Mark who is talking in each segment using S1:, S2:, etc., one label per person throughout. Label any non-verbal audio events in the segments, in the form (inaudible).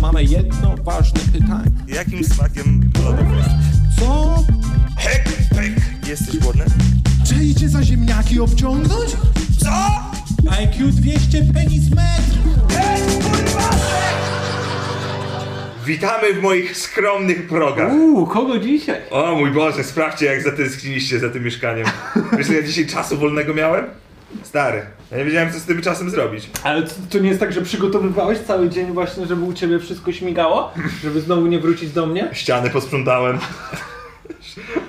S1: mamy jedno ważne pytanie.
S2: Jakim smakiem lodów jesteś?
S1: Co?
S2: Hek, hek. Jesteś głodny?
S3: Czy idzie za ziemniaki obciągnąć?
S2: Co?
S1: IQ 200 penis metr!
S2: Witamy w moich skromnych progach.
S4: Uuu, kogo dzisiaj?
S2: O mój Boże, sprawdźcie jak zatęskniliście za tym mieszkaniem. Wiesz, ile ja dzisiaj czasu wolnego miałem? Stary, ja nie wiedziałem co z tym czasem zrobić.
S4: Ale to, to nie jest tak, że przygotowywałeś cały dzień właśnie, żeby u ciebie wszystko śmigało? Żeby znowu nie wrócić do mnie?
S2: Ściany posprzątałem.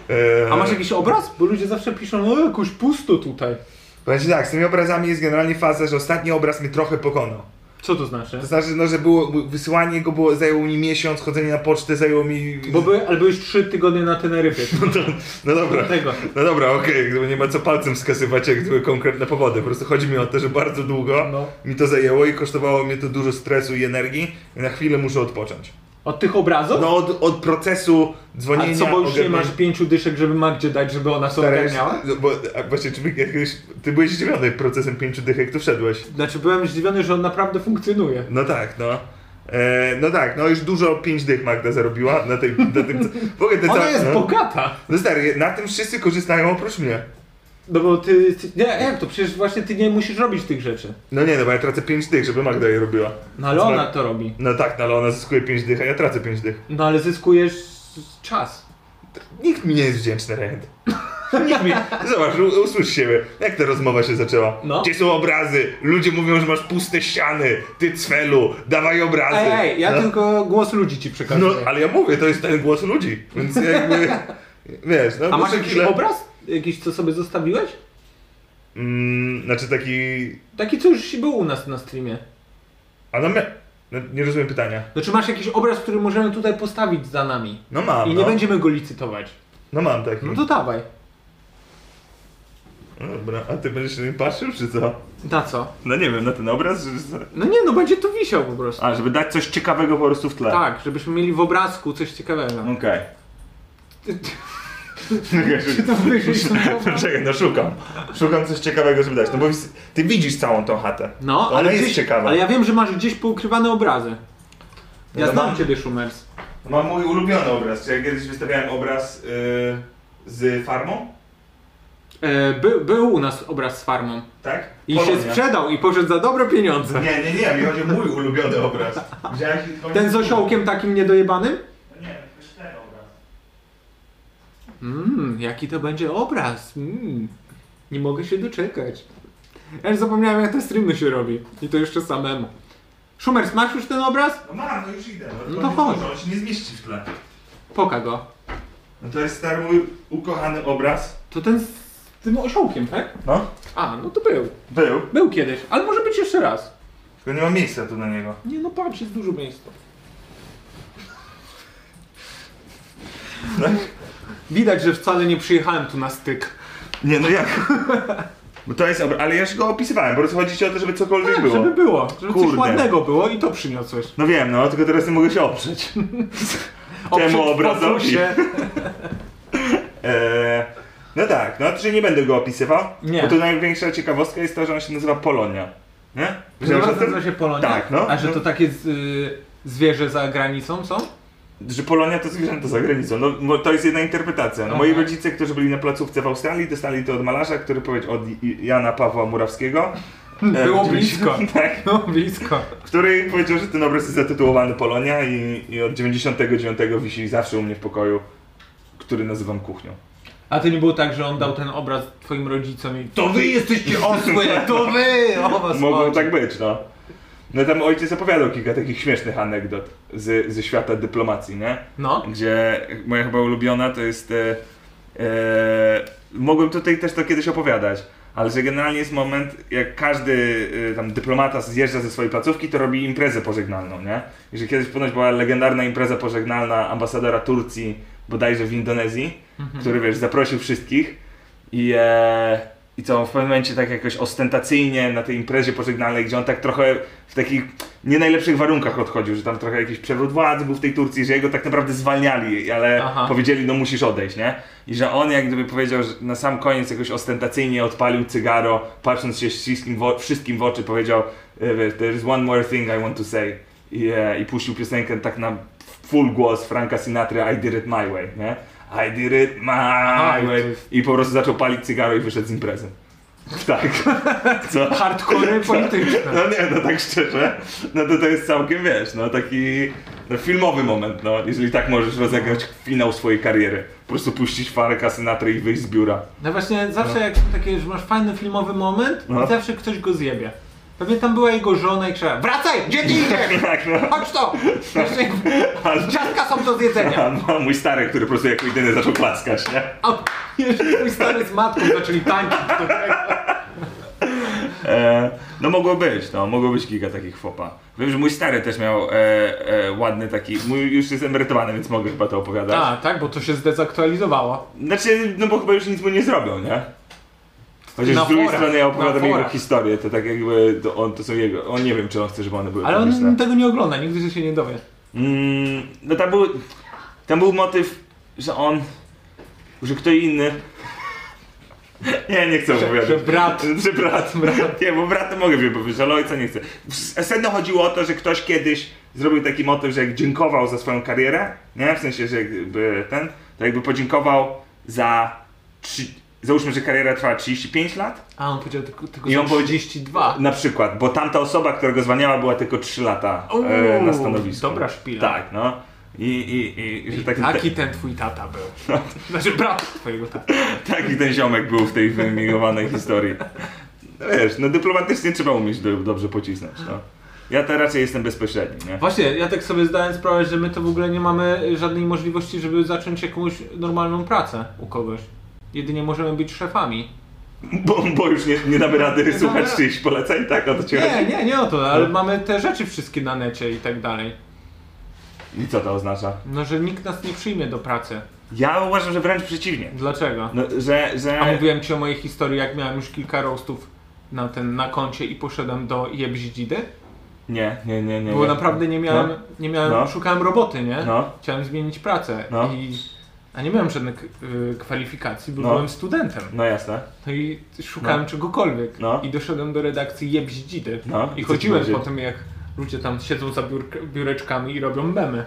S2: Eee,
S4: A masz jakiś obraz? Bo ludzie zawsze piszą, no jakoś pusto tutaj.
S2: Powiem ci tak, z tymi obrazami jest generalnie faza, że ostatni obraz mnie trochę pokonał.
S4: Co to znaczy?
S2: To znaczy, no, że było, wysyłanie go było, zajęło mi miesiąc, chodzenie na pocztę zajęło mi...
S4: Bo by, ale byłeś trzy tygodnie na Teneryfie.
S2: No dobra,
S4: Dlatego.
S2: no dobra, okej, gdyby nie ma co palcem wskazywać, jak były konkretne powody. Po prostu chodzi mi o to, że bardzo długo
S4: No.
S2: mi to zajęło i kosztowało mnie to dużo stresu i energii i na chwilę muszę odpocząć.
S4: Od tych obrazów?
S2: No od, od procesu dzwonienia...
S4: A co, bo już nie
S2: ogarniania-
S4: masz pięciu dyszek, żeby ma gdzie dać, żeby ona sobie
S2: Stary,
S4: ogarniała?
S2: no bo, a właśnie, czy my jakiegoś, ty byłeś zdziwiony procesem pięciu dych, jak tu wszedłeś.
S4: Znaczy byłem zdziwiony, że on naprawdę funkcjonuje.
S2: No tak, no. E, no tak, no już dużo pięć dych Magda zarobiła na, tej, na tym... W ogóle te
S4: Ona
S2: całe-
S4: jest
S2: no.
S4: bogata!
S2: No stary, na tym wszyscy korzystają oprócz mnie.
S4: No bo ty, ty nie, jak to? Przecież właśnie ty nie musisz robić tych rzeczy.
S2: No nie, no bo ja tracę 5 dych, żeby Magda je robiła.
S4: No ale
S2: Zma-
S4: ona to robi.
S2: No tak, no ale ona zyskuje 5 dych, a ja tracę 5 dych.
S4: No ale zyskujesz czas.
S2: Nikt mi nie jest wdzięczny, Rejent.
S4: Nikt mi...
S2: Zobacz, u- usłysz siebie. Jak ta rozmowa się zaczęła?
S4: No.
S2: Gdzie są obrazy? Ludzie mówią, że masz puste ściany. Ty cwelu, dawaj obrazy.
S4: Ej, ej, ja
S2: no,
S4: tylko głos ludzi ci przekazuję.
S2: No, ale ja mówię, to jest ten głos ludzi, więc
S4: (laughs)
S2: jakby... Wiesz, no...
S4: A masz
S2: muszę
S4: jakiś
S2: chwilę-
S4: obraz? Jakiś, co sobie zostawiłeś?
S2: Mm, znaczy taki...
S4: Taki, co już był u nas na streamie.
S2: A no, my... no nie rozumiem pytania.
S4: No czy masz jakiś obraz, który możemy tutaj postawić za nami?
S2: No mam,
S4: I
S2: no.
S4: nie będziemy go licytować.
S2: No mam taki.
S4: No to dawaj.
S2: No Dobra, a ty będziesz na nim patrzył, czy co?
S4: Na co?
S2: No nie wiem, na ten obraz, czy co?
S4: No nie, no będzie tu wisiał po prostu.
S2: A, żeby dać coś ciekawego po prostu w tle.
S4: Tak, żebyśmy mieli w obrazku coś ciekawego.
S2: Okej.
S4: Czy (laughs) to
S2: (laughs)
S4: wyjrzysz
S2: Czekaj, no szukam. Szukam coś ciekawego, żeby dać. No bo wis- ty widzisz całą tą chatę.
S4: No,
S2: To Ona
S4: ale
S2: jest
S4: gdzieś,
S2: ciekawa.
S4: Ale ja wiem, że masz gdzieś poukrywane obrazy. Ja
S2: No to
S4: znam
S2: mam.
S4: ciebie, Schumers.
S2: Mam mój ulubiony obraz. Czy ja kiedyś wystawiałem obraz yy, z farmą?
S4: E, by, był u nas obraz z farmą.
S2: Tak?
S4: I
S2: Polonia.
S4: się sprzedał i poszedł za dobre pieniądze.
S2: Nie, nie, nie, mi chodzi o mój ulubiony obraz. Widziałeś i- No
S4: Ten z osiołkiem takim niedojebanym?
S2: Nie, to jest ten obraz.
S4: Mmm, jaki to będzie obraz. Mm. Nie mogę się doczekać. Ja już zapomniałem jak te streamy się robi. I to jeszcze samemu. Schumers, masz już ten obraz?
S2: No mam, no już idę.
S4: No to
S2: tylko
S4: chodź.
S2: dużo, On się nie zmieści w tle.
S4: Poka go.
S2: No to jest stary mój ukochany obraz.
S4: To ten z tym osiołkiem, tak?
S2: No.
S4: A, no to był.
S2: Był.
S4: Był kiedyś, ale może być jeszcze raz.
S2: Tylko nie ma miejsca tu na niego.
S4: Nie no patrz, jest dużo miejsca.
S2: Tak.
S4: Widać, że wcale nie przyjechałem tu na styk.
S2: Nie, no jak? (laughs) Bo to jest obraz, ale ja już go opisywałem, po prostu chodzi ci o to, żeby cokolwiek
S4: Tak,
S2: było.
S4: żeby było. Żeby coś
S2: Kurde.
S4: ładnego było i to przyniosłeś.
S2: No wiem, no, tylko teraz nie mogę się
S4: (laughs)
S2: oprzeć. Temu
S4: Oprzeć
S2: obrazowi.
S4: fokusie.
S2: Eee, no tak, no, że nie będę go opisywał,
S4: Nie.
S2: bo to największa ciekawostka jest to, że on się nazywa Polonia. Nie? Wiedziałeś o
S4: Nazywa
S2: tym?
S4: nazywa się Polonia?
S2: Tak, no.
S4: A że to takie z, y, zwierzę za granicą są? tak-
S2: Że Polonia to zwierzęta za granicą. No, mo- to jest jedna interpretacja. No,
S4: Aha.
S2: moi rodzice, którzy byli na placówce w Australii, dostali to od malarza, który powiedział od I- Jana Pawła Murawskiego. E,
S4: Było
S2: widzieliście?
S4: blisko.
S2: (laughs) tak.
S4: No blisko.
S2: który powiedział, że ten obraz jest zatytułowany Polonia i, i od 99 wisi zawsze u mnie w pokoju, który nazywam kuchnią.
S4: A to nie było tak, że on dał ten obraz twoim rodzicom i
S2: To wy jesteście
S4: osły, to wy! O was
S2: Mogło
S4: chodzi.
S2: tak być, no. No tam ojciec opowiadał kilka takich śmiesznych anegdot z, ze świata dyplomacji, nie?
S4: No.
S2: Gdzie moja chyba ulubiona to jest... E, e, mogłem tutaj też to kiedyś opowiadać, ale że generalnie jest moment, jak każdy e, tam dyplomata zjeżdża ze swojej placówki, to robi imprezę pożegnalną, nie? I że kiedyś ponoć była legendarna impreza pożegnalna ambasadora Turcji, bodajże w Indonezji, który wiesz, zaprosił wszystkich. I, e, I to w pewnym momencie tak jakoś ostentacyjnie na tej imprezie pożegnalnej, gdzie on tak trochę w takich nie najlepszych warunkach odchodził, że tam trochę jakiś przewrót władzy był w tej Turcji, że jego tak naprawdę zwalniali, ale
S4: Aha.
S2: powiedzieli, no musisz odejść, nie? I że on jak gdyby powiedział, że na sam koniec jakoś ostentacyjnie odpalił cygaro, patrząc się wszystkim w, o- wszystkim w oczy, powiedział, e, wiesz, there is one more thing I want to say. Yeah, I puścił piosenkę tak na full głos Franka Sinatra I did it my way, nie? I did it my way. I po prostu zaczął palić cygaro i wyszedł z imprezy. (laughs) Tak. Co?
S4: Hardcore polityczne.
S2: No nie, no tak szczerze, no to to jest całkiem, wiesz, no taki no, filmowy moment, no, jeżeli tak możesz rozegrać finał swojej kariery. Po prostu puścić Franka Sinatra i wyjść z biura. (laughs)
S4: No właśnie, zawsze jak są takie, że masz fajny filmowy moment
S2: No.
S4: i zawsze ktoś go zjebie. Pewnie tam była jego żona i krzyczała Wracaj! Gdzie ty idziesz?
S2: Tak, no.
S4: Chodź to! Jeszcze
S2: Ale-
S4: ciastka są do zjedzenia.
S2: A no, mój stary, który po prostu jako jedyny zaczął klaskać, nie?
S4: A jeszcze mój stary z matką zaczęli tańczyć. do tego.
S2: E, no mogło być, no, mogło być kilka takich fopa. Wiem, że mój stary też miał e, e, ładny taki, mój już jest emerytowany, więc mogę chyba to opowiadać.
S4: A, tak, bo to się zdezaktualizowało.
S2: Znaczy, no bo chyba już nic mu nie zrobią, nie? Chociaż
S4: Na
S2: z drugiej
S4: forach,
S2: strony ja opowiadam
S4: na
S2: jego
S4: forach.
S2: historie, to tak jakby to on to są jego. On nie wiem, czy on chce, żeby one były
S4: Ale
S2: publiczne.
S4: on tego nie ogląda, nigdy się nie dowie.
S2: Mm, no tam był. Tam był motyw, że on. że kto inny. (laughs) Nie, nie chcę opowiadać.
S4: że brat.
S2: Że
S4: (laughs)
S2: brat. Nie, bo brat to mogę wypowiedzieć, ale ojca nie chcę. S- Sedno chodziło o to, że ktoś kiedyś zrobił taki motyw, że jak dziękował za swoją karierę, nie? W sensie, że jakby ten, to jakby podziękował za. Trzy, załóżmy, że kariera trwała 35 lat.
S4: A on powiedział tylko, tylko
S2: I
S4: za
S2: on powiedział- No,
S4: 32.
S2: Na przykład, bo tamta osoba, którego zwalniała, była tylko 3 lata e, na
S4: Uuu,
S2: stanowisku.
S4: dobra szpila.
S2: Tak, no. I, i, i, że taki, No.
S4: Taki ten twój tata był. (laughs) Znaczy brat twojego tata.
S2: te- taki ten ziomek był w tej wymieniowanej historii. No wiesz, no dyplomatycznie trzeba umieć do, dobrze pocisnąć, no. Ja to raczej jestem bezpośredni, nie?
S4: Właśnie, ja tak sobie zdałem sprawę, że my to w ogóle nie mamy żadnej możliwości, żeby zacząć jakąś normalną pracę u kogoś. Jedynie możemy być szefami.
S2: Bo, bo już nie, nie damy rady słuchać
S4: rady.
S2: czyichś poleceń, tak? O to ci
S4: Nie,
S2: chodzi? No.
S4: nie, nie o to, ale mamy te rzeczy wszystkie na necie i tak dalej.
S2: I co to oznacza?
S4: No, że nikt nas nie przyjmie do pracy.
S2: Ja uważam, że wręcz przeciwnie.
S4: Dlaczego?
S2: No, że, że...
S4: A mówiłem ci o mojej historii, jak miałem już kilka roastów na ten, na koncie i poszedłem do Jebździdy?
S2: Nie, nie, nie, nie.
S4: Bo
S2: nie.
S4: naprawdę nie miałem,
S2: No.
S4: nie miałem,
S2: No.
S4: szukałem roboty, nie?
S2: No.
S4: Chciałem zmienić pracę
S2: No.
S4: i... A nie miałem żadnych y, kwalifikacji, bo
S2: No.
S4: byłem studentem.
S2: No jasne.
S4: No i szukałem czegokolwiek.
S2: No.
S4: I doszedłem do redakcji Jebździdy.
S2: No.
S4: I
S2: I co
S4: chodziłem
S2: ci
S4: po
S2: powiedzieli?
S4: tym, jak ludzie tam siedzą za biurk- biureczkami i robią memy.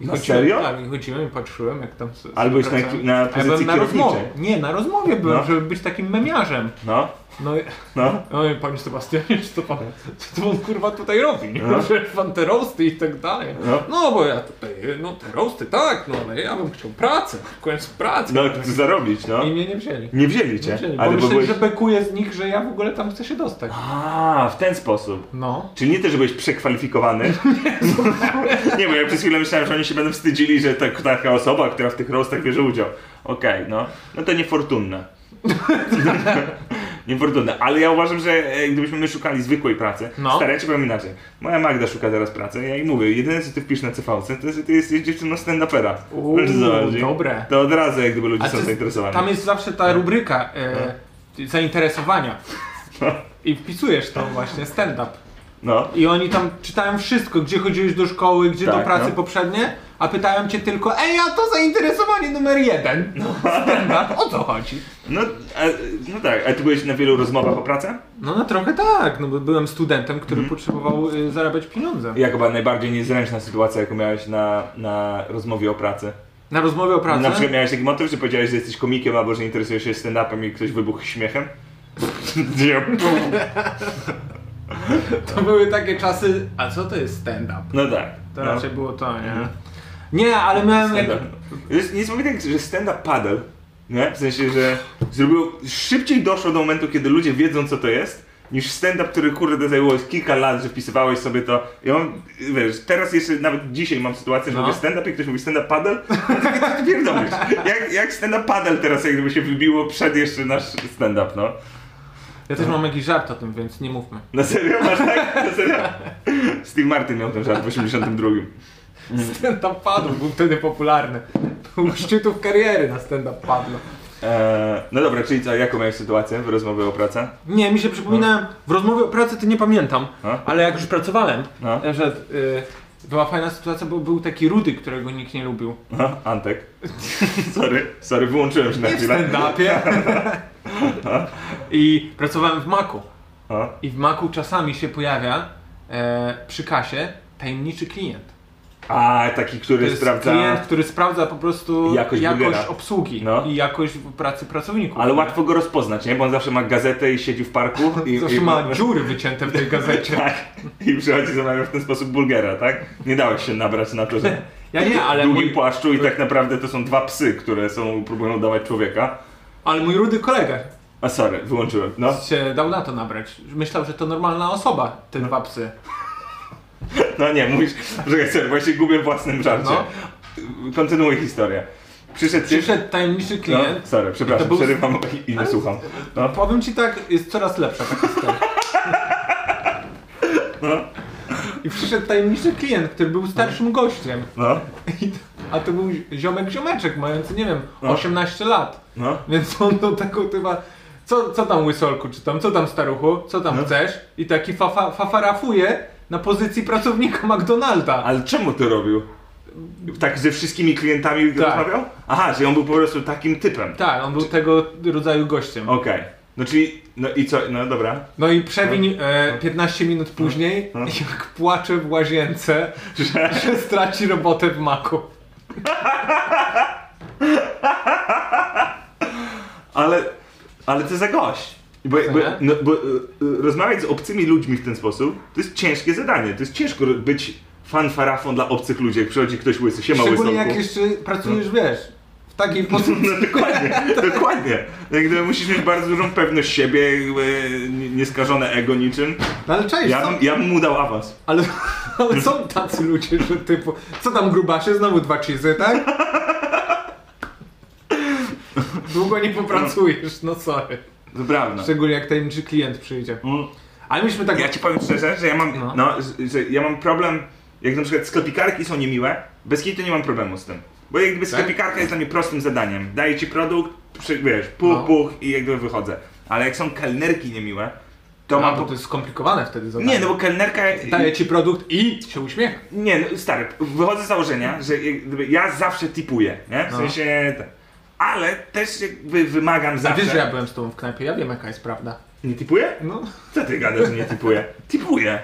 S4: I
S2: Na
S4: chodziłem,
S2: serio?
S4: Tak, i chodziłem i patrzyłem, jak tam sobie
S2: Ale byłeś na-
S4: pracują.
S2: na
S4: A
S2: pozycji
S4: ja byłem na
S2: kierowniczej.
S4: rozmowie. Nie, na rozmowie byłem,
S2: No.
S4: żeby być takim memiarzem.
S2: No,
S4: No i...
S2: no.
S4: Oj, panie Sebastianie, czy to pan, co to pan kurwa tutaj robi?
S2: No.
S4: Że pan te roasty i tak dalej.
S2: No.
S4: No bo ja tutaj, no te roasty tak, no ale ja bym chciał pracę, w końcu pracę.
S2: No, zarobić, no.
S4: I mnie nie wzięli.
S2: Nie wzięli cię,
S4: Wzięli, bo
S2: ale bo
S4: myślę,
S2: byłeś...
S4: że bekuje z nich, że ja w ogóle tam chcę się dostać.
S2: A, w ten sposób.
S4: No.
S2: Czyli nie to, że byłeś
S4: (laughs)
S2: przekwalifikowany. nie, bo ja przez chwilę myślałem, że oni się będą wstydzili, że tak, taka osoba, która w tych roastach bierze udział. Okej, no. No to niefortunne. (laughs) niefortunne. Ale ja uważam, że e, gdybyśmy my szukali zwykłej pracy,
S4: No.
S2: stary, ja ci powiem inaczej. Moja Magda szuka teraz pracy, ja jej mówię, jedyne co ty wpisz na CVC, to jest, że ty jesteś dziewczyną stand-upera.
S4: Uuu,
S2: Wiesz, co chodzi?
S4: dobre.
S2: To od razu jak gdyby ludzie
S4: A
S2: są
S4: ty-
S2: zainteresowani. No.
S4: Tam jest zawsze ta rubryka e, zainteresowania. I wpisujesz to właśnie stand-up.
S2: No.
S4: I oni tam czytają wszystko, gdzie chodziłeś do szkoły, gdzie do
S2: Tak,
S4: pracy
S2: no.
S4: poprzednie, a pytają cię tylko, ej, a to zainteresowanie numer jeden. No. (laughs) Stand-up, o co chodzi?
S2: No, a, no tak, a ty byłeś na wielu rozmowach o pracę?
S4: No, no trochę tak, no bo byłem studentem, który
S2: Mhm.
S4: potrzebował y, zarabiać pieniądze.
S2: Jaka była najbardziej niezręczna sytuacja, jaką miałeś na, na rozmowie o pracy?
S4: Na rozmowie o pracy?
S2: Na przykład miałeś taki motyw, że powiedziałeś, że jesteś komikiem albo że interesujesz się stand-upem i ktoś wybuchł śmiechem? (laughs) Nie.
S4: To były takie czasy, a co to jest stand-up?
S2: No tak.
S4: To
S2: no.
S4: raczej było to, nie? Nie, ale miałem... Jak...
S2: Stand-up. To jest niesamowite, że stand-up padel, nie? W sensie, że zrobił, szybciej doszło do momentu, kiedy ludzie wiedzą, co to jest, niż stand-up, który kurde zajęło kilka lat, że wpisywałeś sobie to. Ja mam, wiesz, teraz jeszcze, nawet dzisiaj mam sytuację, że
S4: No.
S2: mówię stand-up i ktoś mówi stand-up padel. Ty pierdolisz. Jak, jak stand-up padel teraz jakby się wybiło przed jeszcze nasz stand-up, no.
S4: Ja też mam jakiś żart o tym, więc nie mówmy.
S2: Na serio? Masz tak? Na serio? Steve Martin miał ten żart w 82.
S4: (laughs) Stand-up padł, był wtedy popularny. Był u szczytów kariery na stand-up padło.
S2: Eee, no dobra, czyli co, jaką miałeś sytuację w rozmowie o pracę?
S4: Nie, mi się przypominałem, w rozmowie o pracy to nie pamiętam,
S2: No.
S4: ale jak już pracowałem, e,
S2: No.
S4: że y, była fajna sytuacja, bo był taki Rudy, którego nikt nie lubił.
S2: No, Antek. sorry, sorry, wyłączyłem się na
S4: Nie w
S2: chwilę. (laughs)
S4: stand-upie. (laughs) I pracowałem w Maku.
S2: O,
S4: I w Maku czasami się pojawia e, przy kasie tajemniczy klient.
S2: A, taki, który
S4: To jest
S2: sprawdza...
S4: klient, który sprawdza po prostu
S2: Jakość
S4: jakość,
S2: burgera.
S4: obsługi
S2: No.
S4: i jakość pracy pracowników.
S2: Ale łatwo go rozpoznać, nie? Bo on zawsze ma gazetę i siedzi w
S4: (laughs)
S2: parku. I,
S4: Zawsze
S2: i,
S4: ma dziury wycięte w tej
S2: (laughs)
S4: gazecie.
S2: Tak. I przychodzi zamawia w ten sposób burgera, tak? Nie dałeś się nabrać na to, że
S4: Ja nie, ale
S2: w długim
S4: mój,
S2: płaszczu i tak naprawdę to są dwa psy, które są próbują udawać człowieka.
S4: ale mój rudy kolega
S2: A sorry, wyłączyłem. No.
S4: się dał na to nabrać. Myślał, że to normalna osoba, te dwa psy.
S2: No nie, mówisz, (laughs) że sorry, właśnie gubię w własnym żarcie.
S4: No.
S2: Kontynuuj historię. Przyszedł,
S4: Przyszedł tajemniczy
S2: No,
S4: klient.
S2: sorry, przepraszam,
S4: To był-
S2: przerywam i nie słucham. No.
S4: Powiem ci tak, jest coraz lepsza ta
S2: (laughs)
S4: historia.
S2: No.
S4: I przyszedł tajemniczy klient, który był starszym gościem.
S2: No,
S4: I- A to był ziomek ziomeczek, mający, nie wiem,
S2: No.
S4: 18 lat.
S2: no.
S4: Więc on do tego typa, co, co tam łysolku, czy tam, co tam staruchu, co
S2: No.
S4: tam chcesz? I taki fafa, fafarafuje na pozycji pracownika McDonalda.
S2: Ale czemu to robił? Tak ze wszystkimi klientami
S4: Tak.
S2: rozmawiał? Aha, czyli on był po prostu takim typem.
S4: Tak, on był tego rodzaju gościem.
S2: Okej. No czyli, no i co, no dobra. (laughs)
S4: No i przewiń e, 15 minut później,
S2: No.
S4: jak płacze w łazience, (laughs) że, że straci robotę w maku.
S2: Ale, ale to za gość. Bo, bo,
S4: nie?
S2: no, bo y, y, rozmawiać z obcymi ludźmi w ten sposób, to jest ciężkie zadanie. To jest ciężko ro- być fanfarafą dla obcych ludzi, jak przychodzi ktoś łysy, siema
S4: Szczególnie
S2: łysonku.
S4: jak jeszcze pracujesz, wiesz, w (laughs) takiej pozycji.
S2: No
S4: (laughs)
S2: dokładnie, dokładnie. Jak gdyby musisz mieć bardzo dużą pewność siebie, jakby nie- nieskażone ego niczym.
S4: No ale cześć,
S2: Ja
S4: są,
S2: bym, ja bym mu dał awans.
S4: ale, (laughs) ale są tacy ludzie, że typu, co tam grubasie, znowu dwa cheesy, tak?
S2: (laughs)
S4: Długo nie popracujesz, no sorry.
S2: To prawda.
S4: Szczególnie jak tajemniczy klient przyjdzie.
S2: Mm.
S4: Ale myśmy tak...
S2: Ja ci powiem szczerze, że ja mam, no.
S4: No.
S2: że- że ja mam problem, jak na przykład sklepikarki są niemiłe, bez kitu nie mam problemu z tym. Bo jakby
S4: Tak?
S2: sklepikarka jest dla mnie prostym zadaniem. Daję ci produkt, przy, wiesz, puch,
S4: No.
S2: puch i jakby wychodzę. Ale jak są kelnerki niemiłe, to
S4: A,
S2: mam...
S4: No, bo
S2: Po...
S4: to jest skomplikowane wtedy zadanie.
S2: Nie, no bo kelnerka...
S4: Daję ci produkt i się uśmiecha.
S2: Nie, no, stary, wychodzę z założenia, że jak gdyby ja zawsze tipuję, nie? W
S4: No.
S2: sensie... tak. Ale też jakby wymagam
S4: A
S2: zawsze...
S4: wiesz, że ja byłem z tobą w knajpie, ja wiem jaka jest prawda.
S2: Nie tipuję?
S4: No.
S2: Co ty gadasz, że nie tipuję? Tipuję!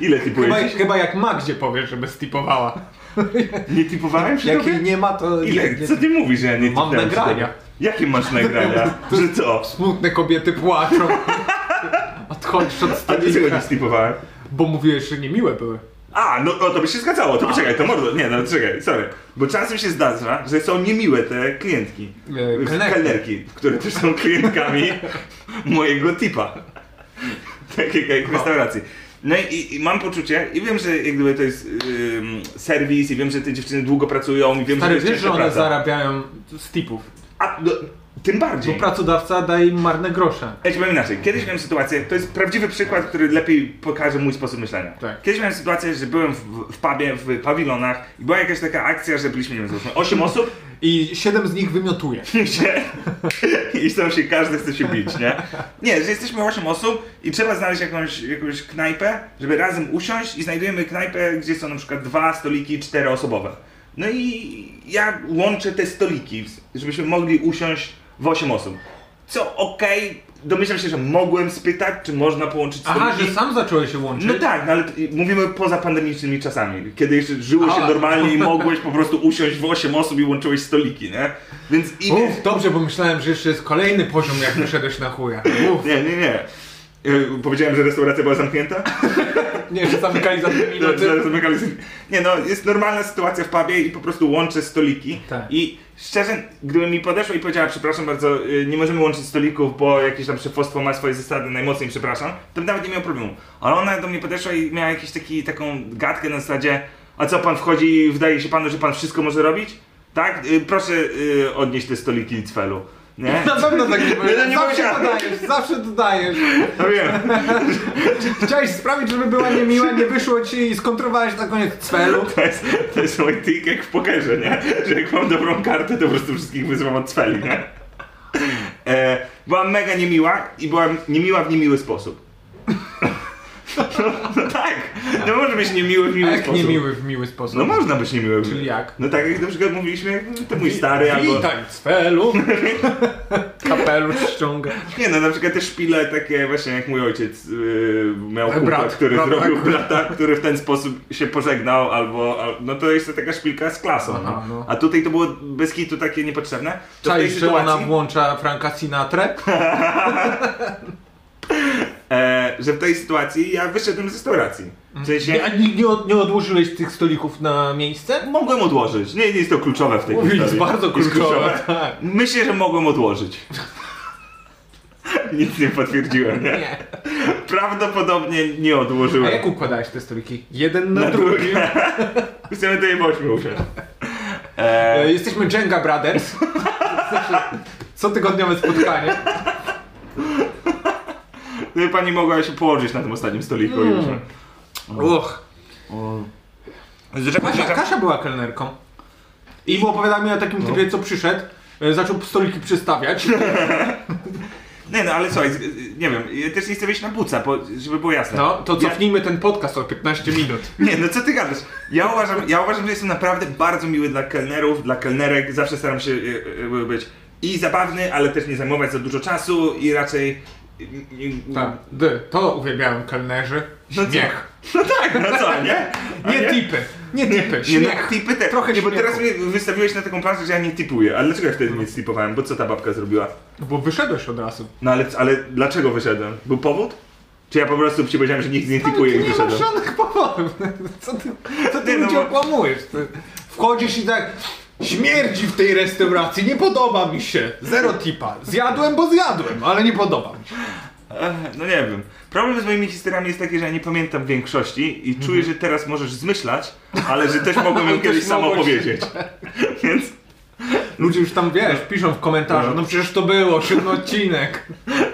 S2: Ile
S4: Chyba,
S2: tipuję?
S4: chyba jak ma gdzie powiesz, żeby stipowała.
S2: Nie tipowałem przy
S4: (laughs) Jak
S2: tobie?
S4: jej nie ma, to...
S2: Ile?
S4: nie-
S2: Co ty mówisz, że ja nie
S4: Mam
S2: czytałem ci
S4: nagrania.
S2: tego? Jakie masz
S4: (laughs)
S2: nagrania? Że co?
S4: Smutne kobiety (laughs) płaczą. Odchodzisz od
S2: A ty czego
S4: stolika,
S2: nie stipowałem?
S4: bo mówiłeś, że niemiłe były.
S2: A, no o, to by się zgadzało, to poczekaj, to mordo, nie, no czekaj, sorry. Bo czasem się zdarza, że są niemiłe te klientki,
S4: E, kelnerki.
S2: kelnerki, które też są
S4: (laughs)
S2: klientkami mojego tipa, takiej jak w restauracji. No i- i, i mam poczucie, i wiem, że jak gdyby to jest ym, serwis, i wiem, że te dziewczyny długo pracują, i wiem,
S4: Stary,
S2: że to jest
S4: wiesz, że
S2: ciężka
S4: one
S2: praca.
S4: zarabiają z tipów,
S2: A, no, tym bardziej.
S4: bo pracodawca daje im marne grosze.
S2: Ja ci powiem inaczej. Kiedyś miałem sytuację, to jest prawdziwy przykład, który lepiej pokaże mój sposób myślenia.
S4: Tak.
S2: Kiedyś miałem sytuację, że byłem w, w pubie, w pawilonach i była jakaś taka akcja, że byliśmy, nie wiem, załóżmy 8 osób
S4: I siedem z nich wymiotuje.
S2: (laughs) i się, i tam się każdy chce się bić, nie? Nie, że jesteśmy 8 osób i trzeba znaleźć jakąś, jakąś knajpę, żeby razem usiąść i znajdujemy knajpę, gdzie są na przykład dwa stoliki czteroosobowe. No i ja łączę te stoliki, żebyśmy mogli usiąść w 8 osób. Co okej, domyślam się, że mogłem spytać, czy można połączyć stoliki.
S4: Aha, że sam zacząłeś się łączyć?
S2: No tak, no ale t- mówimy poza pandemicznymi czasami, kiedy jeszcze żyło się
S4: A.
S2: normalnie i mogłeś po prostu usiąść w 8 osób i łączyłeś stoliki, nie? Więc i
S4: Uff, dobrze, bo myślałem, że jeszcze jest kolejny poziom, jak wyszedłeś na chuja. Uff,
S2: Nie, nie, nie. Yy, Powiedziałem, że restauracja była zamknięta?
S4: nie, że zamykali za dwie
S2: (laughs) Że- że
S4: minuty.
S2: zamykali sobie- Nie no, jest normalna sytuacja w pubie i po prostu łączę stoliki.
S4: Tak.
S2: I szczerze, gdyby mi podeszła i powiedziała, przepraszam bardzo, yy, nie możemy łączyć stolików, bo jakieś tam szefostwo ma swoje zasady, najmocniej przepraszam, to bym nawet nie miał problemu. Ale ona do mnie podeszła i miała jakiś taki, taką gadkę na zasadzie, a co pan wchodzi i wydaje się panu, że pan wszystko może robić? Tak? Yy, Proszę yy, odnieść te stoliki i cwelu.
S4: (laughs)
S2: Nie?
S4: Na pewno tak nie
S2: no
S4: powiedziałem.
S2: nie
S4: Zawsze
S2: powiedziałem.
S4: dodajesz, zawsze dodajesz.
S2: No wiem.
S4: Chciałeś sprawić, żeby była niemiła, nie wyszło ci i skontrowałeś na koniec cwelu.
S2: To jest, to jest mój tik jak w pokerze, nie? Że jak mam dobrą kartę, to po prostu wszystkich wyzywam od cweli, nie? E, byłam mega niemiła i byłam niemiła w niemiły sposób. No, no tak, no może być niemiły w
S4: A
S2: miły
S4: jak
S2: sposób.
S4: niemiły w miły sposób?
S2: No można być niemiły.
S4: Czyli jak?
S2: (laughs) No tak jak na przykład mówiliśmy, to mój stary albo...
S4: Witaj, Cfelu! Kapelusz ściąga.
S2: Nie no, na przykład te szpile takie właśnie jak mój ojciec yy, miał kumpla,
S4: Brat,
S2: który
S4: brat,
S2: zrobił
S4: tak.
S2: brata, który w ten sposób się pożegnał albo, al, no to jest to taka szpilka z klasą,
S4: Aha,
S2: no.
S4: no.
S2: A tutaj to było bez kitu takie niepotrzebne. To w tej
S4: Czaisz, że ona
S2: sytuacji,
S4: włącza Franka Sinatrę?
S2: e, że w tej sytuacji ja wyszedłem z restauracji. W sensie
S4: Nie, a nie, nie, od, nie odłożyłeś tych stolików na miejsce?
S2: mogłem odłożyć. Nie, nie jest to kluczowe w tej
S4: Mówi,
S2: historii.
S4: jest bardzo kluczowe. tak.
S2: Myślę, że mogłem odłożyć.
S4: (laughs)
S2: Nic nie potwierdziłem. Nie?
S4: Nie.
S2: Prawdopodobnie nie
S4: A
S2: odłożyłem.
S4: jak układałeś te stoliki? Jeden na,
S2: Na
S4: drugi.
S2: drugi. Chcemy tutaj w ośmiu usiąść. E,
S4: (laughs) E, Jesteśmy Jenga Brothers. (laughs) Cotygodniowe spotkanie.
S2: Gdyby pani mogła się położyć na tym ostatnim stoliku
S4: Hmm.
S2: już. no.
S4: Uch.
S2: Rzekł,
S4: Kasia, Kasia była kelnerką. I opowiadała mi o
S2: No.
S4: takim typie, co przyszedł. e, Zaczął stoliki przystawiać.
S2: Nie no, ale słuchaj, z- y, nie wiem, ja też nie chcę wejść na buca, bo, żeby było jasne.
S4: No, to
S2: ja,
S4: cofnijmy ten podcast o 15 minut.
S2: Nie, no co ty gadasz? Ja uważam, ja uważam, że jestem naprawdę bardzo miły dla kelnerów, dla kelnerek, zawsze staram się y, y, być i zabawny, ale też nie zajmować za dużo czasu i raczej... y, y,
S4: Tak, D, to uwielbiałem kelnerzy.
S2: No co?
S4: Śmiech.
S2: No tak, no co,
S4: (laughs)
S2: nie? A
S4: Nie tipy, nie tipy,
S2: Nie, no,
S4: śmiech.
S2: tipy te,
S4: Trochę
S2: nie, bo
S4: śmiechu.
S2: teraz mnie wystawiłeś na taką planszę, że ja nie tipuję. Ale dlaczego ja wtedy nie tipowałem? Bo co ta babka zrobiła?
S4: No Bo wyszedłeś od razu.
S2: No ale, ale dlaczego wyszedłem? Był powód? Czy ja po prostu ci powiedziałem, że nikt nie typuje i
S4: nie masz
S2: wyszedłem?
S4: żadnych powodów. Co ty, co
S2: Nie,
S4: ty
S2: no
S4: ludzi
S2: bo-
S4: okłamujesz? Ty wchodzisz i tak śmierdzi w tej restauracji, nie podoba mi się. Zero tipa. Zjadłem, bo zjadłem, ale nie podoba mi się.
S2: Ech, no nie wiem. Problem z moimi historiami jest taki, że ja nie pamiętam większości i czuję, że teraz możesz zmyślać, ale że też mogłem
S4: (laughs)
S2: ją
S4: Też
S2: kiedyś sam
S4: mogłeś.
S2: opowiedzieć. (laughs) Więc
S4: Ludzie już tam, wiesz, piszą w komentarzu, no przecież to było, siódmy odcinek.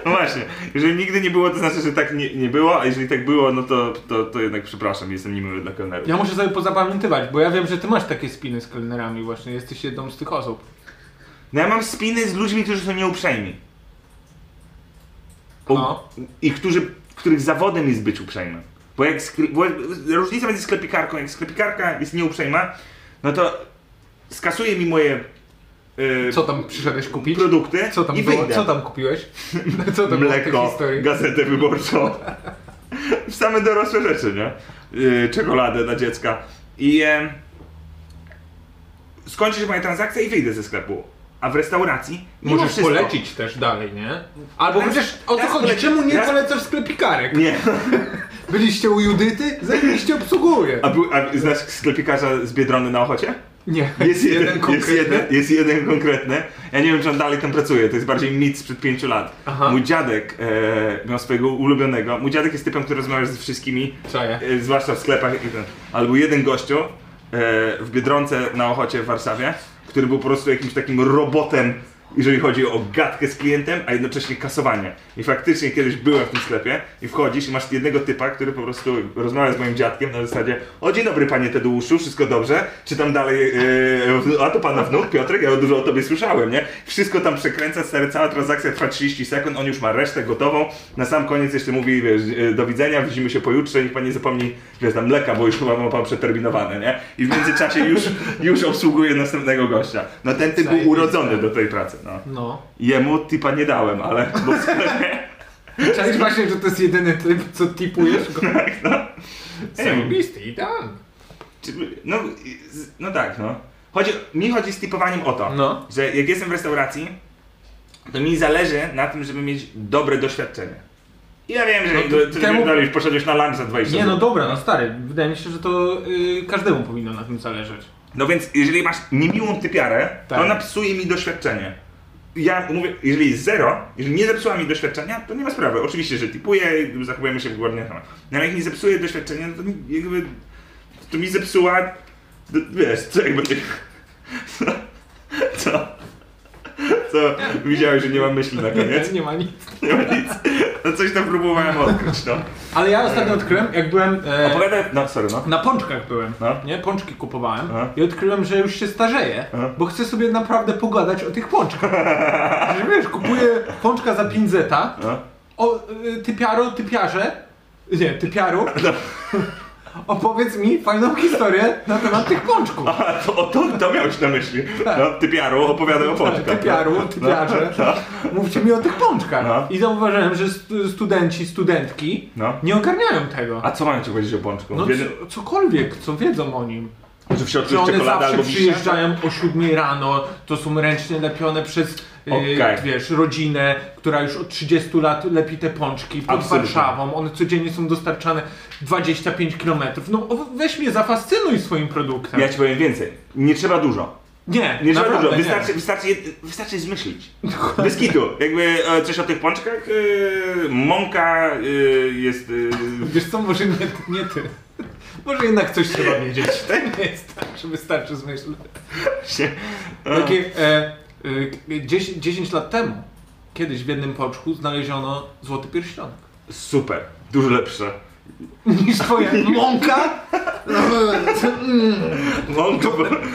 S2: no właśnie, jeżeli nigdy nie było, to znaczy, że tak nie, nie było, a jeżeli tak było, no to, to, to jednak przepraszam, jestem niemiły dla kelnerów.
S4: Ja muszę sobie pozapamiętywać, bo ja wiem, że ty masz takie spiny z kelnerami właśnie, jesteś jedną z tych osób.
S2: No ja mam spiny z ludźmi, którzy są nieuprzejmi. O,
S4: No.
S2: I którzy, których zawodem jest być uprzejmym. Bo, jak skle, bo różnica między sklepikarką, jak sklepikarka jest nieuprzejma, no to skasuje mi moje yy,
S4: Co tam przyszedłeś kupić?
S2: produkty
S4: Co tam
S2: i
S4: było?
S2: wyjdę.
S4: Co tam kupiłeś?
S2: (laughs)
S4: Co tam było w tej
S2: Mleko,
S4: historii?
S2: gazetę
S4: (laughs)
S2: wyborczą. Same dorosłe rzeczy, nie? Yy, czekoladę dla dziecka. I e, skończy się moja transakcja i wyjdę ze sklepu. A w restauracji mimo
S4: Możesz
S2: wszystko,
S4: polecić też dalej, nie? Albo
S2: Raz-
S4: chociaż o co
S2: raz
S4: chodzi?
S2: poleci-
S4: Czemu nie
S2: raz-
S4: polecasz sklepikarek?
S2: Nie.
S4: Byliście u Judyty? Zajebiście obsługuje.
S2: A, był, a znasz sklepikarza z Biedrony na
S4: (laughs)
S2: Ochocie?
S4: Nie,
S2: Jest jeden, jest,
S4: konkretny.
S2: jeden, jest jeden konkretny. Ja nie wiem, czy on dalej tam pracuje. To jest bardziej mit sprzed pięciu lat.
S4: Aha.
S2: Mój dziadek e, miał swojego ulubionego. Mój dziadek jest typem, który rozmawia ze wszystkimi,
S4: Czaję.
S2: e, zwłaszcza w sklepach. i ten. Ale był jeden gościu e, w Biedronce na Ochocie w Warszawie, który był po prostu jakimś takim robotem, jeżeli chodzi o gadkę z klientem, a jednocześnie kasowanie. I faktycznie kiedyś byłem w tym sklepie i wchodzisz i masz jednego typa, który po prostu rozmawia z moim dziadkiem na zasadzie o dzień dobry panie Tadeuszu, wszystko dobrze? Czy tam dalej, e, a to pana wnuk Piotrek, ja dużo o tobie słyszałem, nie? Wszystko tam przekręca, stary, cała transakcja trwa 30 sekund, on już ma resztę gotową, na sam koniec jeszcze mówi, wiesz, e, do widzenia, widzimy się pojutrze, niech pan nie zapomni, wiesz, tam mleka, bo już chyba ma pan przeterminowane, nie? I w międzyczasie już, już obsługuje następnego gościa. No ten typ był
S4: Zajebiste.
S2: urodzony do tej pracy, no.
S4: No.
S2: Jemu tipa nie dałem, ale... (laughs) Bo w sklepie,
S4: Czaisz właśnie, że to jest jedyny typ, co tipujesz go?
S2: Tak, no. nie wiem,
S4: Zajebisty, idealny.
S2: czy- no, i- z- no tak, no. Chodzi, mi chodzi z tipowaniem o to,
S4: No.
S2: że jak jestem w restauracji, to mi zależy na tym, żeby mieć dobre doświadczenie. I ja wiem, że
S4: No
S2: no,
S4: to
S2: ty, ty
S4: temu-
S2: już poszedłeś na lunch za 20
S4: Nie no
S2: zł.
S4: dobra, no stary, wydaje mi się, że to y, każdemu powinno na tym zależeć.
S2: no więc jeżeli masz niemiłą typiarę,
S4: Tak.
S2: to ona psuje mi doświadczenie. Ja mówię, jeżeli jest zero, jeżeli nie zepsuła mi doświadczenia, to nie ma sprawy. Oczywiście, że tipuję, zachowujemy się wygodnie. No ale jak nie zepsuje doświadczenia, to mi, jakby... To mi zepsuła... d- Wiesz, co jakby... (laughs) Co? Co? Co? Widziałeś, że nie mam myśli na koniec?
S4: Nie ma nic.
S2: Nie ma nic. No coś tam próbowałem odkryć, no.
S4: Ale ja ostatnio odkryłem, jak byłem... E,
S2: Opowiadaj... No, sorry, no.
S4: Na pączkach byłem,
S2: No.
S4: nie? Pączki kupowałem
S2: No.
S4: i odkryłem, że już się starzeję,
S2: No.
S4: bo chcę sobie naprawdę pogadać o tych pączkach. że wiesz, kupuję pączka za 5 zeta,
S2: no.
S4: o y, typiaro, typiarze, nie, typiaru, (laughs) opowiedz mi fajną historię na temat tych pączków.
S2: A, to, o, to, to miałeś na myśli. No, typiaru opowiadał o pączkach.
S4: Tak. Typiaru, typiarze. Mówcie mi o tych pączkach.
S2: No.
S4: I zauważyłem, że st- studenci, studentki
S2: No.
S4: nie ogarniają tego.
S2: A co mają ci powiedzieć o pączku?
S4: No
S2: Wiedzy-
S4: c- cokolwiek, co wiedzą o nim.
S2: Że w środku
S4: Czy
S2: jest
S4: one
S2: czekolada
S4: zawsze
S2: albo wiśnia?
S4: przyjeżdżają o 7 rano, to są ręcznie lepione przez yy,
S2: Okej.
S4: wiesz, rodzinę, która już od 30 lat lepi te pączki pod
S2: Absolutnie.
S4: Warszawą. One codziennie są dostarczane 25 km. No o- weź mnie zafascynuj swoim produktem.
S2: Tak. Ja ci powiem więcej. Nie trzeba dużo.
S4: nie,
S2: Nie trzeba
S4: naprawdę,
S2: dużo.
S4: nie.
S2: Wystarczy, wystarczy, jed- wystarczy je zmyślić. Bez kitu. Jakby e, coś o tych pączkach? E, mąka e, jest... E,
S4: Wiesz co, może nie, nie ty. Może jednak coś trzeba wiedzieć. To nie jest tak, że wystarczy zmyśl.
S2: się,
S4: Takie, e, e, 10, 10 lat temu kiedyś w jednym pączku znaleziono złoty pierścionek.
S2: super. Dużo lepsze.
S4: niż twoja mąka?
S2: Mąka...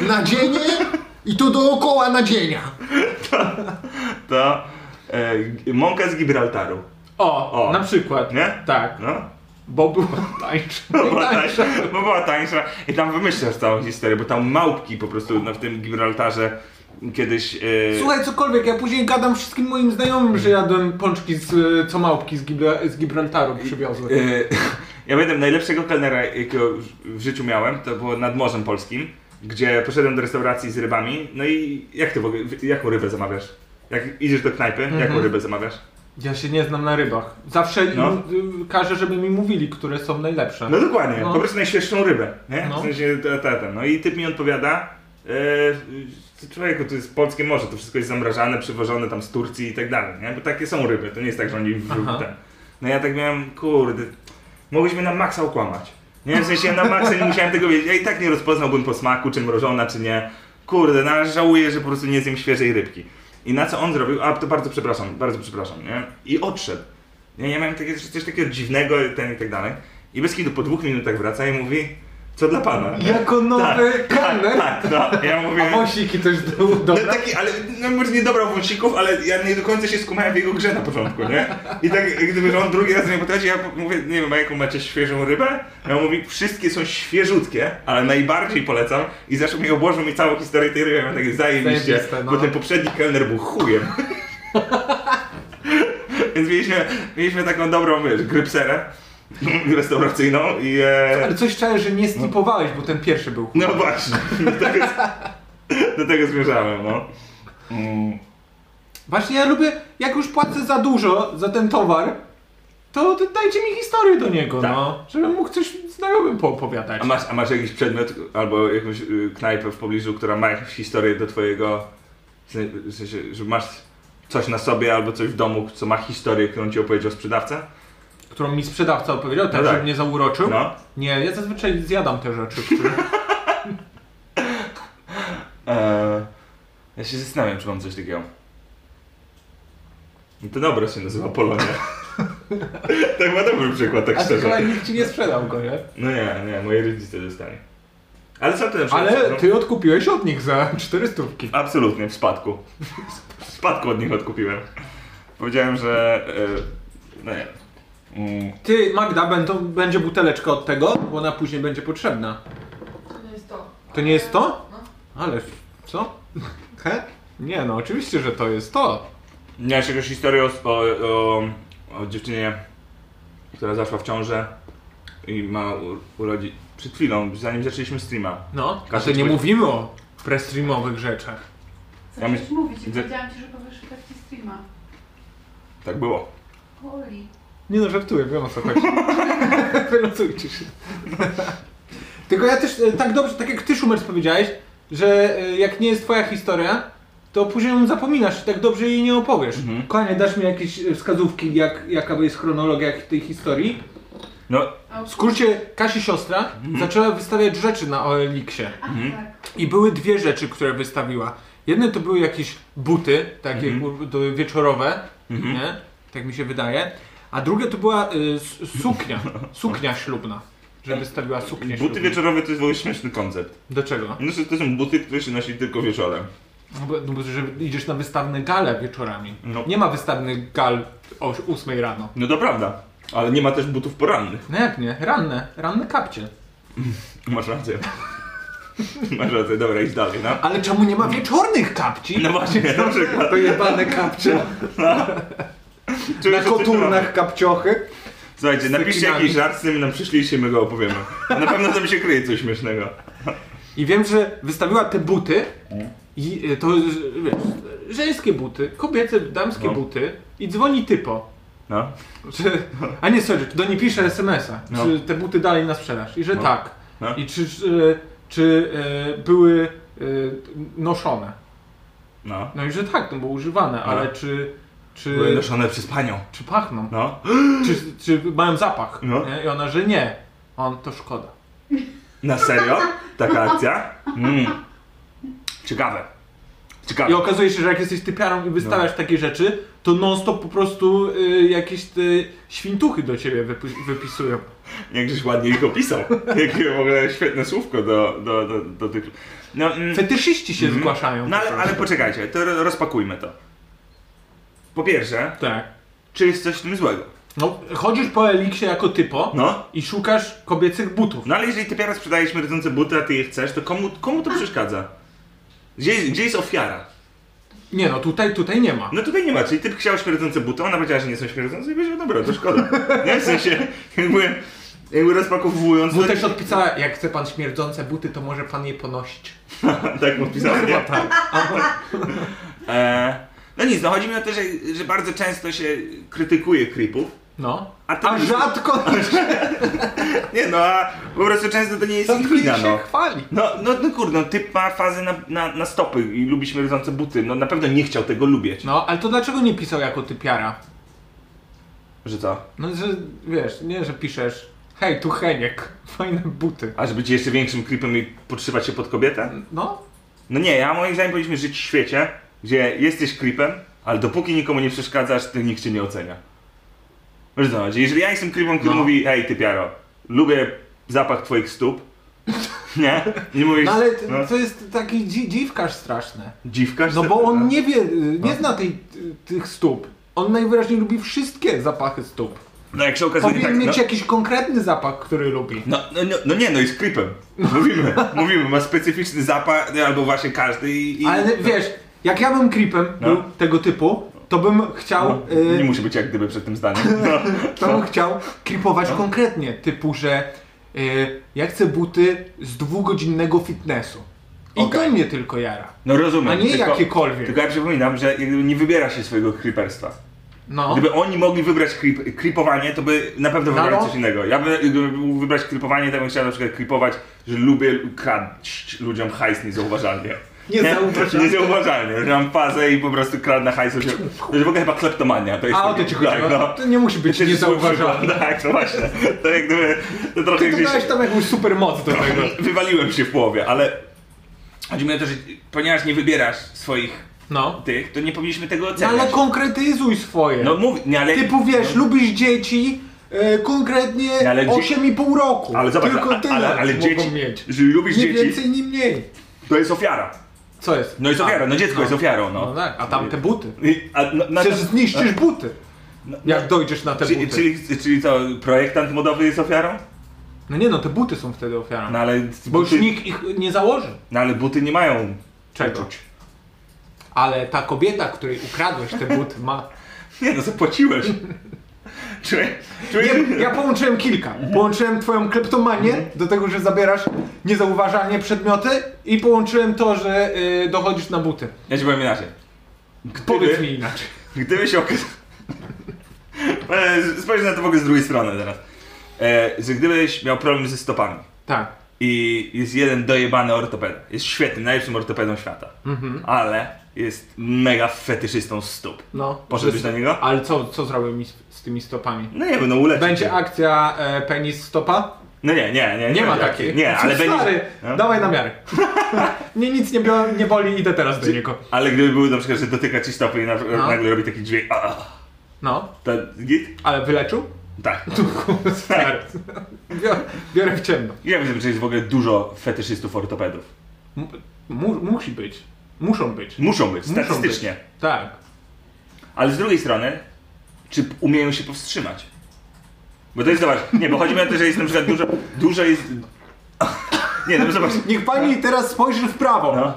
S3: Nadzienie i to dookoła nadzienia.
S2: To... E, mąka z Gibraltaru.
S4: O,
S2: O.
S4: na przykład.
S2: Nie?
S4: Tak,
S2: No.
S4: bo była tańsza.
S2: Bo była tańsza. Bo była tańsza. I tam wymyślasz całą historię, bo tam małpki po prostu no, w tym Gibraltarze kiedyś... E,
S4: Słuchaj, cokolwiek, ja później gadam wszystkim moim znajomym, że jadłem pączki z, e, co małpki z, Gibra, z Gibraltaru przywiozły.
S2: E, (laughs) Ja pamiętam najlepszego kelnera, jakiego w życiu miałem, to było nad Morzem Polskim, gdzie poszedłem do restauracji z rybami. No i jak ty w ogóle, jaką rybę zamawiasz? Jak idziesz do knajpy,
S4: Mhm.
S2: jaką rybę zamawiasz?
S4: Ja się nie znam na rybach. Zawsze im,
S2: No.
S4: y, każę, żeby mi mówili, które są najlepsze.
S2: No dokładnie,
S4: No.
S2: po prostu najświeższą rybę, nie?
S4: No.
S2: W sensie te- te- ten. No i typ mi odpowiada, e, człowieku, to jest polskie morze, to wszystko jest zamrażane, przywożone tam z Turcji i tak dalej, nie? Bo takie są ryby, to nie jest tak, że oni... w-
S4: Aha.
S2: Ten. No ja tak miałem, kurde, mogłyśmy na maksa okłamać. Nie, w sensie ja na maksa nie musiałem tego wiedzieć, ja i tak nie rozpoznałbym po smaku, czy mrożona, czy nie. Kurde, no ale żałuję, że po prostu nie zjem świeżej rybki. I na co on zrobił? A, to bardzo przepraszam, bardzo przepraszam, nie? I odszedł. Nie, ja miałem takie, coś takiego dziwnego, ten i tak dalej. I bez kitu po dwóch minutach wraca i mówi, co dla pana? nie?
S4: Jako nowy
S2: Tak,
S4: kelner.
S2: Tak, no, ja mówię...
S4: A wąsiki też do,
S2: No
S4: dobra.
S2: taki, ale no, może nie dobrał wąsików, ale ja nie do końca się skumałem w jego grze na początku, nie? I tak jak gdyby że on drugi raz nie potrafi, ja mówię, nie wiem, a jaką macie świeżą rybę? Ja mówi, wszystkie są świeżutkie, ale najbardziej polecam i zaczął mi obłożył mi całą historię tej ryby, ja miałem takie zajebiście,
S4: Zajebiste, no.
S2: bo ten poprzedni kelner był
S4: (laughs)
S2: chujem. Więc mieliśmy, mieliśmy taką dobrą, wiesz, grypserę restauracyjną i... E...
S4: Ale coś czuję, że nie stipowałeś, bo ten pierwszy był.
S2: No właśnie, do tego, do tego zmierzałem, no. Mm.
S4: Właśnie ja lubię, jak już płacę za dużo za ten towar, to to dajcie mi historię do niego,
S2: Tak.
S4: no. Żebym mógł coś znajomym poopowiadać.
S2: A masz, a masz jakiś przedmiot albo jakąś y, knajpę w pobliżu, która ma jakąś historię do twojego... W sensie, że masz coś na sobie albo coś w domu, co ma historię, którą ci opowiedział sprzedawca?
S4: Którą mi sprzedawca opowiedział, tak,
S2: No tak.
S4: żeby mnie zauroczył.
S2: No.
S4: Nie, ja zazwyczaj zjadam te rzeczy,
S2: (laughs)
S4: które...
S2: Eee, ja się zastanawiam, czy mam coś takiego. No to dobra się nazywa Polonia. (laughs) tak ma dobry przykład, tak
S4: A ty chyba
S2: szczerze.
S4: nikt ci nie sprzedał go, nie?
S2: No nie, nie, moi rodzice dostali. Ale co ty na przykład...
S4: Ale ty odkupiłeś od nich za 400.
S2: Absolutnie, w spadku. W spadku od nich odkupiłem. Powiedziałem, że... e, no nie. Mm,
S4: Ty, Magda, będą, będzie buteleczka od tego, bo ona później będzie potrzebna.
S5: To nie jest to.
S4: To nie jest to?
S5: No.
S4: Ale co? (laughs) He? Nie no, oczywiście, że to jest to.
S2: Miałeś jakąś historię o, o, o, o dziewczynie, która zaszła w ciążę i ma u, urodzić... Przed chwilą, zanim zaczęliśmy streama.
S4: No, a
S2: Kasia,
S4: to
S2: ci-
S4: nie mówimy o prestreamowych rzeczach.
S2: Ja myśl-
S5: Zaczęłaś mówić i
S2: Widzę-
S5: powiedziałam ci, że powiesz taki streama.
S2: Tak było.
S5: Oli.
S4: Nie no, żartuję, wiem o co (laughs) chodzi. Wylocujcie się. (laughs) Tylko ja też e, tak dobrze, tak jak ty Szumers powiedziałeś, że e, jak nie jest twoja historia, to później ją zapominasz i tak dobrze jej nie opowiesz.
S2: Mhm.
S4: Kochanie, dasz mi jakieś e, wskazówki, jak, jaka jest chronologia jak- tej historii.
S2: No,
S5: A,
S4: W skrócie, Kasi siostra zaczęła wystawiać rzeczy na OLX-ie.
S5: a
S2: Mhm.
S5: tak.
S4: I były dwie rzeczy, które wystawiła. Jedne to były jakieś buty, takie kur- to wieczorowe,
S2: Mhm.
S4: nie? Tak mi się wydaje. A drugie to była y, s-
S2: (laughs)
S4: suknia, suknia ślubna. Że wystawiła suknię
S2: buty
S4: ślubną.
S2: wieczorowe to jest w ogóle śmieszny koncept.
S4: Do czego?
S2: No, że to są buty, które się nosi tylko wieczorem.
S4: No bo, no bo że idziesz na wystawne gale wieczorami.
S2: No.
S4: Nie ma wystawnych gal o 8 rano.
S2: No to prawda, ale nie ma też butów porannych. (laughs)
S4: No jak nie? Ranne, ranne kapcie.
S2: Masz rację. (laughs) Masz rację, dobra, idź dalej, no.
S4: Ale czemu nie ma wieczornych kapci?
S2: No właśnie, (laughs) na przykład.
S4: To jebane kapcie.
S2: Czuję,
S4: Na
S2: że coś
S4: koturnach
S2: robię.
S4: kapciochy.
S2: Słuchajcie, napiszcie
S4: cekinami.
S2: jakiś żart z tym, nam przyszliście, my go opowiemy. Na pewno tam się kryje coś śmiesznego.
S4: I wiem, że wystawiła te buty.
S2: Mm.
S4: I y, to, y, wiesz, żeńskie buty, kobiece, damskie
S2: No.
S4: buty. I dzwoni typo.
S2: No.
S4: Czy, a nie, sorry, czy do niej pisze SMS-a.
S2: No.
S4: Czy te buty dalej na sprzedaż? I że
S2: No.
S4: tak.
S2: No.
S4: I czy, czy, czy e, były e, noszone?
S2: No.
S4: No i że tak, no bo używane, ale czy, czy,
S2: Były noszone przez panią.
S4: czy pachną?
S2: No.
S4: Czy, czy mają zapach?
S2: No.
S4: Nie? I ona, że nie. A On, to szkoda.
S2: Na serio? Taka akcja? Mm. Ciekawe.
S4: I
S2: Ciekawe.
S4: okazuje się, że jak jesteś typiarą i wystawiasz
S2: No.
S4: takie rzeczy, to non stop po prostu y, jakieś te świntuchy do ciebie wypi- wypisują.
S2: Jak żeś ładnie ich opisał. Jakie w ogóle świetne słówko do, do, do, do tych... No, mm.
S4: Fetyszyści się
S2: Mhm.
S4: zgłaszają.
S2: No ale,
S4: po
S2: ale
S4: prostu.
S2: poczekajcie, to ro- rozpakujmy to. Po pierwsze,
S4: Tak.
S2: czy jest coś w tym złego?
S4: No, chodzisz po Eliksie jako typo
S2: No.
S4: i szukasz kobiecych butów.
S2: No ale jeżeli ty teraz sprzedajesz śmierdzące buty, a ty je chcesz, to komu, komu to przeszkadza? Gdzie, jest- gdzie jest ofiara?
S4: Nie no, tutaj, tutaj nie ma.
S2: No tutaj nie ma, czyli ty chciał śmierdzące buty, ona powiedziała, że nie są śmierdzące i powiedział, dobra, to szkoda. Nie, w sensie, jakby, jakby rozpakowując... no
S4: Bo
S2: to-
S4: też odpisała, jak chce pan śmierdzące buty, to może pan je
S2: (laughs)
S4: ponosić.
S2: Tak mu pisałem, nie?
S4: tak.
S2: E, no nic, no chodzi mi o to, że, że bardzo często się krytykuje creepów,
S4: No.
S2: a
S4: A
S2: to... (laughs)
S4: rzadko
S2: Nie no, a po prostu często to nie jest ich
S4: rzadko
S2: wina,
S4: (laughs) się
S2: no.
S4: chwali.
S2: No, no, no kurde, no, typ ma fazę na, na, na stopy i lubi śmierdzące buty. No na pewno nie chciał tego lubić.
S4: No, ale to dlaczego nie pisał jako typiara?
S2: Że co?
S4: No, że wiesz, nie, że piszesz Hej, tu Heniek, (laughs) fajne buty.
S2: A żeby ci jeszcze większym creepem i podszywać się pod kobietę?
S4: No,
S2: No nie, ja moim zdaniem powinniśmy żyć w świecie, gdzie jesteś creepem, ale dopóki nikomu nie przeszkadzasz, to nikt cię nie ocenia. Wiesz co chodzi? Jeżeli ja jestem creepem, który
S4: No.
S2: mówi, ej ty piaro, lubię zapach twoich stóp, (laughs) nie? I mówisz,
S4: no ale t-
S2: no,
S4: to jest taki dzi- dziwkarz straszny.
S2: dziwkarz?
S4: No bo on nie wie, y, nie
S2: No.
S4: zna tej, y, tych stóp. On najwyraźniej lubi wszystkie zapachy stóp.
S2: No jak się okazuje,
S4: Powinien
S2: tak, no,
S4: mieć jakiś konkretny zapach, który lubi.
S2: No, no, no, no nie, no jest creepem. Mówimy, mówimy, ma specyficzny zapach, no, albo właśnie każdy i... no. i
S4: Ale wiesz, jak ja bym creepem
S2: No.
S4: był tego typu, to bym chciał,
S2: no,
S4: y,
S2: nie musi być jak gdyby przed tym zdaniem. No,
S4: (laughs) to bym chciał creepować konkretnie, typu, że y, ja chcę buty z dwugodzinnego fitnessu. I
S2: Okej.
S4: to mnie tylko jara.
S2: no rozumiem.
S4: A nie
S2: tylko,
S4: jakiekolwiek.
S2: Tylko ja przypominam, że jak gdyby nie wybiera się swojego creeperstwa.
S4: No.
S2: Gdyby oni mogli wybrać creep, creepowanie, to by na pewno
S4: No,
S2: wybrali
S4: no.
S2: coś innego. Ja bym gdyby mógł wybrać creepowanie, to bym chciał na przykład creepować, że lubię kraść ludziom hajs niezauważalnie.
S4: Niezauważalnie.
S2: Niezauważalnie. Że mam fazę i po prostu kradnę hajs. ludziom. To jest w ogóle chyba kleptomania. To jest
S4: A o to
S2: taki-
S4: ci chodzi.
S2: tak,
S4: no. To nie musi być
S2: Przecież
S4: niezauważalne.
S2: słyszałem, (laughs) Tak, no właśnie. To jak gdyby, to trochę
S4: Ty
S2: gdzieś...
S4: dodałeś tam jakąś super moc do tego.
S2: Wywaliłem się w połowie, ale... Chodzi mi o to, że ponieważ nie wybierasz swoich
S4: No.
S2: tych, to nie powinniśmy tego
S4: no
S2: oceniać.
S4: ale konkretyzuj swoje.
S2: No mów, nie, ale...
S4: Typu wiesz, lubisz dzieci, e, konkretnie
S2: Nie, ale dzie-
S4: 8,5 roku.
S2: Ale zobacz,
S4: Tylko
S2: a-
S4: tyle
S2: ale, ale
S4: mogą
S2: dzieci,
S4: mieć.
S2: jeżeli lubisz
S4: Nie
S2: dzieci,
S4: więcej, nie mniej.
S2: to jest ofiara.
S4: Co jest?
S2: No jest
S4: A,
S2: ofiara, no dziecko jest ofiarą, no.
S4: No tak, a tam te buty.
S2: I- a, no, na-
S4: Przecież zniszczysz buty,
S2: no,
S4: jak dojdziesz na te
S2: czyli,
S4: buty.
S2: czyli, czyli to projektant modowy jest ofiarą?
S4: No nie no, te buty są wtedy ofiarą.
S2: No ale,
S4: Bo już
S2: buty,
S4: nikt ich nie założy.
S2: no, ale buty nie mają (laughs)
S4: Czego?
S2: uczuć.
S4: Ale ta kobieta, której ukradłeś te buty, ma
S2: Nie no,
S4: (laughs)
S2: zapłaciłeś. Czuję, czuję,
S4: Nie, ja połączyłem kilka. Połączyłem twoją kleptomanię do tego, że zabierasz niezauważalnie przedmioty i połączyłem to, że y, dochodzisz na buty.
S2: (laughs) Ja ci powiem inaczej. Gdyby,
S4: Powiedz mi inaczej.
S2: Gdyby się okazało... (laughs) Spójrz na to w ogóle z drugiej strony teraz. E, że gdybyś miał problem ze stopami
S4: Tak.
S2: i jest jeden dojebany ortopeda, jest świetny, najlepszym ortopedą świata,
S4: Mhm.
S2: ale jest mega fetyszystą stóp.
S4: No.
S2: Poszedłbyś na niego?
S4: Ale co, co zrobił mi z, z tymi stopami?
S2: No nie wiem, no uleczy
S4: Będzie
S2: cię.
S4: akcja e, penis stopa?
S2: No nie, nie, nie.
S4: Nie,
S2: będzie
S4: ma takiej.
S2: akcji. Nie,
S4: (laughs)
S2: ale
S4: Stary,
S2: będzie... No.
S4: dawaj na miarę. (laughs) Mnie nic nie, bio, nie boli, idę teraz do niego.
S2: Ale gdyby był na przykład, że dotyka ci stopy i na,
S4: No.
S2: nagle robi taki dźwięk... A, a,
S4: No,
S2: to git?
S4: ale wyleczył? (laughs)
S2: Tak.
S4: Stary. Biorę, (laughs) biorę w ciemno.
S2: Ja wiem, że jest w ogóle dużo fetyszystów ortopedów.
S4: M- mu, musi być. Muszą być.
S2: Muszą być,
S4: Muszą
S2: statystycznie.
S4: być. Tak.
S2: Ale z drugiej strony, czy p- umieją się powstrzymać? Bo to jest zobacz, nie, bo chodzi mi o to, że jest na przykład dużo, dużo jest Nie, no zobacz.
S4: Niech pani teraz spojrzy w prawo.
S2: No.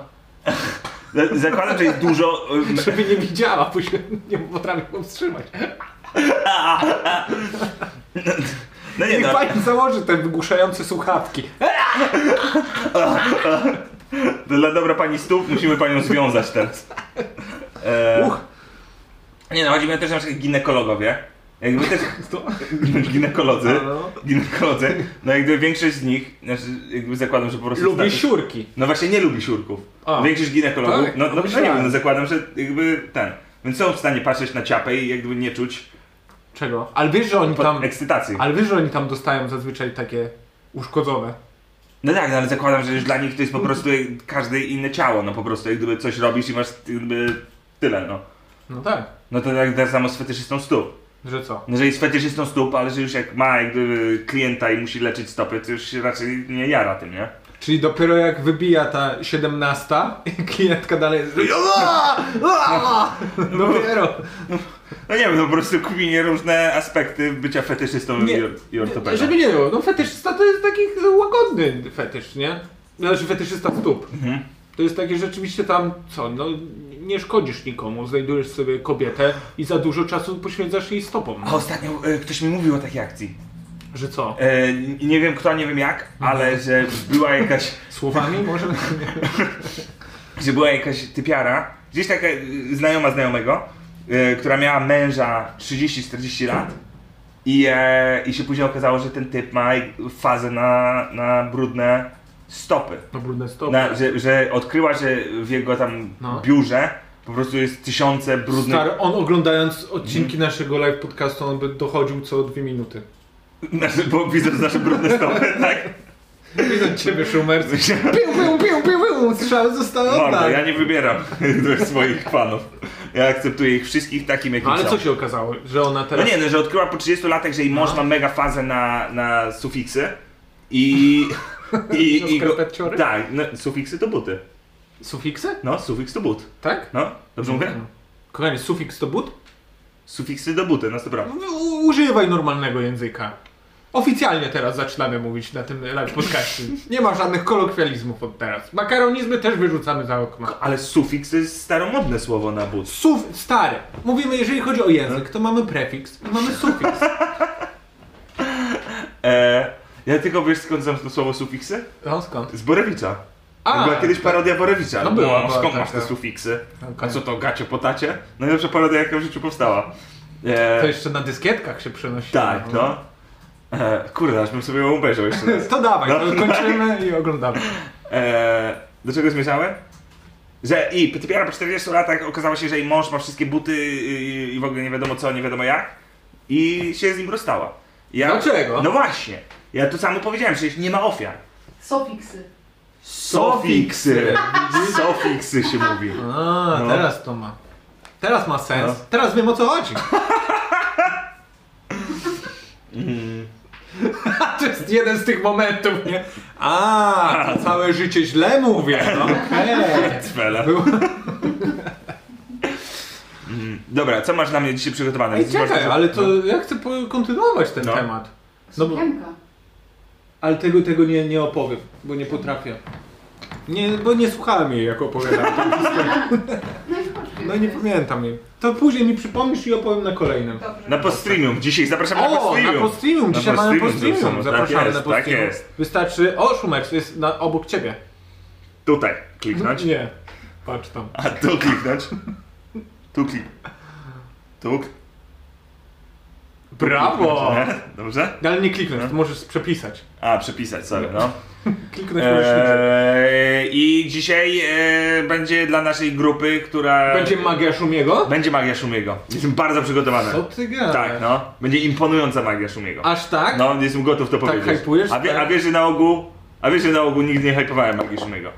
S2: Z- Zakładam, że jest dużo. em,
S4: Żeby nie widziała, bo się nie potrafię powstrzymać.
S2: No nie,
S4: Niech
S2: no.
S4: pani założy te wygłuszające słuchawki.
S2: Dla dobra pani stóp musimy panią związać teraz. E,
S4: Uch.
S2: Nie no, chodzi mi o to, że na przykład ginekologowie. Jakby też ginekolodzy,
S4: No.
S2: ginekolodzy, no jakby większość z nich, znaczy jakby zakładam, że po prostu...
S4: Lubię
S2: status-
S4: siurki.
S2: No właśnie nie lubi siurków.
S4: A.
S2: Większość ginekologów,
S4: Tak,
S2: no, no, no nie
S4: myślałem.
S2: wiem, no zakładam, że jakby ten. Więc są w stanie patrzeć na ciapę i jakby nie czuć
S4: Czego? Ale wiesz, że oni No tam.
S2: ekscytacji.
S4: Ale wiesz, że oni tam dostają zazwyczaj takie uszkodzone.
S2: No tak, no, ale zakładam, że już dla nich to jest po prostu jak każde inne ciało, no po prostu jak gdyby coś robisz i masz jakby tyle, no.
S4: No tak.
S2: No to tak, tak samo z fetyszystą stóp.
S4: Że co?
S2: No, że jest fetyszystą stóp, ale że już jak ma jak gdyby klienta i musi leczyć stopy, to już się raczej nie jara tym, nie?
S4: Czyli dopiero jak wybija ta 17 i (laughs) klientka dalej jest. No. (laughs) Dopiero.
S2: No nie wiem, no po prostu kminie różne aspekty bycia fetyszystą
S4: Nie,
S2: i, or- i ortopedą.
S4: Żeby nie było, no fetyszysta to jest taki łagodny fetysz, nie? Znaczy fetyszysta stóp.
S2: Mhm.
S4: To jest takie rzeczywiście tam, co, no nie szkodzisz nikomu, znajdujesz sobie kobietę i za dużo czasu poświęcasz jej stopom.
S2: A ostatnio e, ktoś mi mówił o takiej akcji.
S4: Że co?
S2: E, n- nie wiem kto, nie wiem jak, ale że była jakaś,
S4: Słowami może?
S2: że była jakaś typiara, gdzieś taka y, znajoma znajomego, y, która miała męża 30-40 lat i, e, i się później okazało, że ten typ ma fazę na, na brudne stopy.
S4: No brudne stopy.
S2: Na, że, że odkryła, że w jego tam
S4: No.
S2: biurze po prostu jest tysiące brudnych...
S4: Stary, on oglądając
S2: Mhm.
S4: odcinki naszego live podcastu, on by dochodził co dwie minuty.
S2: Znaczy, bo widzę że (laughs) nasze brudne stopy, (laughs) tak?
S4: Widzę ciebie, Schumer. Piu, piu, piu, piu, piu, strzał został
S2: Mordo, ja
S4: oddany.
S2: nie wybieram (laughs) swoich fanów. Ja akceptuję ich wszystkich takim, jakim
S4: No ale
S2: są.
S4: co się No. okazało, że ona
S2: No
S4: teraz...
S2: nie, no, że odkryła po 30 latach, że jej mąż ma mega fazę na, na sufiksy
S4: (laughs)
S2: i...
S4: Na
S2: i, i
S4: skarpetciory?
S2: tak, no, sufiksy to buty.
S4: Sufiksy?
S2: No, sufiks to but.
S4: Tak?
S2: No, dobrze mówię?
S4: Kochanie, sufiks to but?
S2: Sufiksy do buty, no, na 100%.
S4: No, U- Używaj normalnego języka. Oficjalnie teraz zaczynamy mówić na tym live podcaście. Nie ma żadnych kolokwializmów od teraz. Makaronizmy też wyrzucamy za okno.
S2: Ale sufiks to jest staromodne słowo na but.
S4: Suf, stary. Mówimy, jeżeli chodzi o język, to mamy prefiks i mamy sufiks.
S2: E, ja tylko wiesz skąd znam to słowo sufiksy?
S4: No skąd?
S2: Z Borewicza.
S4: A, tak.
S2: była kiedyś parodia Borewicza.
S4: No
S2: No,
S4: była, była
S2: skąd
S4: taka.
S2: masz te sufiksy?
S4: Okej.
S2: A co to, gacie potacie? Najlepsza parodia jaka w życiu powstała. E,
S4: To jeszcze na dyskietkach się przenosi.
S2: Tak, no. E, kurde, aż bym sobie ją obejrzał jeszcze
S4: (laughs)
S2: raz.
S4: To dawaj,
S2: No,
S4: to kończymy i oglądamy.
S2: E, do czego zmierzałem? Że i typiara po 40 latach okazało się, że jej mąż ma wszystkie buty i, i w ogóle nie wiadomo co, nie wiadomo jak. I się z nim rozstała. Ja,
S4: Dlaczego?
S2: No właśnie. Ja to samo powiedziałem, przecież nie ma ofiar.
S5: Sofiksy.
S2: Sofiksy. Sofiksy się mówi.
S4: (laughs) A,
S2: No.
S4: teraz to ma. Teraz ma sens.
S2: No.
S4: Teraz wiem o co chodzi. (laughs) to jest jeden z tych momentów, nie? A, to całe życie źle mówię. No, okej.
S2: Cwele.
S4: Było-
S2: Mm, Dobra, co masz dla mnie dzisiaj przygotowane?
S4: Ej, czekaj,
S2: Zobaczcie, co-
S4: ale to
S2: no.
S4: ja chcę po- kontynuować ten
S2: No.
S4: temat. No bo,
S5: Sukienka.
S4: ale tego, tego nie, nie opowiem, bo nie potrafię. Nie, bo nie słuchałem jej, jak opowiadałem. (laughs)
S5: No i chodź.
S4: No nie
S5: jest.
S4: pamiętam jej. To później mi przypomnisz i opowiem na kolejnym.
S5: Dobrze.
S2: Na postreamium, dzisiaj zapraszamy na
S4: O,
S2: postreamium.
S4: na postreamium, dzisiaj
S2: Na
S4: mamy
S2: postreamium zresztą,
S4: postreamium. Zapraszamy
S2: tak jest,
S4: na postreamium.
S2: Tak jest.
S4: Wystarczy, o Szumer, to jest na, obok ciebie.
S2: Tutaj kliknąć.
S4: Nie, patrz tam.
S2: A tu kliknąć. Tu klik. Tu. k-
S4: Brawo!
S2: Nie? Dobrze?
S4: Ale nie kliknąć, to
S2: Hmm?
S4: możesz przepisać.
S2: A, przepisać sobie, no.
S4: (laughs) Kliknąć możesz.
S2: Eee, I dzisiaj e, będzie dla naszej grupy, która...
S4: Będzie magia Szumiego?
S2: Będzie magia Szumiego. Jestem bardzo przygotowany.
S4: Co ty gadasz?
S2: no Tak, no. Będzie imponująca magia Szumiego.
S4: Aż tak?
S2: No, jestem gotów to
S4: Tak
S2: powiedzieć.
S4: hypujesz?
S2: A, wie,
S4: Tak.
S2: a wiesz, że na ogół... A wiesz, że na ogół nigdy nie hypowałem magii Szumiego.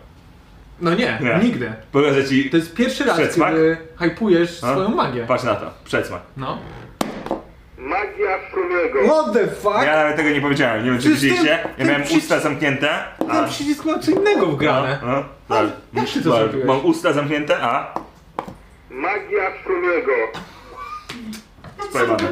S4: No nie,
S2: Nie.
S4: nigdy.
S2: Pokażę ci...
S4: To jest pierwszy raz,
S2: Przedsmak?
S4: kiedy hypujesz
S2: A?
S4: swoją magię.
S2: Patrz na to. Przedsmak.
S4: No.
S6: Magia Szumiego.
S4: What the fuck?
S2: Ja nawet tego nie powiedziałem, nie wiem czy
S4: Tak? Przecież ty-
S2: widzieliście.
S4: ty
S2: Ja miałem
S4: przecież-
S2: usta zamknięte.
S4: Ten
S2: A...
S4: przycisk ma co innego wgrane.
S2: No, no,
S4: jak
S2: tak.
S4: ty to
S2: Mam-
S4: zrobiłeś? No,
S2: Mam usta zamknięte, a
S6: Magia Szumiego.
S2: spojebane.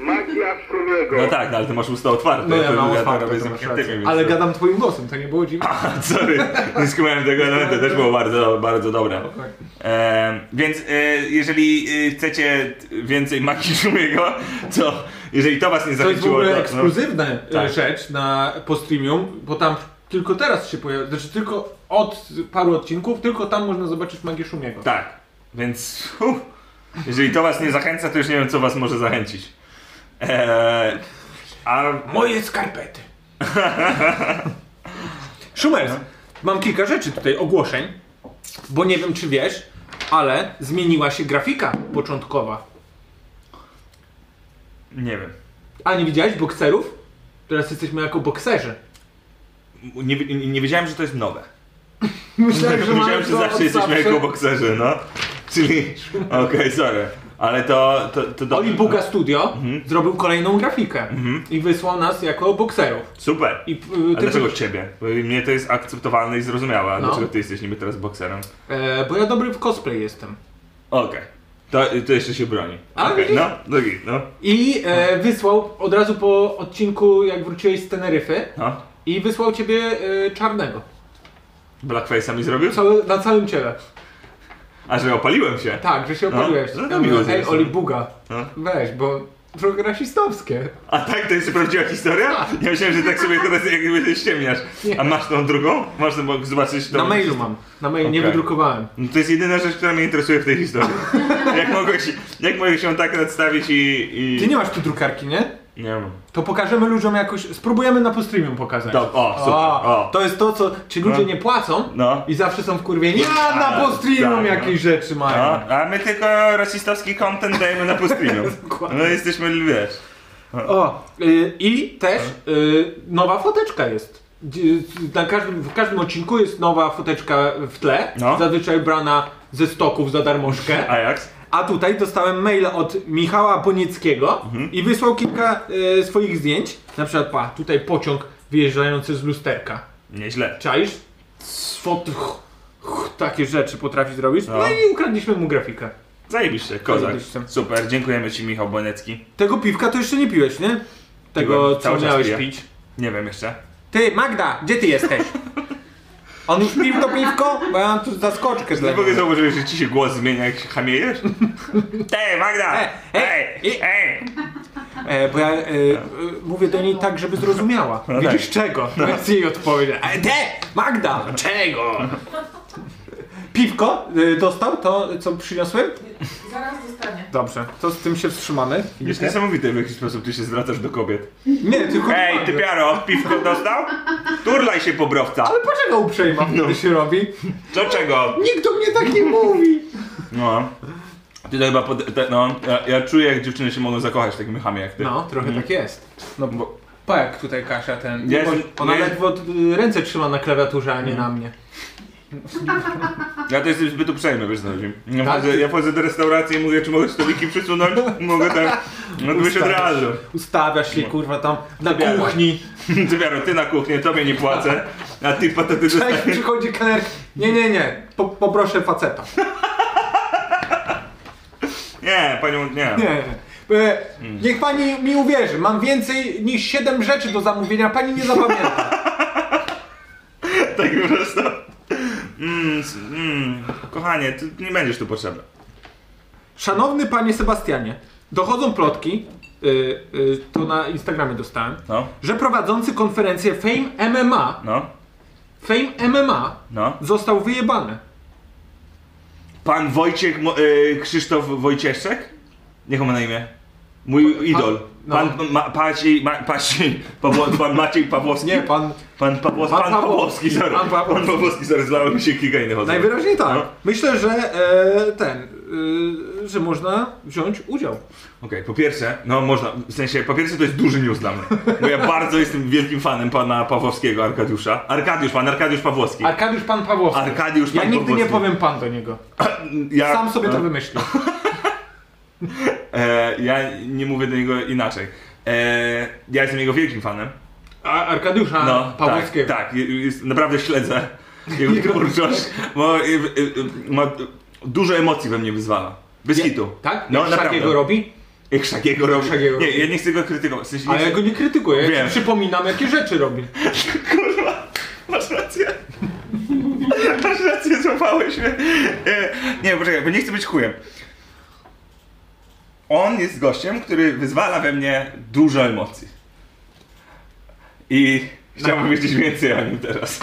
S6: Magia Strumiego.
S2: No tak, no, ale ty masz usta otwarte.
S4: No ja
S2: to
S4: mam
S2: to
S4: otwarte,
S2: robię
S4: to
S2: z
S4: masz
S2: zamkniętymi,
S4: rację.
S2: więc
S4: Ale
S2: to-
S4: gadam twoim głosem, to nie było dziwne.
S2: (laughs) (clears throat) Sorry, nie skumałem tego elementu, też było bardzo, bardzo dobre.
S4: Okej.
S2: E, więc e, jeżeli e, chcecie więcej Maki (laughs) Szumiego, to jeżeli to was nie
S4: To jest w
S2: zachęciło,
S4: ogóle
S2: to...
S4: ekskluzywna
S2: no. Tak.
S4: e, rzecz na postreamium, bo tam tylko teraz się pojawia, znaczy tylko od paru odcinków, tylko tam można zobaczyć magię Szumiego.
S2: No, tak, więc hu, jeżeli to was nie zachęca, to już nie wiem, co was może zachęcić. E, a
S4: Moje skarpety. (laughs) Szumer, mam kilka rzeczy tutaj, ogłoszeń, bo nie wiem czy wiesz, ale zmieniła się grafika początkowa.
S2: nie wiem.
S4: A nie widziałeś bokserów? Teraz jesteśmy jako bokserzy.
S2: Nie, nie, nie wiedziałem, że to jest nowe. (laughs)
S4: Myślałem, (laughs)
S2: Myślałem, że zawsze jesteśmy jako bokserzy, no. Czyli, okej, sorry. Ale to... to, to dobrze.
S4: Oli Buga Studio
S2: Mhm.
S4: zrobił kolejną grafikę i wysłał nas jako bokserów.
S2: Super.
S4: I, y,
S2: A
S4: tylko-
S2: dlaczego ciebie? Bo mnie to jest akceptowalne i zrozumiałe, a
S4: No.
S2: dlaczego ty jesteś niby teraz bokserem?
S4: E, bo ja dobry w cosplay jestem.
S2: Okej. To, to jeszcze się broni.
S4: A,
S2: Okej,
S4: widzisz?
S2: no, no, git, no.
S4: I e, wysłał od razu po odcinku, jak wróciłeś z Teneryfy,
S2: no.
S4: i wysłał ciebie e, czarnego.
S2: Blackface'a mi zrobił?
S4: Cały, na całym ciele.
S2: A że opaliłem się?
S4: Tak, że się
S2: No,
S4: opaliłeś.
S2: no to
S4: Ja
S2: miło
S4: mówię,
S2: z
S4: Ej,
S2: jest.
S4: Oli Buga,
S2: No.
S4: weź, bo trochę rasistowskie.
S2: A tak, to jest prawdziwa historia? Ja myślałem, że tak sobie teraz jakby się ściemniasz.
S4: Nie.
S2: A masz tą drugą? Masz tą, bo zobaczyć tą...
S4: Na mailu mam. Na mailu nie
S2: Okej.
S4: wydrukowałem.
S2: No to jest jedyna rzecz, która mnie interesuje w tej
S4: (laughs)
S2: historii. jak, mogłeś, jak mogłeś się tak nadstawić i... i...
S4: Ty nie masz tu drukarki, nie?
S2: Nie mam.
S4: To pokażemy ludziom jakoś, spróbujemy na postreamium pokazać.
S2: To, Tak. o, super, o.
S4: To jest to, co ci ludzie
S2: No.
S4: nie płacą
S2: No.
S4: i zawsze są wkurwieni. Ja na
S2: A,
S4: postreamium
S2: tak, no.
S4: jakieś rzeczy mają.
S2: No, a my tylko rasistowski content dajemy na pustyniu.
S4: (laughs) Dokładnie.
S2: No jesteśmy, wiesz...
S4: O, y, i też y, nowa foteczka jest. Dzi- Na każdym, w każdym odcinku jest nowa foteczka w tle,
S2: No.
S4: zazwyczaj brana ze stoków za darmożkę.
S2: Ajax?
S4: A tutaj dostałem maila od Michała Bonieckiego
S2: Mhm.
S4: i wysłał kilka y, swoich zdjęć. Na przykład, pa, tutaj pociąg wyjeżdżający z lusterka.
S2: Nieźle.
S4: Czaisz? Swot, ch, ch, takie rzeczy potrafi zrobić. No,
S2: No.
S4: i ukradliśmy mu grafikę.
S2: Zajebiście, kozak.
S4: Zajebiście.
S2: Super, dziękujemy ci Michał Bonecki.
S4: Tego piwka to jeszcze nie piłeś, nie? Tego,
S2: Piłem.
S4: co
S2: Cały czas
S4: miałeś
S2: piję.
S4: pić.
S2: Nie wiem jeszcze.
S4: Ty, Magda, gdzie ty jesteś? On już pił to piwko? Bo ja mam tu zaskoczkę dla
S2: Nie mogę
S4: niego.
S2: zauważyć, że ci się głos zmienia, jak się
S4: (laughs)
S2: hamiejesz? Ej, Magda!
S4: E,
S2: Ej,
S4: e,
S2: ej!
S4: E, bo ja e, e, mówię do niej tak, żeby zrozumiała.
S2: No
S4: Widzisz
S2: tak.
S4: czego? No. Więc jej odpowiedzieć. E, te, Magda, czego? Piwko e, dostał to, co przyniosłem?
S5: Zaraz dostanie.
S4: Dobrze, to z tym się wstrzymamy.
S2: Jest niesamowite, w jaki sposób ty się zwracasz do kobiet.
S4: Nie, tylko...
S2: Ej, ty piaro, piwko dostał? Turlaj się, pobrowca!
S4: Ale patrz jaka uprzejma no. się robi.
S2: Do czego?
S4: Nikt do mnie tak nie mówi.
S2: No. Ty to chyba pod... te- No, ja, ja czuję, jak dziewczyny się mogą zakochać w takim hamie jak ty.
S4: No, trochę tak jest. No bo... Pa jak tutaj Kasia ten... Mm.
S2: Jest-
S4: ona
S2: jest-
S4: ledwo y, ręce trzyma na klawiaturze, a nie na mnie.
S2: Ja to jestem zbyt uprzejmy, wiesz co chodzi. Ja
S4: Tak?
S2: wchodzę, ja wchodzę do restauracji i mówię, czy mogę stoliki przysunąć? Mogę tak. No to byś od
S4: Ustawiasz.
S2: razu.
S4: Ustawiasz się kurwa tam na
S2: Dobiera. (laughs)
S4: kuchni.
S2: Ty wiaro, ty na kuchnię, tobie nie płacę, a ty pataty
S4: Tak
S2: dostajesz.
S4: przychodzi kelner. Nie, nie, nie. Po, poproszę faceta.
S2: Nie, panią, nie.
S4: Nie, nie, nie. E, niech pani mi uwierzy, mam więcej niż 7 rzeczy do zamówienia, pani nie zapamięta.
S2: (laughs) Tak po prostu. Mm, s- mm, kochanie, ty nie będziesz tu potrzebna.
S4: Szanowny panie Sebastianie, dochodzą plotki, y, y, to na Instagramie dostałem,
S2: No,
S4: że prowadzący konferencję Fame MMA,
S2: no,
S4: Fame MMA
S2: no.
S4: został wyjebany.
S2: Pan Wojciech, Mo- y, Krzysztof Wojcieszek? Niech on ma na imię. Mój idol.
S4: no.
S2: Pan ma, Paci, ma, Paci, Pawło, pan Maciej Pawłowski?
S4: Nie, pan
S2: Pan, Pawłos, pan,
S4: Pan
S2: Pawłowski,
S4: Pawłowski,
S2: sorry. Pan
S4: pan
S2: Pawłowski,
S4: Pawłowski.
S2: sorry, zlało mi się kilka innych osób.
S4: najwyraźniej tak.
S2: No.
S4: Myślę, że e, ten, y, że można wziąć udział.
S2: Okej, po pierwsze, no można, w sensie, po pierwsze to jest duży news dla mnie, bo ja bardzo jestem wielkim fanem pana Pawłowskiego Arkadiusza. Arkadiusz, pan Arkadiusz Pawłowski.
S4: Arkadiusz Pan Pawłowski.
S2: Arkadiusz
S4: Ja
S2: Pan
S4: nigdy nie
S2: Pawłowski. Tak. No.
S4: powiem Pan do niego.
S2: ja,
S4: Sam sobie to wymyślił.
S2: e, Ja nie mówię do niego inaczej. E, ja jestem jego wielkim fanem.
S4: A Arkadiusza
S2: No, tak,
S4: Pawłowskiego.
S2: tak, je- jest, naprawdę śledzę
S4: (laughs)
S2: jego twórczość, bo y, y, y, ma dużo emocji we mnie wyzwala. Bez
S4: Ja-
S2: hitu.
S4: Tak?
S2: No,
S4: No, Jak
S2: naprawdę.
S4: takiego robi?
S2: Jak Szagiego robi.
S4: Szagiego
S2: Nie,
S4: robi.
S2: ja nie chcę go krytykować. W sensie nie
S4: Ale ja
S2: chcę...
S4: go nie krytykuję, ja
S2: Wiem.
S4: ci przypominam jakie rzeczy
S2: (laughs)
S4: robi.
S2: Kurwa, masz rację. Masz rację, złapałeś mnie. E, Nie, poczekaj, bo nie chcę być chujem. On jest gościem, który wyzwala we mnie dużo emocji. I
S4: No.
S2: chciałbym wiedzieć więcej o nim teraz.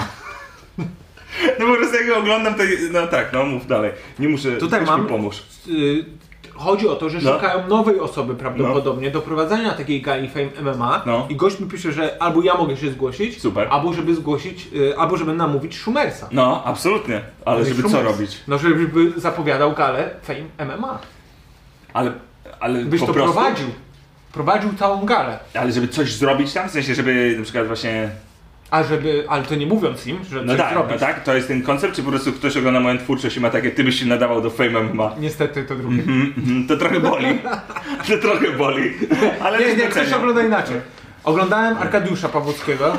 S2: No po prostu jak go oglądam, to... No tak, no mów dalej. Nie muszę...
S4: Tutaj
S2: weź
S4: mam-
S2: Mi pomóż.
S4: Y, Chodzi o to, że
S2: No.
S4: szukają nowej osoby prawdopodobnie do prowadzenia takiej gali Fame MMA
S2: No.
S4: i gość mi pisze, że albo ja mogę się zgłosić,
S2: Super.
S4: albo żeby zgłosić, y, albo żeby namówić Schumersa.
S2: No, absolutnie. Ale żeby co
S4: Schumers.
S2: robić?
S4: No żeby zapowiadał galę Fame MMA.
S2: Ale... Ale
S4: Byś
S2: po
S4: to
S2: prostu...
S4: prowadził. Prowadził całą galę.
S2: Ale żeby coś zrobić tam? W sensie, żeby na przykład właśnie...
S4: A żeby, ale to nie mówiąc im, że
S2: No
S4: coś
S2: tak,
S4: zrobić.
S2: no tak, to jest ten koncept, czy po prostu ktoś ogląda moją twórczość i ma takie, ty byś się nadawał do Fame MMA.
S4: Niestety to drugie.
S2: Mm, mm, To trochę boli. To trochę boli. Ale
S4: Nie,
S2: jest
S4: nie, ktoś
S2: doceniam.
S4: ogląda inaczej. Oglądałem Arkadiusza Pawłockiego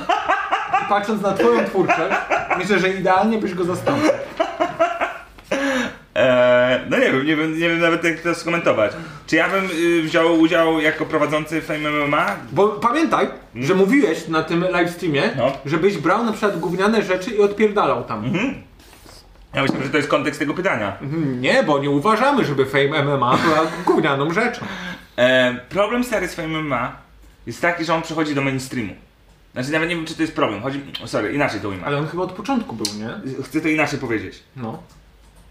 S4: i patrząc na twoją twórczość, myślę, że idealnie byś go zastąpił.
S2: Eee, No nie wiem, nie wiem, nie wiem nawet jak to skomentować. Czy ja bym y, wziął udział jako prowadzący Fame MMA?
S4: Bo pamiętaj, że mówiłeś na tym livestreamie,
S2: Mhm. No. Mhm.
S4: żebyś brał na przykład gówniane rzeczy i odpierdalał tam.
S2: Ja myślę, że to jest kontekst tego pytania.
S4: Mm, Nie, bo nie uważamy, żeby Fame MMA była gównianą rzeczą.
S2: E, problem stary z Fame MMA jest taki, że on przechodzi do mainstreamu. Znaczy nawet nie wiem, czy to jest problem. Chodzi... Sorry, inaczej to ujmę.
S4: Ale on chyba od początku był, nie?
S2: Chcę to inaczej powiedzieć.
S4: No.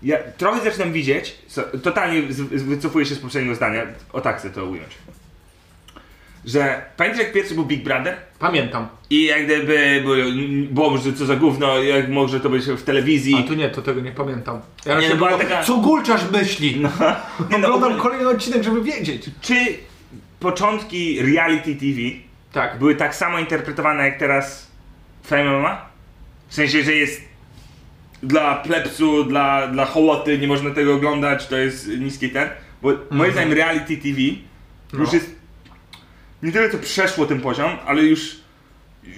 S2: Ja trochę zaczynam widzieć, so, totalnie z, z, wycofuję się z poprzedniego zdania, o tak chcę to ująć, że pamiętasz jak pierwszy był Big Brother?
S4: Pamiętam.
S2: I jak gdyby było, było że co za gówno, jak może to być w telewizji.
S4: A to nie, to tego nie pamiętam. Ja
S2: Nie,
S4: raczej
S2: no była
S4: było,
S2: taka-
S4: Co Gulczarz myśli?
S2: Nie, no,
S4: Oglądam
S2: ogólnie-
S4: kolejny odcinek, żeby wiedzieć.
S2: czy początki reality TV
S4: Tak.
S2: były tak samo interpretowane jak teraz Fame MMA? W sensie, że jest dla plepsu, dla, dla hołoty, nie można tego oglądać, to jest niski ten. Bo moim zdaniem reality TV już jest nie tyle co przeszło ten poziom, ale już,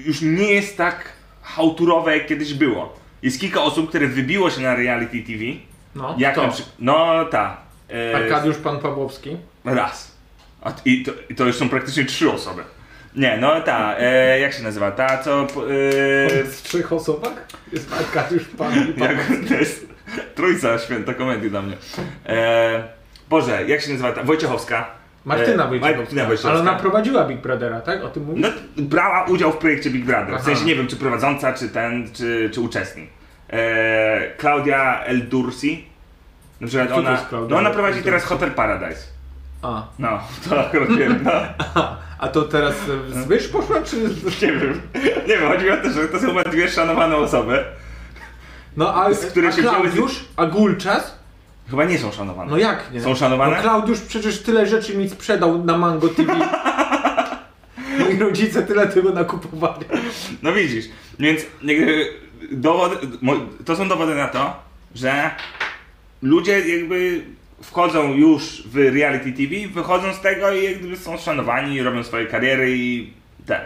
S2: już nie jest tak hałturowe jak kiedyś było. Jest kilka osób, które wybiło się na reality TV.
S4: No,
S2: Jak
S4: to.
S2: na przykład. No ta. e,
S4: Arkadiusz Pan Pawłowski.
S2: Raz. A, t- i, to, I to już są praktycznie trzy osoby. Nie, no ta, e, jak się nazywa? Ta, co. p- E,
S4: W trzech osobach? Jest Arkadiusz Pan
S2: jak, to jest trójca święta komedii dla mnie. E, Boże, jak się nazywa ta? Wojciechowska.
S4: Martyna
S2: E,
S4: Wojciechowska.
S2: Martyna Wojciechowska.
S4: Ale ona prowadziła Big Brothera, tak? O tym mówisz?
S2: No, brała udział w projekcie Big Brother.
S4: Aha.
S2: W sensie nie wiem, czy prowadząca, czy ten, czy, czy uczestnik. E, Klaudia Eldursi. Na przykład
S4: Co to
S2: ona,
S4: jest Klaudia
S2: no ona prowadzi
S4: El
S2: teraz Hotel Paradise.
S4: A.
S2: No, to akurat wiem, no.
S4: A to teraz e, Zbysz poszła, czy...
S2: Nie wiem. Nie wiem, chodzi mi o to, że to są chyba dwie szanowane osoby.
S4: No a,
S2: Z której
S4: a
S2: się wzięły-
S4: Klaudiusz? A Gulczas?
S2: Chyba nie są szanowane.
S4: No jak nie?
S2: Są szanowane?
S4: No Klaudiusz przecież tyle rzeczy mi sprzedał na
S2: (laughs)
S4: Mango TV. Moi rodzice tyle tego nakupowali.
S2: No widzisz, więc jakby dowod, mo- to są dowody na to, że ludzie jakby wchodzą już w reality TV, wychodzą z tego i jakby są szanowani, robią swoje kariery i ten.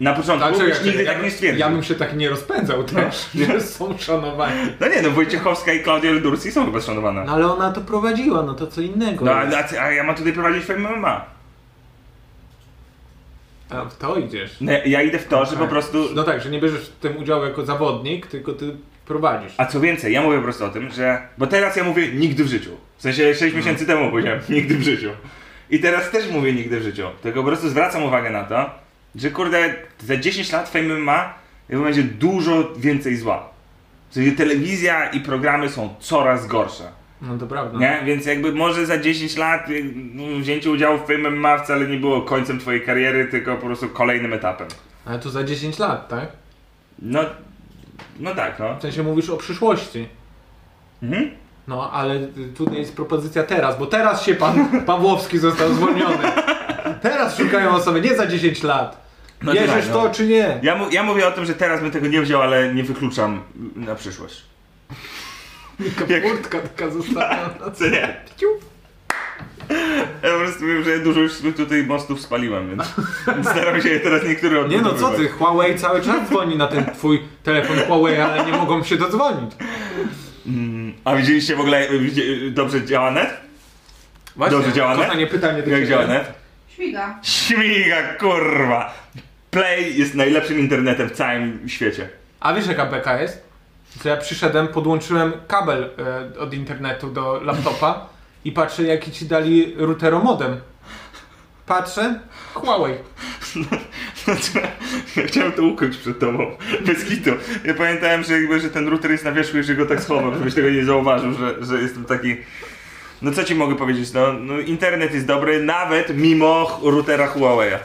S2: Na początku
S4: Znaczy,
S2: już nigdy tak nie stwierdził.
S4: Ja bym się tak nie rozpędzał też, że (laughs) są szanowani.
S2: No nie, no Wojciechowska i Klaudia Eldursi są chyba szanowane.
S4: No
S2: No,
S4: ale ona to prowadziła, no to co innego.
S2: a, a, a ja mam tutaj prowadzić Fame MMA.
S4: A w to idziesz.
S2: No, ja- ja idę w to, że po
S4: Tak.
S2: prostu
S4: No tak, że nie bierzesz w tym udziału jako zawodnik, tylko ty prowadzisz.
S2: A co więcej, ja mówię po prostu o tym, że. Bo teraz ja mówię nigdy w życiu. W sensie 6
S4: Mhm.
S2: miesięcy temu powiedziałem (laughs) nigdy w życiu. I teraz też mówię nigdy w życiu. Tylko po prostu zwracam uwagę na to, że kurde, za 10 lat Fame ma jakby będzie dużo więcej zła. W sensie telewizja i programy są coraz gorsze.
S4: No to prawda.
S2: Nie? Więc jakby może za 10 lat y, no, wzięcie udziału w Fame MMA wcale nie było końcem twojej kariery, tylko po prostu kolejnym etapem.
S4: Ale to za 10 lat, tak?
S2: No, no tak, no.
S4: W sensie mówisz o przyszłości.
S2: Mhm.
S4: No, ale tutaj jest propozycja teraz, bo teraz się (laughs) pan Pawłowski został zwolniony. Teraz szukają osoby, nie za 10 lat.
S2: No
S4: Bierzesz
S2: tak, no.
S4: to czy nie?
S2: Ja, mu, ja mówię o tym, że teraz bym tego nie wziął, ale nie wykluczam na przyszłość.
S4: Taka furtka taka zostawiona.
S2: Co nie?
S4: (laughs) Ciu.
S2: Ja po prostu wiem, że dużo już tutaj mostów spaliłem,
S4: (laughs)
S2: więc staram się je teraz niektóre
S4: Nie no, co ty,
S2: odbudowywać.
S4: Huawei cały czas dzwoni na ten twój telefon Huawei, ale nie mogą się dodzwonić.
S2: y, A widzieliście w ogóle, widzie- dobrze działa net?
S4: Właśnie,
S2: Dobrze działa net?
S4: Kochanie, pytanie do
S2: Jak
S4: ciebie.
S2: działa net?
S5: Śmiga.
S2: Śmiga, kurwa! Play jest najlepszym internetem w całym świecie.
S4: A wiesz jaka beka jest? Że ja przyszedłem, podłączyłem kabel e, od internetu do laptopa i patrzę jaki ci dali routeromodem. Patrzę, Huawei.
S2: (laughs) No Ja chciałem to ukryć przed tobą, bez kitu. Ja pamiętałem, że, jakby, że ten router jest na wierzchu i że go tak schowam, żebyś tego nie zauważył, że, że jestem taki... No co ci mogę powiedzieć, no, no internet jest dobry nawet mimo ch- routera Huawei'a.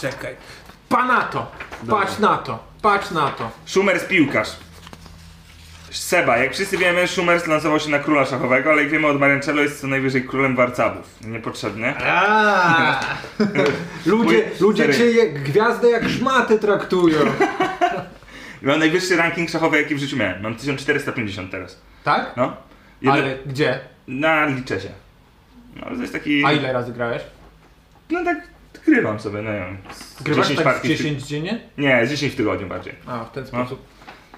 S4: Czekaj. Panato! Patrz na to, patrz na to.
S2: Schumers piłkarz. Seba, jak wszyscy wiemy, Schumers lansował się na króla szachowego, ale jak wiemy od Mariancello jest co najwyżej królem warcabów. Niepotrzebne.
S4: Ludzie,
S2: Mój-
S4: ludzie
S2: stary.
S4: cię jak gwiazdę jak szmaty traktują.
S2: Mam najwyższy ranking szachowy, jaki w życiu miałem. Mam 1450 teraz.
S4: Tak?
S2: No. Jedno...
S4: Ale gdzie?
S2: Na liczę się. No, to jest taki...
S4: A ile razy grałeś?
S2: No tak grywam sobie, no nie wiem. z
S4: Grywasz 10 tak w
S2: partii w ty-
S4: 10 dziennie?
S2: Nie, z 10 w tygodniu bardziej.
S4: A, w ten
S2: No.
S4: sposób.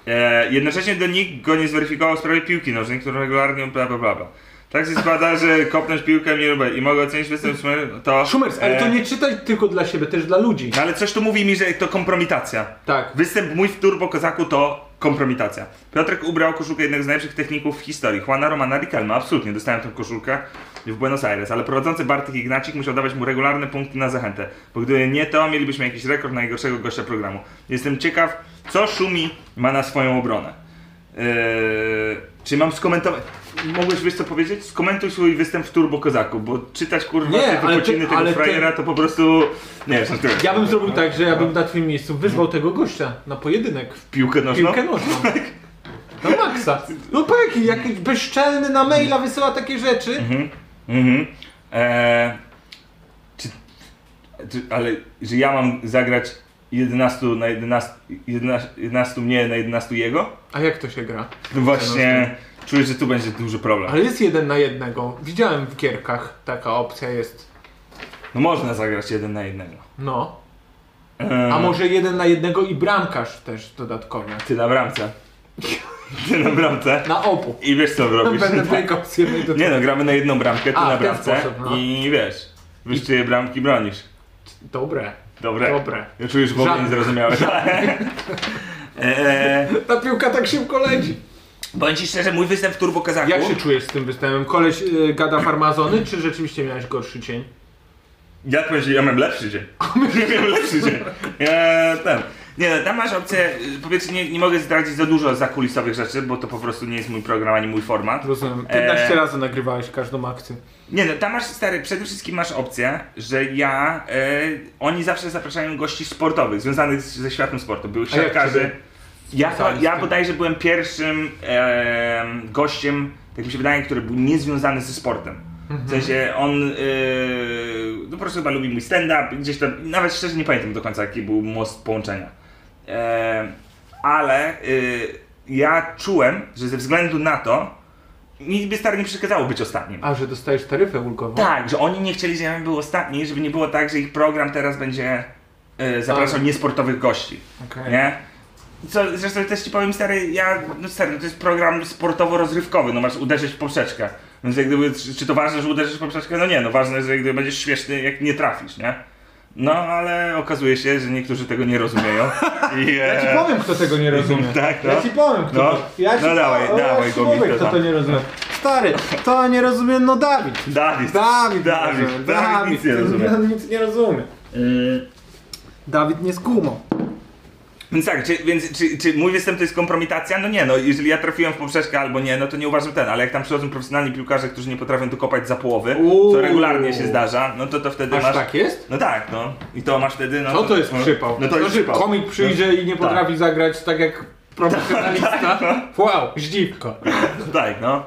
S2: E, jednocześnie do nikt go nie zweryfikował w sprawie piłki nożnej, którą regularnie bla bla bla. bla. Tak się składa, że kopnąć piłkę nie lubię i mogę ocenić występ Szumera- to...
S4: Szumers, ale
S2: e,
S4: to nie czytaj tylko dla siebie, też dla ludzi.
S2: No ale coś tu mówi mi, że to kompromitacja.
S4: Tak.
S2: Występ mój w Turbo Kozaku to kompromitacja. Piotrek ubrał koszulkę jednego z najlepszych techników w historii, Juana Romana Riquelme. Absolutnie dostałem tę koszulkę w Buenos Aires, ale prowadzący Bartek Ignacik musiał dawać mu regularne punkty na zachętę, bo gdyby nie to, mielibyśmy jakiś rekord najgorszego gościa programu. Jestem ciekaw, co Szumi ma na swoją obronę. Eee, czy mam skomentować? Mogłeś wiesz co powiedzieć? Skomentuj swój występ w Turbo Kozaku, bo czytać kurwa
S4: Nie,
S2: te
S4: ale
S2: wypociny
S4: ty-
S2: tego
S4: ale ty-
S2: frajera to po prostu... Nie, żartuję.
S4: Ja bym zrobił tak, że ja bym na twoim miejscu wyzwał tego gościa na pojedynek. W
S2: Piłkę nożną?
S4: piłkę nożną. Na maksa. No peki, jakiś bezczelny na maila wysyła takie rzeczy.
S2: Mhm. Eee, czy, czy, ale że ja mam zagrać 11 na 11, 11, 11 mnie na 11 jego?
S4: A jak to się gra?
S2: No właśnie, czuję, że tu będzie duży problem.
S4: Ale jest jeden na jednego. Widziałem w gierkach taka opcja jest.
S2: No można zagrać jeden na jednego.
S4: No.
S2: Eee,
S4: A może jeden na jednego i bramkarz też dodatkowy.
S2: Ty na bramce. (laughs) Ty na bramce.
S4: Na obu.
S2: I wiesz co robisz.
S4: No.
S2: Tak. (laughs)
S4: Będę wykał z jednej do
S2: Nie no, gramy na jedną bramkę, ty
S4: A,
S2: na
S4: w ten
S2: bramce.
S4: sposób, no.
S2: I wiesz, wiesz czyje bramki bronisz.
S4: Dobre.
S2: Dobre.
S4: Dobre.
S2: Ja czujesz, w ogóle
S4: Żadne.
S2: nie zrozumiałeś. (laughs) Eee,
S4: Ta piłka tak szybko leci.
S2: Bądź ci szczerze, mój występ w Turbo Kazaku.
S4: Jak się czujesz z tym występem? Koleś y, gada farmazony, czy rzeczywiście miałeś gorszy cień?
S2: Ja powiem ci, ja mam lepszy (laughs) dzień. Ja miałem lepszy dzień. Ja, tam. Nie no, tam masz opcję, y, po pierwsze nie, nie mogę zdradzić za dużo zakulisowych rzeczy, bo to po prostu nie jest mój program ani mój format.
S4: Rozumiem.
S2: Eee.
S4: 15 razy nagrywałeś każdą akcję.
S2: Nie no, tam masz stary, przede wszystkim masz opcję, że ja, e, oni zawsze zapraszają gości sportowych, związanych z, ze światem sportu, byłych
S4: A jak
S2: siatkarzy.
S4: ciebie
S2: Ja, chyba-
S4: związali z
S2: ja
S4: tym?
S2: bodajże byłem pierwszym em, gościem, tak mi się wydaje, który był niezwiązany ze sportem.
S4: Mhm.
S2: W sensie on e, no po prostu chyba lubi mój stand-up, gdzieś tam, nawet szczerze nie pamiętam do końca jaki był most połączenia. E, ale e, ja czułem, że ze względu na to, nic by stary nie przeszkadzało być ostatnim.
S4: A, że dostajesz taryfę ulgową?
S2: Tak, że oni nie chcieli, żebym był ostatni, żeby nie było tak, że ich program teraz będzie e, zapraszał
S4: Tak.
S2: niesportowych gości.
S4: Okej.
S2: Nie? Co, zresztą też ci powiem, stary, ja, no stary, no to jest program sportowo-rozrywkowy, no masz uderzyć w poprzeczkę. Więc jak gdyby, czy, czy to ważne, że uderzysz w poprzeczkę? No nie, no ważne, że jak gdyby będziesz śmieszny, jak nie trafisz, nie? No, ale okazuje się, że niektórzy tego nie
S4: (laughs)
S2: rozumieją. I, e,
S4: Ja ci powiem, kto tego nie rozumie.
S2: Tak, no.
S4: Ja ci powiem, kto
S2: No.
S4: to... Ja ci
S2: No dawaj,
S4: ja
S2: dawaj,
S4: ci
S2: Gobi,
S4: powiem,
S2: to
S4: kto to
S2: tam.
S4: nie rozumie. Stary, to nie rozumie, no Dawid.
S2: Dawid,
S4: Dawid,
S2: Dawid,
S4: rozumie,
S2: Dawid nic nie rozumie. Y.
S4: Dawid nic nie rozumie. Dawid nie skumał.
S2: Więc tak, czy, więc, czy, czy mój występ to jest kompromitacja? No nie, no jeżeli ja trafiłem w poprzeczkę albo nie, no to nie uważam ten, ale jak tam przychodzą profesjonalni piłkarze, którzy nie potrafią tu kopać za połowy, co
S4: Uuu.
S2: regularnie się zdarza, no to to wtedy
S4: Aż
S2: masz...
S4: tak jest?
S2: No tak, no. I to masz wtedy, no
S4: No to jest
S2: no,
S4: przypał.
S2: No to jest
S4: że
S2: przypał.
S4: Komik przyjdzie i nie
S2: tak.
S4: potrafi zagrać tak jak profesjonalista. Wow, zdziwko.
S2: No, tak, no.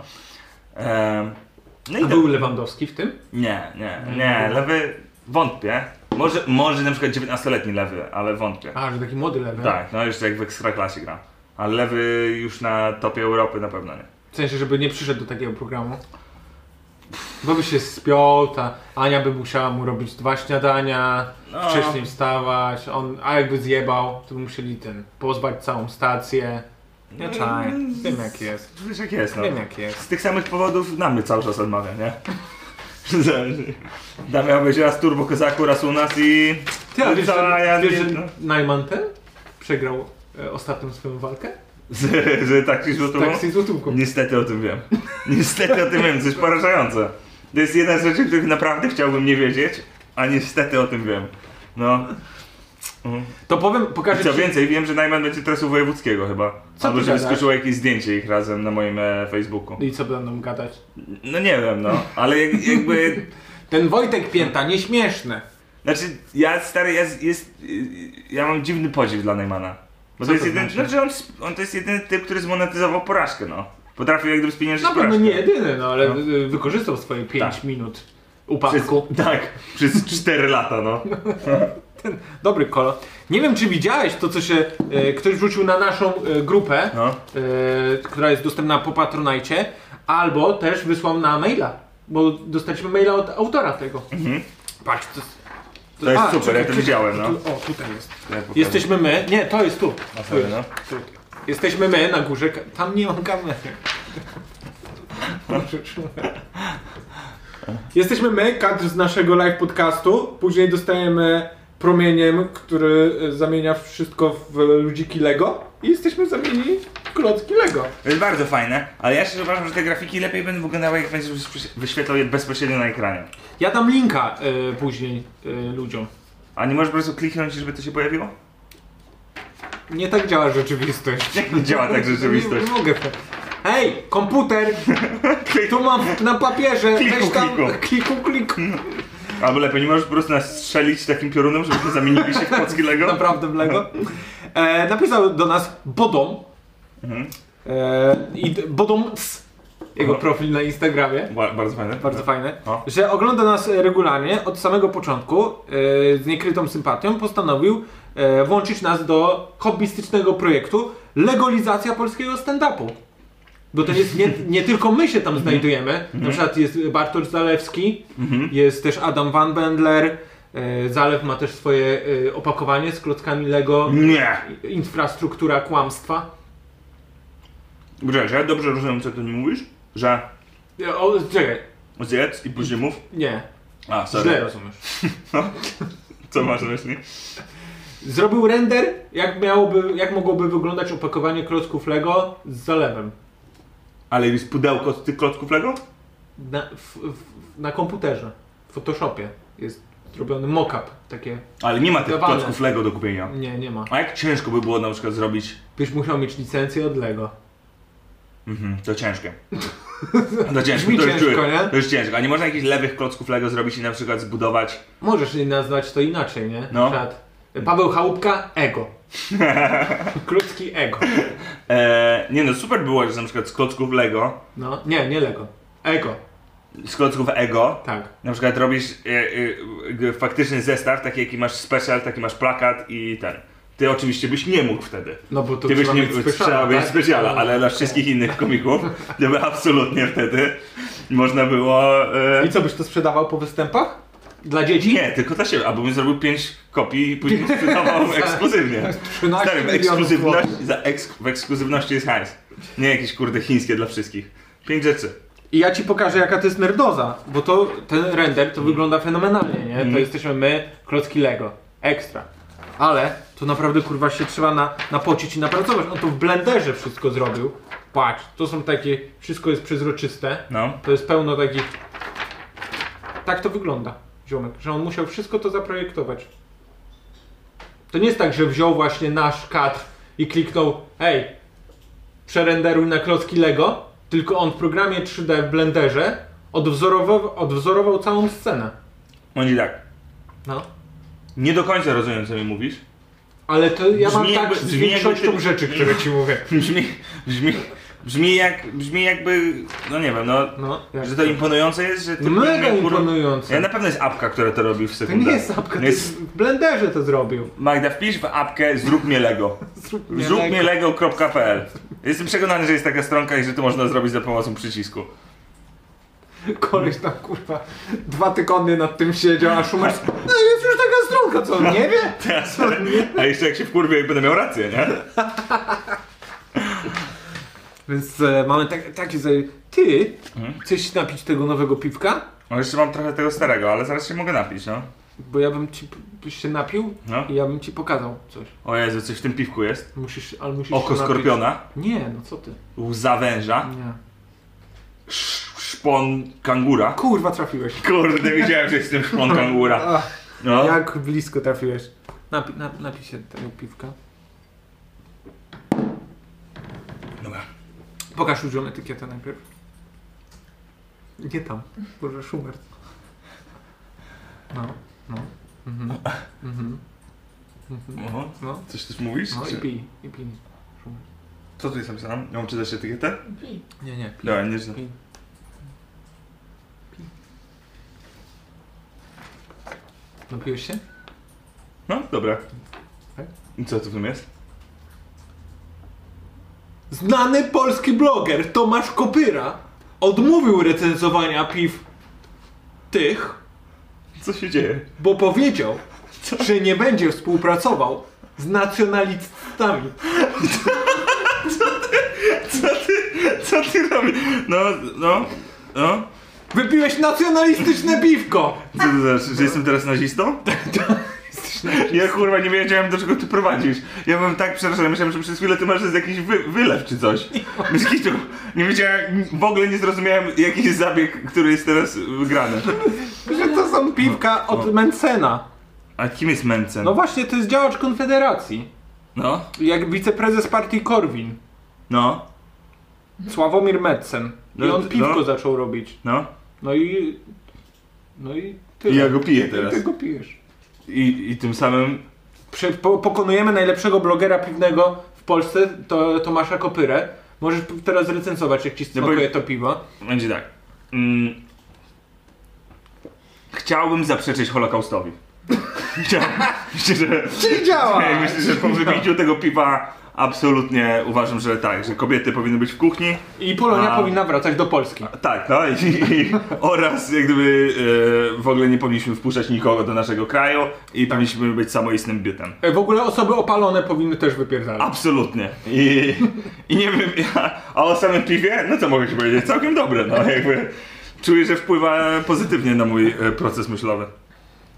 S2: Ehm, no i to...
S4: A był Lewandowski w tym?
S2: Nie, nie, nie, lewy wątpię. Może, może na przykład 19-letni lewy, ale wątpię.
S4: A, że taki młody lewy.
S2: Tak, no jeszcze jak w Ekstraklasie gra. Ale lewy już na topie Europy na pewno nie.
S4: W sensie, żeby nie przyszedł do takiego programu. Bo by się spiął, ta Ania by musiała mu robić dwa śniadania,
S2: No.
S4: wcześniej wstawać, on, a jakby zjebał, to by musieli ten, pozwać całą stację. Nie czaj. Wiem jak jest.
S2: Wiesz jak jest, no.
S4: Wiem jak jest.
S2: Z tych samych powodów namy cały czas odmawia, nie? Zależy. Damian być raz turbo kozaku, raz u nas i...
S4: Ty, a wiesz,
S2: Cała
S4: że,
S2: ja
S4: wiesz,
S2: nie-
S4: że
S2: no.
S4: Najman ten przegrał e, ostatnią swoją walkę?
S2: Z, z taksi złotową?
S4: Tak, z złotówką.
S2: Niestety o tym wiem. Niestety o tym wiem, coś porażające. To jest jedna z rzeczy, których naprawdę chciałbym nie wiedzieć, a niestety o tym wiem. No. Mm.
S4: To powiem, pokażę
S2: I co
S4: ci...
S2: więcej, wiem, że Najman będzie teraz u wojewódzkiego chyba.
S4: Co
S2: Albo
S4: ty
S2: że
S4: gadasz?
S2: wyskoczyło jakieś zdjęcie ich razem na moim e, Facebooku.
S4: I co będą gadać?
S2: No nie wiem, no. Ale jak, jakby...
S4: Ten Wojtek Pięta, nieśmieszne.
S2: Znaczy, ja stary, ja, z- jest, y, ja mam dziwny podziw dla Neymana. Bo to
S4: Co
S2: jest
S4: to
S2: jeden,
S4: znaczy?
S2: znaczy on, sp- on to jest jedyny typ, który zmonetyzował porażkę, no. Potrafił jak gdyby spieniężyć
S4: Na pewno
S2: porażkę.
S4: nie jedyny, no ale
S2: No.
S4: y, wykorzystał swoje 5
S2: Tak.
S4: minut
S2: Przez,
S4: upadku.
S2: tak, przez 4 lata, no.
S4: Dobry kolor. Nie wiem, czy widziałeś to, co się e, ktoś wrzucił na naszą e, grupę,
S2: No.
S4: e, która jest dostępna po Patronajcie, albo też wysłał na maila, bo dostaliśmy maila od autora tego. Patrz, to, jest-
S2: To jest
S4: A,
S2: super,
S4: czekaj,
S2: ja to
S4: czekaj,
S2: widziałem, Mhm. no.
S4: Tu, o, tutaj jest.
S2: Ja pokażę.
S4: Jesteśmy my. Nie, to jest tu.
S2: A
S4: Tu
S2: sorry,
S4: jest.
S2: no.
S4: Tu. Jesteśmy my na górze. ka- Tam nie mam kamery. Jesteśmy my, kadr z naszego live podcastu. Później dostajemy promieniem, który e, zamienia wszystko w ludziki Lego. I jesteśmy zamienieni w klocki Lego.
S2: To jest bardzo fajne, ale ja szczerze uważam, że te grafiki lepiej będą wyglądały, jak będziesz wyświe- wyświetlał je bezpośrednio na ekranie.
S4: Ja dam linka e, później e, ludziom.
S2: A nie możesz po prostu kliknąć, żeby to się pojawiło?
S4: Nie tak działa rzeczywistość.
S2: Jak (laughs) nie działa tak rzeczywistość?
S4: Nie, nie mogę. Hej,
S2: (laughs)
S4: komputer! Tu mam na papierze,
S2: Kliku,
S4: weź tam
S2: kliku.
S4: kliku, kliku.
S2: Albo lepiej, nie możesz po prostu nas strzelić takim piorunem, żebyśmy zamienili się w klocki Lego?
S4: Naprawdę w Lego. E, napisał do nas Bodom. E, I d- Bodom ts, jego
S2: Aha.
S4: profil na Instagramie.
S2: Ba- Bardzo fajne.
S4: Bardzo fajne.
S2: O.
S4: Że ogląda nas e, regularnie od samego początku e, z niekrytą sympatią. Postanowił e, włączyć nas do hobbystycznego projektu Legalizacja polskiego stand-upu. Bo to jest nie, nie tylko my się
S2: Mhm.
S4: tam znajdujemy. Na przykład jest Bartosz Zalewski,
S2: Mhm.
S4: jest też Adam Van Bendler. e, Zalew ma też swoje e, opakowanie z klockami Lego.
S2: Nie!
S4: Infrastruktura kłamstwa.
S2: Grześ, ja dobrze rozumiem, co ty mi mówisz? Że
S4: E, O, czekaj,
S2: zjedz i później mów?
S4: nie,
S2: A,
S4: źle
S2: sorry.
S4: rozumiesz.
S2: Co masz na myśli?
S4: Zrobił render, jak, miałoby, jak mogłoby wyglądać opakowanie klocków Lego z zalewem.
S2: Ale jest pudełko z tych klocków Lego?
S4: Na, w, w, na komputerze, w Photoshopie jest zrobiony mock-up. Takie,
S2: Ale nie ma tych
S4: Dawane.
S2: klocków Lego do kupienia.
S4: nie, nie ma.
S2: A jak ciężko by było na przykład zrobić...
S4: Byś musiał mieć licencję od Lego.
S2: Mhm, to
S4: (laughs)
S2: ciężkie. To ciężko,
S4: Brzmi
S2: to już
S4: ciężko,
S2: czuję.
S4: nie?
S2: To już ciężko. A nie można jakichś lewych klocków Lego zrobić i na przykład zbudować...
S4: Możesz nazwać to inaczej, nie?
S2: No.
S4: Na przykład e, Paweł Chałupka, ego.
S2: (laughs)
S4: Klocki ego.
S2: E, nie no, super było, że na przykład z klocków Lego,
S4: No, nie, nie Lego. Ego,
S2: z klocków Ego,
S4: tak.
S2: Na przykład robisz e, e, g- faktyczny zestaw, taki jaki masz special, taki masz plakat i ten. Ty oczywiście byś nie mógł wtedy.
S4: No bo to
S2: Ty byś
S4: trzeba
S2: nie
S4: mieć specjalne,
S2: trzeba być
S4: tak?
S2: specjala,
S4: No.
S2: ale dla wszystkich innych komików, gdyby absolutnie wtedy można było. E,
S4: I co, byś to sprzedawał po występach? Dla dzieci?
S2: nie, tylko dla siebie, albo bym zrobił 5 kopii i później
S4: (laughs)
S2: sprzedawał ekskluzywnie.
S4: 13
S2: Stary, w
S4: milionów
S2: ekskluzywności, za eks, w ekskluzywności jest hajs. Nie jakieś kurde chińskie dla wszystkich. Pięć rzeczy.
S4: I ja ci pokażę jaka to jest nerdoza, bo to ten render to wygląda fenomenalnie, nie? To jesteśmy my, klocki Lego. Ekstra. Ale to naprawdę kurwa się trzeba na, napocić i napracować. On to w blenderze wszystko zrobił. Patrz, to są takie, wszystko jest przezroczyste.
S2: No.
S4: To jest pełno takich. Tak to wygląda, ziomek, że on musiał wszystko to zaprojektować. To nie jest tak, że wziął właśnie nasz kadr i kliknął, hej, przerenderuj na klocki Lego, tylko on w programie 3D w Blenderze odwzorował, odwzorował całą scenę.
S2: Oni tak.
S4: No.
S2: Nie do końca rozumiem, co mi mówisz.
S4: Ale to ja mam
S2: Brzmi
S4: tak
S2: jakby-
S4: z
S2: brzmi jakby
S4: większością
S2: ty-
S4: rzeczy, które ci mówię.
S2: Brzmi, brzmi, brzmi jak, brzmi jakby, no nie wiem, no,
S4: No, jak
S2: że to imponujące jest, że... To
S4: Mega
S2: kur-
S4: imponujące.
S2: Ja na pewno jest apka, która to robi w
S4: To
S2: sekundę. No
S4: nie jest apka, to
S2: Jest...
S4: jest... w Blenderze to zrobił.
S2: Magda, wpisz w apkę zrób mnie Lego.
S4: Zrób mnie
S2: Zrób
S4: Lego.
S2: mnie Lego.pl Jestem przekonany, że jest taka stronka i że to można zrobić za pomocą przycisku.
S4: Koleś tam kurwa dwa tygodnie nad tym siedział, a Szumer no jest już taka stronka, co on nie wie?
S2: Teraz, a jeszcze jak się wkurwię i będę miał rację, nie?
S4: Więc e, mamy tak, takie zaje... Ty
S2: Mhm.
S4: chcesz się napić tego nowego piwka?
S2: No jeszcze mam trochę tego starego, ale zaraz się mogę napić, no.
S4: Bo ja bym ci p- byś się napił
S2: no.
S4: i ja bym ci pokazał coś.
S2: O Jezu, coś w tym piwku jest.
S4: Musisz, ale musisz
S2: Oko
S4: się napić.
S2: skorpiona,
S4: Nie, no co ty?
S2: łza węża,
S4: Nie.
S2: sz- szpon kangura.
S4: Kurwa trafiłeś.
S2: Kurde, wiedziałem, że jestem szpon kangura.
S4: Ach,
S2: No.
S4: jak blisko trafiłeś. Napi, na, napij się tego piwka.
S2: Dobra.
S4: Pokaż ludziom etykietę najpierw. Nie tam. Boże, Schubert. No, no. Mhm. Mhm. Mhm.
S2: Oho.
S4: No,
S2: Coś też mówisz?
S4: no i
S2: Czy-
S4: pij, i pij.
S2: Co tu jest napisane? Mam czytać etykietę?
S5: Pij.
S4: Nie, nie, pij.
S2: Dobra, nie znam.
S4: Pij. Napiłeś się?
S2: No, dobra.
S4: Tak?
S2: I co tu w tym jest?
S4: Znany polski bloger Tomasz Kopyra odmówił recenzowania piw tych,
S2: Co się dzieje? (laughs)
S4: bo powiedział, że nie będzie współpracował z nacjonalistami.
S2: Co ty robisz? No, no, no.
S4: Wypiłeś nacjonalistyczne piwko!
S2: Co to znaczy, że jestem teraz nazistą? Ja kurwa nie wiedziałem do czego ty prowadzisz. Ja byłem tak przerażony, myślałem, że przez chwilę ty masz jakiś wy, wylew czy coś. Myślicie, nie wiedziałem, w ogóle nie zrozumiałem jaki jest zabieg, który jest teraz wygrany.
S4: Że to są piwka od Mencena.
S2: A kim jest Mencen?
S4: No właśnie, to jest działacz Konfederacji.
S2: No,
S4: Jak wiceprezes partii Korwin.
S2: no,
S4: Sławomir Metzen. I
S2: No,
S4: on piwko
S2: no.
S4: zaczął robić.
S2: no.
S4: No i... No i tyle.
S2: I ja go piję teraz.
S4: I ty go pijesz.
S2: I, i tym samym...
S4: Prze- po, pokonujemy najlepszego blogera piwnego w Polsce, to Tomasza Kopyrę. Możesz p- teraz recenzować, jak ci
S2: No bo-
S4: smakuje to piwo.
S2: Będzie tak. Mm. Chciałbym zaprzeczyć Holokaustowi. (laughs) Chciałbym, myślę, że...
S4: Czyli działa!
S2: Ej, myślę, że po wybiciu tego piwa absolutnie uważam, że tak, że kobiety powinny być w kuchni.
S4: I Polonia
S2: A.
S4: powinna wracać do Polski.
S2: Tak, no i, i oraz jak gdyby e, w ogóle nie powinniśmy wpuszczać nikogo do naszego kraju i powinniśmy być samoistnym bytem.
S4: E, W ogóle osoby opalone powinny też wypierdalać.
S2: Absolutnie. I, i nie wiem, ja, a o samym piwie, no co mogę ci powiedzieć, całkiem dobre, no jakby czuję, że wpływa pozytywnie na mój e, proces myślowy.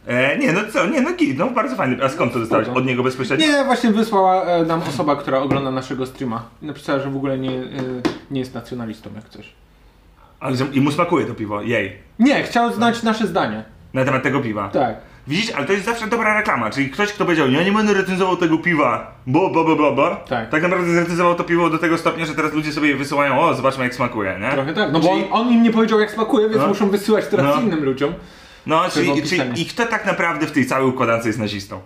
S2: E, nie, no co, nie, no git, no bardzo fajny. A skąd to dostałeś? Od niego bezpośrednio?
S4: Nie, właśnie wysłała e, nam osoba, która ogląda naszego streama. I Napisała, że w ogóle nie, e, nie jest nacjonalistą, jak coś.
S2: Ale że- i mu smakuje to piwo, jej.
S4: Nie, chciał znać nasze zdanie.
S2: Na temat tego piwa.
S4: Tak.
S2: Widzisz, ale to jest zawsze dobra reklama, czyli ktoś, kto powiedział, ja nie będę recenzował tego piwa, bo, bo, bo, bo, bo,
S4: Tak.
S2: tak naprawdę zrecenzował to piwo do tego stopnia, że teraz ludzie sobie je wysyłają, o, zobaczmy jak smakuje, nie?
S4: Trochę tak. No bo on, on im nie powiedział, jak smakuje, więc
S2: No.
S4: muszą wysyłać teraz
S2: No.
S4: innym ludziom.
S2: No,
S4: Tego
S2: czyli,
S4: opisania.
S2: czyli i kto tak naprawdę w tej całej układance jest nazistą?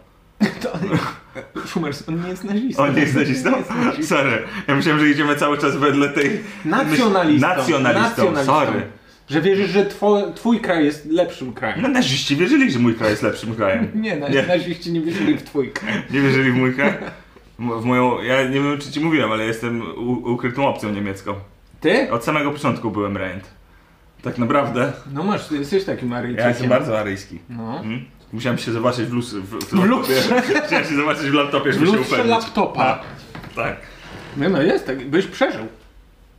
S4: Szumers, on nie jest nazistą.
S2: On nie jest nazistą? Sorry, ja myślałem, że idziemy cały czas wedle tej...
S4: Nacjonalistą.
S2: Nacjonalistą, sorry.
S4: Że wierzysz, że two, twój kraj jest lepszym krajem.
S2: No naziści wierzyli, że mój kraj jest lepszym krajem.
S4: Nie, na,
S2: No, Nie.
S4: naziści nie wierzyli w twój kraj.
S2: Nie wierzyli w mój kraj? M- W moją, ja nie wiem czy ci mówiłem, ale jestem u, ukrytą opcją niemiecką.
S4: Ty?
S2: Od samego początku byłem rent. Tak naprawdę.
S4: No masz, ty jesteś takim Aryjczykiem.
S2: Ja jestem bardzo aryjski.
S4: No.
S2: Mhm. Musiałem się zobaczyć w lustrze. W, w,
S4: W
S2: laptopie. (laughs)
S4: lustrze.
S2: Musiałem się zobaczyć w laptopie,
S4: W
S2: żeby się
S4: lustrze
S2: upewnić.
S4: laptopa.
S2: Tak.
S4: No, no jest tak, byś przeżył.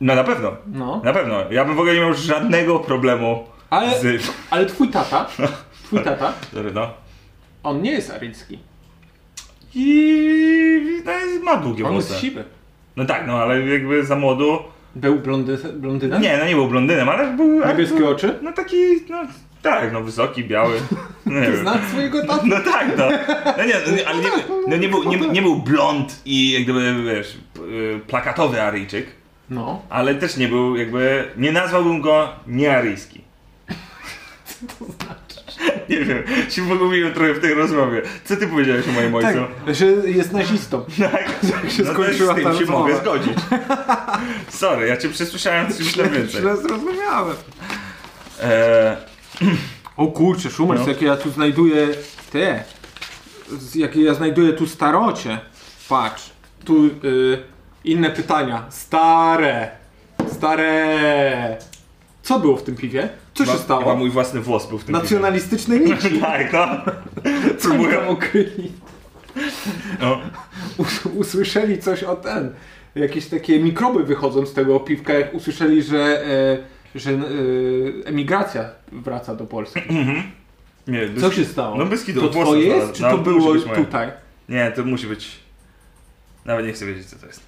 S2: No na pewno.
S4: No.
S2: Na pewno. Ja bym w ogóle nie miał żadnego problemu
S4: Ale,
S2: z...
S4: ale twój tata, twój tata,
S2: Sorry, no.
S4: on nie jest aryjski.
S2: I... No, jest- ma długie
S4: On
S2: włosy.
S4: jest siwy.
S2: No tak, no ale jakby za młodu...
S4: Był blondy, blondynem?
S2: Nie, no nie był blondynem, ale był... ale
S4: Niebieskie
S2: był-
S4: oczy?
S2: No taki... No tak, no wysoki,
S4: (laughs)
S2: biały. No, nie wiem.
S4: Znasz swojego tatę?
S2: No tak, no. No nie, no, nie ale nie, no, nie, był, nie, nie był blond i jak gdyby, wiesz, p- y, plakatowy Aryjczyk,
S4: No.
S2: ale też nie był jakby, nie nazwałbym go
S4: (laughs)
S2: niearyjski. Co to znaczy? Nie wiem, się pogubiłem trochę w tej rozmowie. Co ty powiedziałeś o moim
S4: Tak,
S2: ojcu?
S4: że jest nazistą.
S2: Tak, tak
S4: się skończyła
S2: z tym
S4: ta
S2: się
S4: rozmowa.
S2: mogę
S4: (laughs)
S2: zgodzić. Sorry, ja cię przesłyszałem, coś myślę więcej.
S4: Źle zrozumiałem.
S2: E,
S4: O kurczę, Szumers,
S2: No.
S4: jakie ja tu znajduję te. z- Jakie ja znajduję tu starocie. Patrz, tu y, inne pytania. Stare. Stare. Co było w tym piwie? Co się
S2: chyba- Chyba
S4: stało?
S2: mój własny włos był w tym
S4: Nacjonalistyczne nici.
S2: (laughs) filmie. Tak, no.
S4: Co oni
S2: Próbuję.
S4: tam ukryli?
S2: No.
S4: Us- Usłyszeli coś o ten. jakieś takie mikroby wychodzą z tego piwka, jak usłyszeli, że, e, że e, emigracja wraca do Polski.
S2: Nie, bez...
S4: Co się stało?
S2: No bez kitu,
S4: To
S2: Polska
S4: twoje jest,
S2: znalazła.
S4: czy
S2: No,
S4: to
S2: musi
S4: było
S2: być moje.
S4: tutaj?
S2: Nie, to musi być... Nawet nie chcę wiedzieć, co to
S4: (laughs)
S2: jest.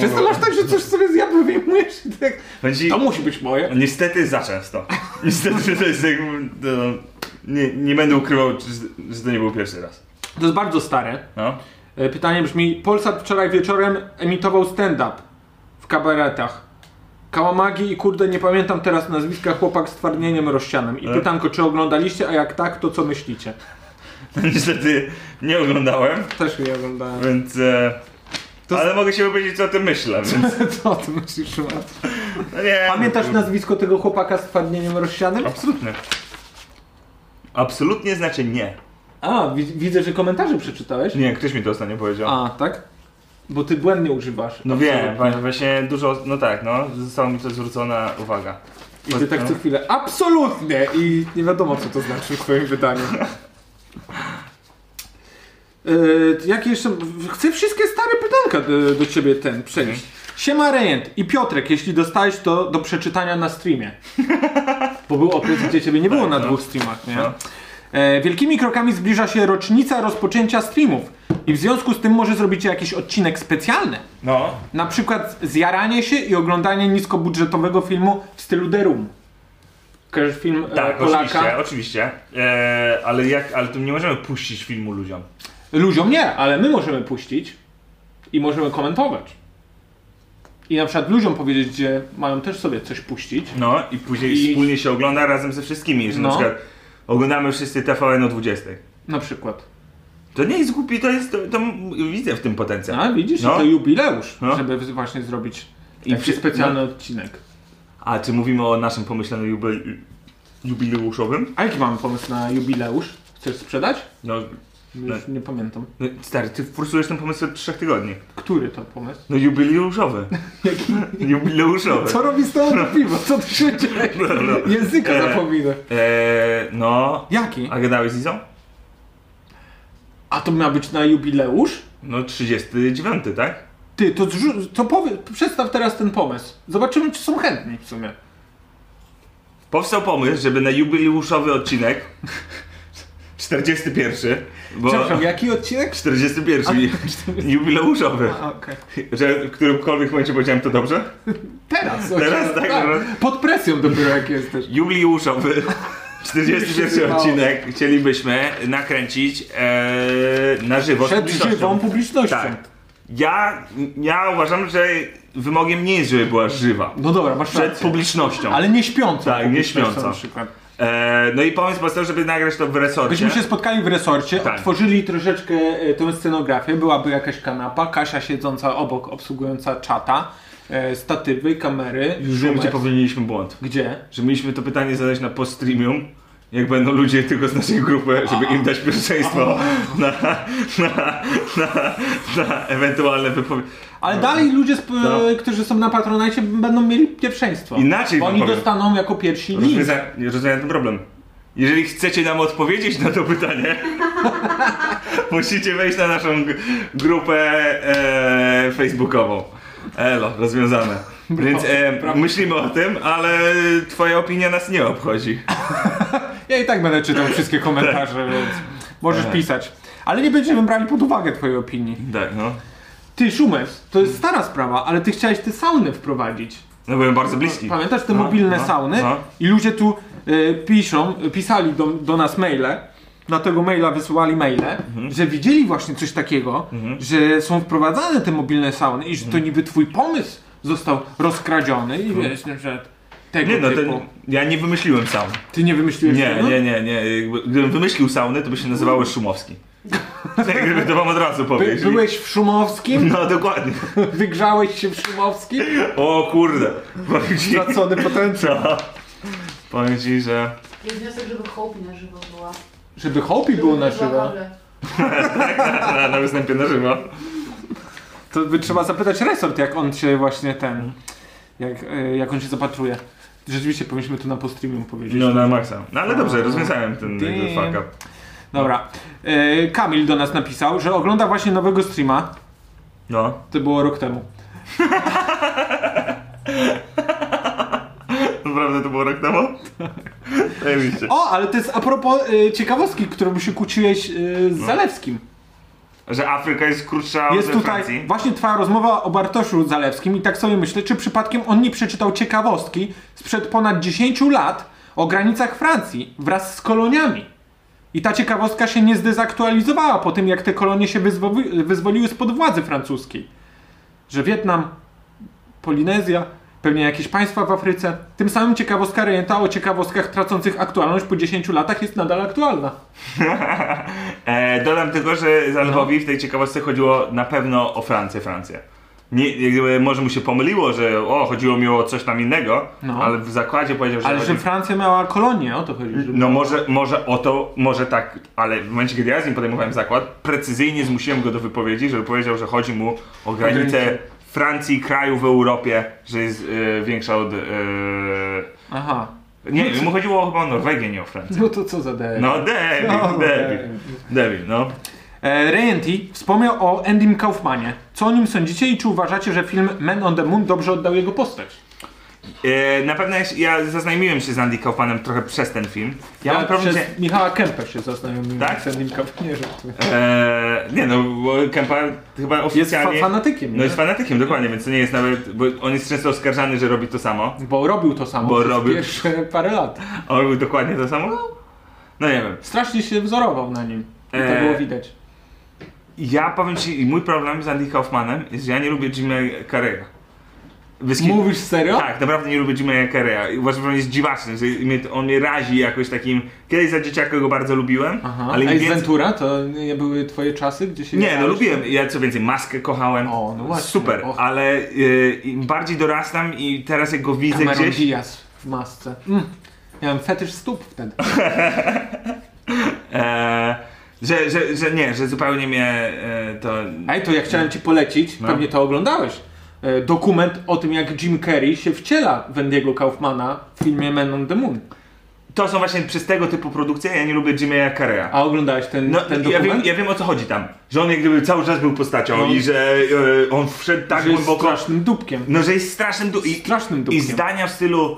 S4: Często
S2: Mogę-
S4: masz tak, że coś sobie z jabłka wyjmujesz i tak,
S2: Będzie...
S4: to musi być moje.
S2: No, Niestety za często. Niestety to jest jakby... To... no, Nie, nie będę ukrywał, czy- że to nie był pierwszy raz.
S4: To jest bardzo stare.
S2: No. (laughs)
S4: E, Pytanie brzmi, Polsat wczoraj wieczorem emitował stand-up w kabaretach. Kałamagi i kurde, nie pamiętam teraz nazwiska, chłopak z twardnieniem rozsianem. I
S2: E?
S4: pytanko, czy oglądaliście, a jak tak, to co myślicie?
S2: Niestety nie oglądałem,
S4: Też nie oglądałem.
S2: więc... E...
S4: To-
S2: Ale mogę się wypowiedzieć, co o tym myślę, więc...
S4: E? (laughs) Co o tym myślisz, Szymon?
S2: No nie,
S4: Pamiętasz
S2: no,
S4: nazwisko tego chłopaka z twardnieniem rozsianym?
S2: Absolutnie. Absolutnie znaczy nie.
S4: A, wi- widzę, że komentarze przeczytałeś.
S2: Nie, ktoś mi to ostatnio powiedział.
S4: A, tak? Bo ty błędnie używasz.
S2: No wiem,
S4: Absolutnie.
S2: wa- właśnie dużo, no tak, no, została mi to zwrócona uwaga.
S4: I ty tak co chwilę, absolutnie! I nie wiadomo, co to znaczy w twoim wydaniu. (laughs) Yy, jakie jeszcze... Chcę wszystkie stare pytanka do, do ciebie ten przenieść. Siema Rejent i Piotrek, jeśli dostałeś to do przeczytania na streamie. Bo był okres, gdzie ciebie nie było na
S2: no.
S4: dwóch streamach, nie?
S2: No.
S4: E, wielkimi krokami zbliża się rocznica rozpoczęcia streamów. I w związku z tym może zrobicie jakiś odcinek specjalny.
S2: No,
S4: Na przykład zjaranie się i oglądanie niskobudżetowego filmu w stylu The Room. Kojarzysz film e,
S2: tak,
S4: Polaka?
S2: oczywiście, oczywiście. E, ale jak, ale tu nie możemy puścić filmu ludziom.
S4: Ludziom nie, ale my możemy puścić i możemy komentować. I na przykład ludziom powiedzieć, gdzie mają też sobie coś puścić.
S2: No i później
S4: I-
S2: wspólnie się ogląda razem ze wszystkimi, że na
S4: No.
S2: przykład oglądamy wszyscy TVN o 20.
S4: Na przykład.
S2: To nie jest głupi, to jest, to, to m- widzę w tym potencjał.
S4: A widzisz,
S2: No.
S4: to jubileusz,
S2: No.
S4: żeby w- właśnie zrobić
S2: I
S4: taki
S2: przy-
S4: specjalny odcinek.
S2: A czy mówimy o naszym pomyśleniu jubil... jubileuszowym?
S4: A jaki mamy pomysł na jubileusz? Chcesz sprzedać?
S2: No,
S4: Już nie pamiętam.
S2: no, stary, ty forsujesz ten pomysł od trzech tygodni.
S4: Który to pomysł?
S2: No
S4: (laughs)
S2: jubileuszowy. jubileuszowy.
S4: Co robi z (laughs) tobą to piwo? Co ty się dzieje? No. (laughs) Języka
S2: E.
S4: zapomina.
S2: Eee, no.
S4: Jaki?
S2: A gadałeś z Izą?
S4: A to miał być na jubileusz?
S2: No 39, tak?
S4: Ty, to, zrzu- to powie- przedstaw teraz ten pomysł. Zobaczymy, czy są chętni w sumie.
S2: Powstał pomysł, żeby na jubileuszowy
S4: (laughs)
S2: odcinek 41, bo
S4: Przepraszam, jaki odcinek?
S2: 41 jubileuszowy,
S4: A, Okej.
S2: że w którymkolwiek momencie powiedziałem to dobrze?
S4: Teraz,
S2: (laughs) Teraz tak, no.
S4: Pod presją dopiero jak jesteś.
S2: Jubileuszowy 41
S4: No.
S2: odcinek chcielibyśmy nakręcić eee, na żywo. z
S4: Przed
S2: publicznością.
S4: żywą publicznością.
S2: Tak. Ja, ja uważam, że wymogiem nie jest, żeby była żywa.
S4: No dobra, masz
S2: Przed
S4: rację.
S2: publicznością.
S4: Ale nie śpiącą.
S2: Tak, nie
S4: publicznością
S2: śpiącą.
S4: Na przykład.
S2: E, no i pomysł powstał, żeby nagrać to w resorcie.
S4: Byśmy się spotkali w resorcie,
S2: Tak.
S4: otworzyli troszeczkę e, tę scenografię, byłaby jakaś kanapa, Kasia siedząca obok, obsługująca czata, e, statywy, kamery,
S2: Już wiem, gdzie
S4: zoomer.
S2: popełniliśmy błąd.
S4: Gdzie?
S2: Że mieliśmy to pytanie zadać na post-streamium, jak będą ludzie tylko z naszej grupy, żeby im dać pierwszeństwo na, na, na, na ewentualne wypowiedzi.
S4: Ale dalej ludzie, sp-
S2: No.
S4: e, którzy są na Patronite, będą mieli pierwszeństwo.
S2: Inaczej
S4: Bo
S2: wam
S4: Oni
S2: powiem.
S4: dostaną jako pierwsi link.
S2: Rozwiąza- nie rozumiem ten problem. Jeżeli chcecie nam odpowiedzieć na to pytanie, (laughs) musicie wejść na naszą g- grupę e, facebookową. Elo, rozwiązane. Więc e, myślimy o tym, ale twoja opinia nas nie obchodzi.
S4: Ja i tak będę czytał wszystkie
S2: (laughs) Tak.
S4: komentarze, więc możesz pisać. Ale nie będziemy brali pod uwagę twojej opinii.
S2: Tak, no.
S4: Ty, Szumers, to jest stara sprawa, ale ty chciałeś te sauny wprowadzić.
S2: No byłem bardzo bliski.
S4: Pamiętasz te
S2: No,
S4: mobilne
S2: no,
S4: sauny?
S2: no.
S4: I ludzie tu y, piszą, y, pisali do, do nas maile, na tego maila wysyłali maile,
S2: Mhm.
S4: że widzieli właśnie coś takiego, że są wprowadzane te mobilne sauny i że
S2: Mhm.
S4: to niby twój pomysł został rozkradziony i wiesz, na przykład tego
S2: No. Nie no,
S4: typu. No.
S2: ten, ja nie wymyśliłem saun.
S4: Ty nie wymyśliłeś
S2: Nie,
S4: tego?
S2: nie, nie, nie. Jakby, Gdybym wymyślił saunę, to by się nazywało Szumowski. (laughs) Jakby to wam od razu
S4: No, By,
S2: powiedzieć.
S4: byłeś w Szumowskim?
S2: No dokładnie.
S4: Wygrzałeś się w Szumowskim?
S2: O kurde. Powiem ci,
S4: Stracony potencjał.
S2: co? Powiem ci, że...
S5: Jest wniosek, żeby hołpi na żywo była.
S4: Żeby Hopi było na
S5: Żeby
S4: żywo,
S5: nagle-
S2: Na, na występie na żywo.
S4: to by trzeba zapytać resort, jak on się właśnie ten, jak, y, jak on się zapatruje. Rzeczywiście powinniśmy to na postreamium powiedzieć.
S2: No na maksa. No ale dobrze, rozwiązałem ten jakby
S4: Damn.
S2: fuck up.
S4: E, Dobra. Y, Kamil do nas napisał, że ogląda właśnie nowego streama.
S2: No.
S4: To było rok temu.
S2: Naprawdę to było rok temu? (laughs) Zajebiście.
S4: O, ale to jest a propos y, ciekawostki, którą się kłóciłeś y, z Zalewskim.
S2: Że Afryka jest krótsza od
S4: Jest tutaj
S2: Francji.
S4: właśnie trwa rozmowa o Bartoszu Zalewskim i tak sobie myślę, czy przypadkiem on nie przeczytał ciekawostki sprzed ponad 10 lat o granicach Francji wraz z koloniami. I ta ciekawostka się nie zdezaktualizowała po tym, jak te kolonie się wyzwo- wyzwoliły spod władzy francuskiej. Że Wietnam, Polinezja, pewnie jakieś państwa w Afryce. Tym samym ciekawostka rejenta o ciekawostkach tracących aktualność po 10 latach jest nadal aktualna.
S2: E, dodam tylko, że
S4: No.
S2: Zalewowi w tej ciekawostce chodziło na pewno o Francję, Francję. Nie, jakby może mu się pomyliło, że o, chodziło mi o coś tam innego,
S4: No.
S2: ale w zakładzie powiedział, że
S4: Ale
S2: chodzi...
S4: że Francja miała kolonię, o to chodzi. że-
S2: No może, może o to, może tak, ale w momencie, kiedy ja z nim podejmowałem zakład, precyzyjnie zmusiłem go do wypowiedzi, żeby powiedział, że chodzi mu o granicę
S4: granicę.
S2: Francji, kraju w Europie, że jest e, większa od... e,
S4: Aha.
S2: nie,
S4: Znaczy-
S2: mu chodziło chyba o Norwegię, nie o
S4: (laughs)
S2: Francję.
S4: No to co za debil.
S2: No debil,
S4: No,
S2: debil,
S4: debil.
S2: debil, no.
S4: E, Reyenty wspomniał o Andym Kaufmanie. Co o nim sądzicie i czy uważacie, że film Men on the Moon dobrze oddał jego postać?
S2: E, na pewno ja, się- ja zaznajomiłem się z Andy Kaufmanem trochę przez ten film. Ja, mam problem,
S4: przez
S2: że...
S4: Michała Kępa się zastanawiam
S2: Tak?
S4: z Andym Kaufmanem.
S2: E, nie no, bo Kempa chyba
S4: Jest
S2: oficjalnie...
S4: fa- fanatykiem,
S2: No
S4: nie?
S2: jest fanatykiem, dokładnie, więc to nie jest nawet... Bo on jest często oskarżany, że robi to samo.
S4: Bo robił to samo
S2: Bo
S4: przez
S2: robił.
S4: pierwsze parę lat.
S2: A on robił dokładnie to samo? No nie wiem.
S4: Strasznie się wzorował na nim. I to
S2: E,
S4: było widać.
S2: Ja powiem ci, mój problem z Andy Kaufmanem jest, że ja nie lubię Jimmy Carrey'a. Bez kitu.
S4: Mówisz serio?
S2: Tak, naprawdę nie lubię Jimmy Carrey'a. I Uważam, że on jest dziwaczny, że mnie, on mnie razi jakoś takim... Kiedyś za dzieciaka go bardzo lubiłem,
S4: Aha.
S2: ale
S4: Ale
S2: im
S4: Ace
S2: więcej...
S4: Ventura? To nie były twoje czasy, gdzie się...
S2: Nie, no lubiłem, ja co więcej, maskę kochałem.
S4: O, no właśnie.
S2: Super,
S4: Och.
S2: ale y, im bardziej dorastam i teraz jak go widzę
S4: Cameron
S2: gdzieś,
S4: Diaz w masce. Mm. Miałem fetysz stóp wtedy.
S2: e, że, że, że nie, że zupełnie mnie e, to...
S4: Ej, to ja chciałem ci polecić,
S2: No.
S4: pewnie to oglądałeś. e, Dokument o tym, jak Jim Carrey się wciela w Andy'ego Kaufmana w filmie Men on the Moon.
S2: To są właśnie przez tego typu produkcje, ja nie lubię Jimmy'a Carrey'a.
S4: A oglądałeś ten,
S2: No,
S4: ten
S2: ja, wiem,
S4: dokument?
S2: ja wiem o co chodzi tam. Że on jak gdyby cały czas był postacią
S4: No.
S2: i że e, on wszedł tak
S4: Że jest
S2: głęboko.
S4: strasznym dupkiem.
S2: No, że jest strasznym du- i,
S4: Strasznym
S2: i
S4: dupkiem.
S2: zdania w stylu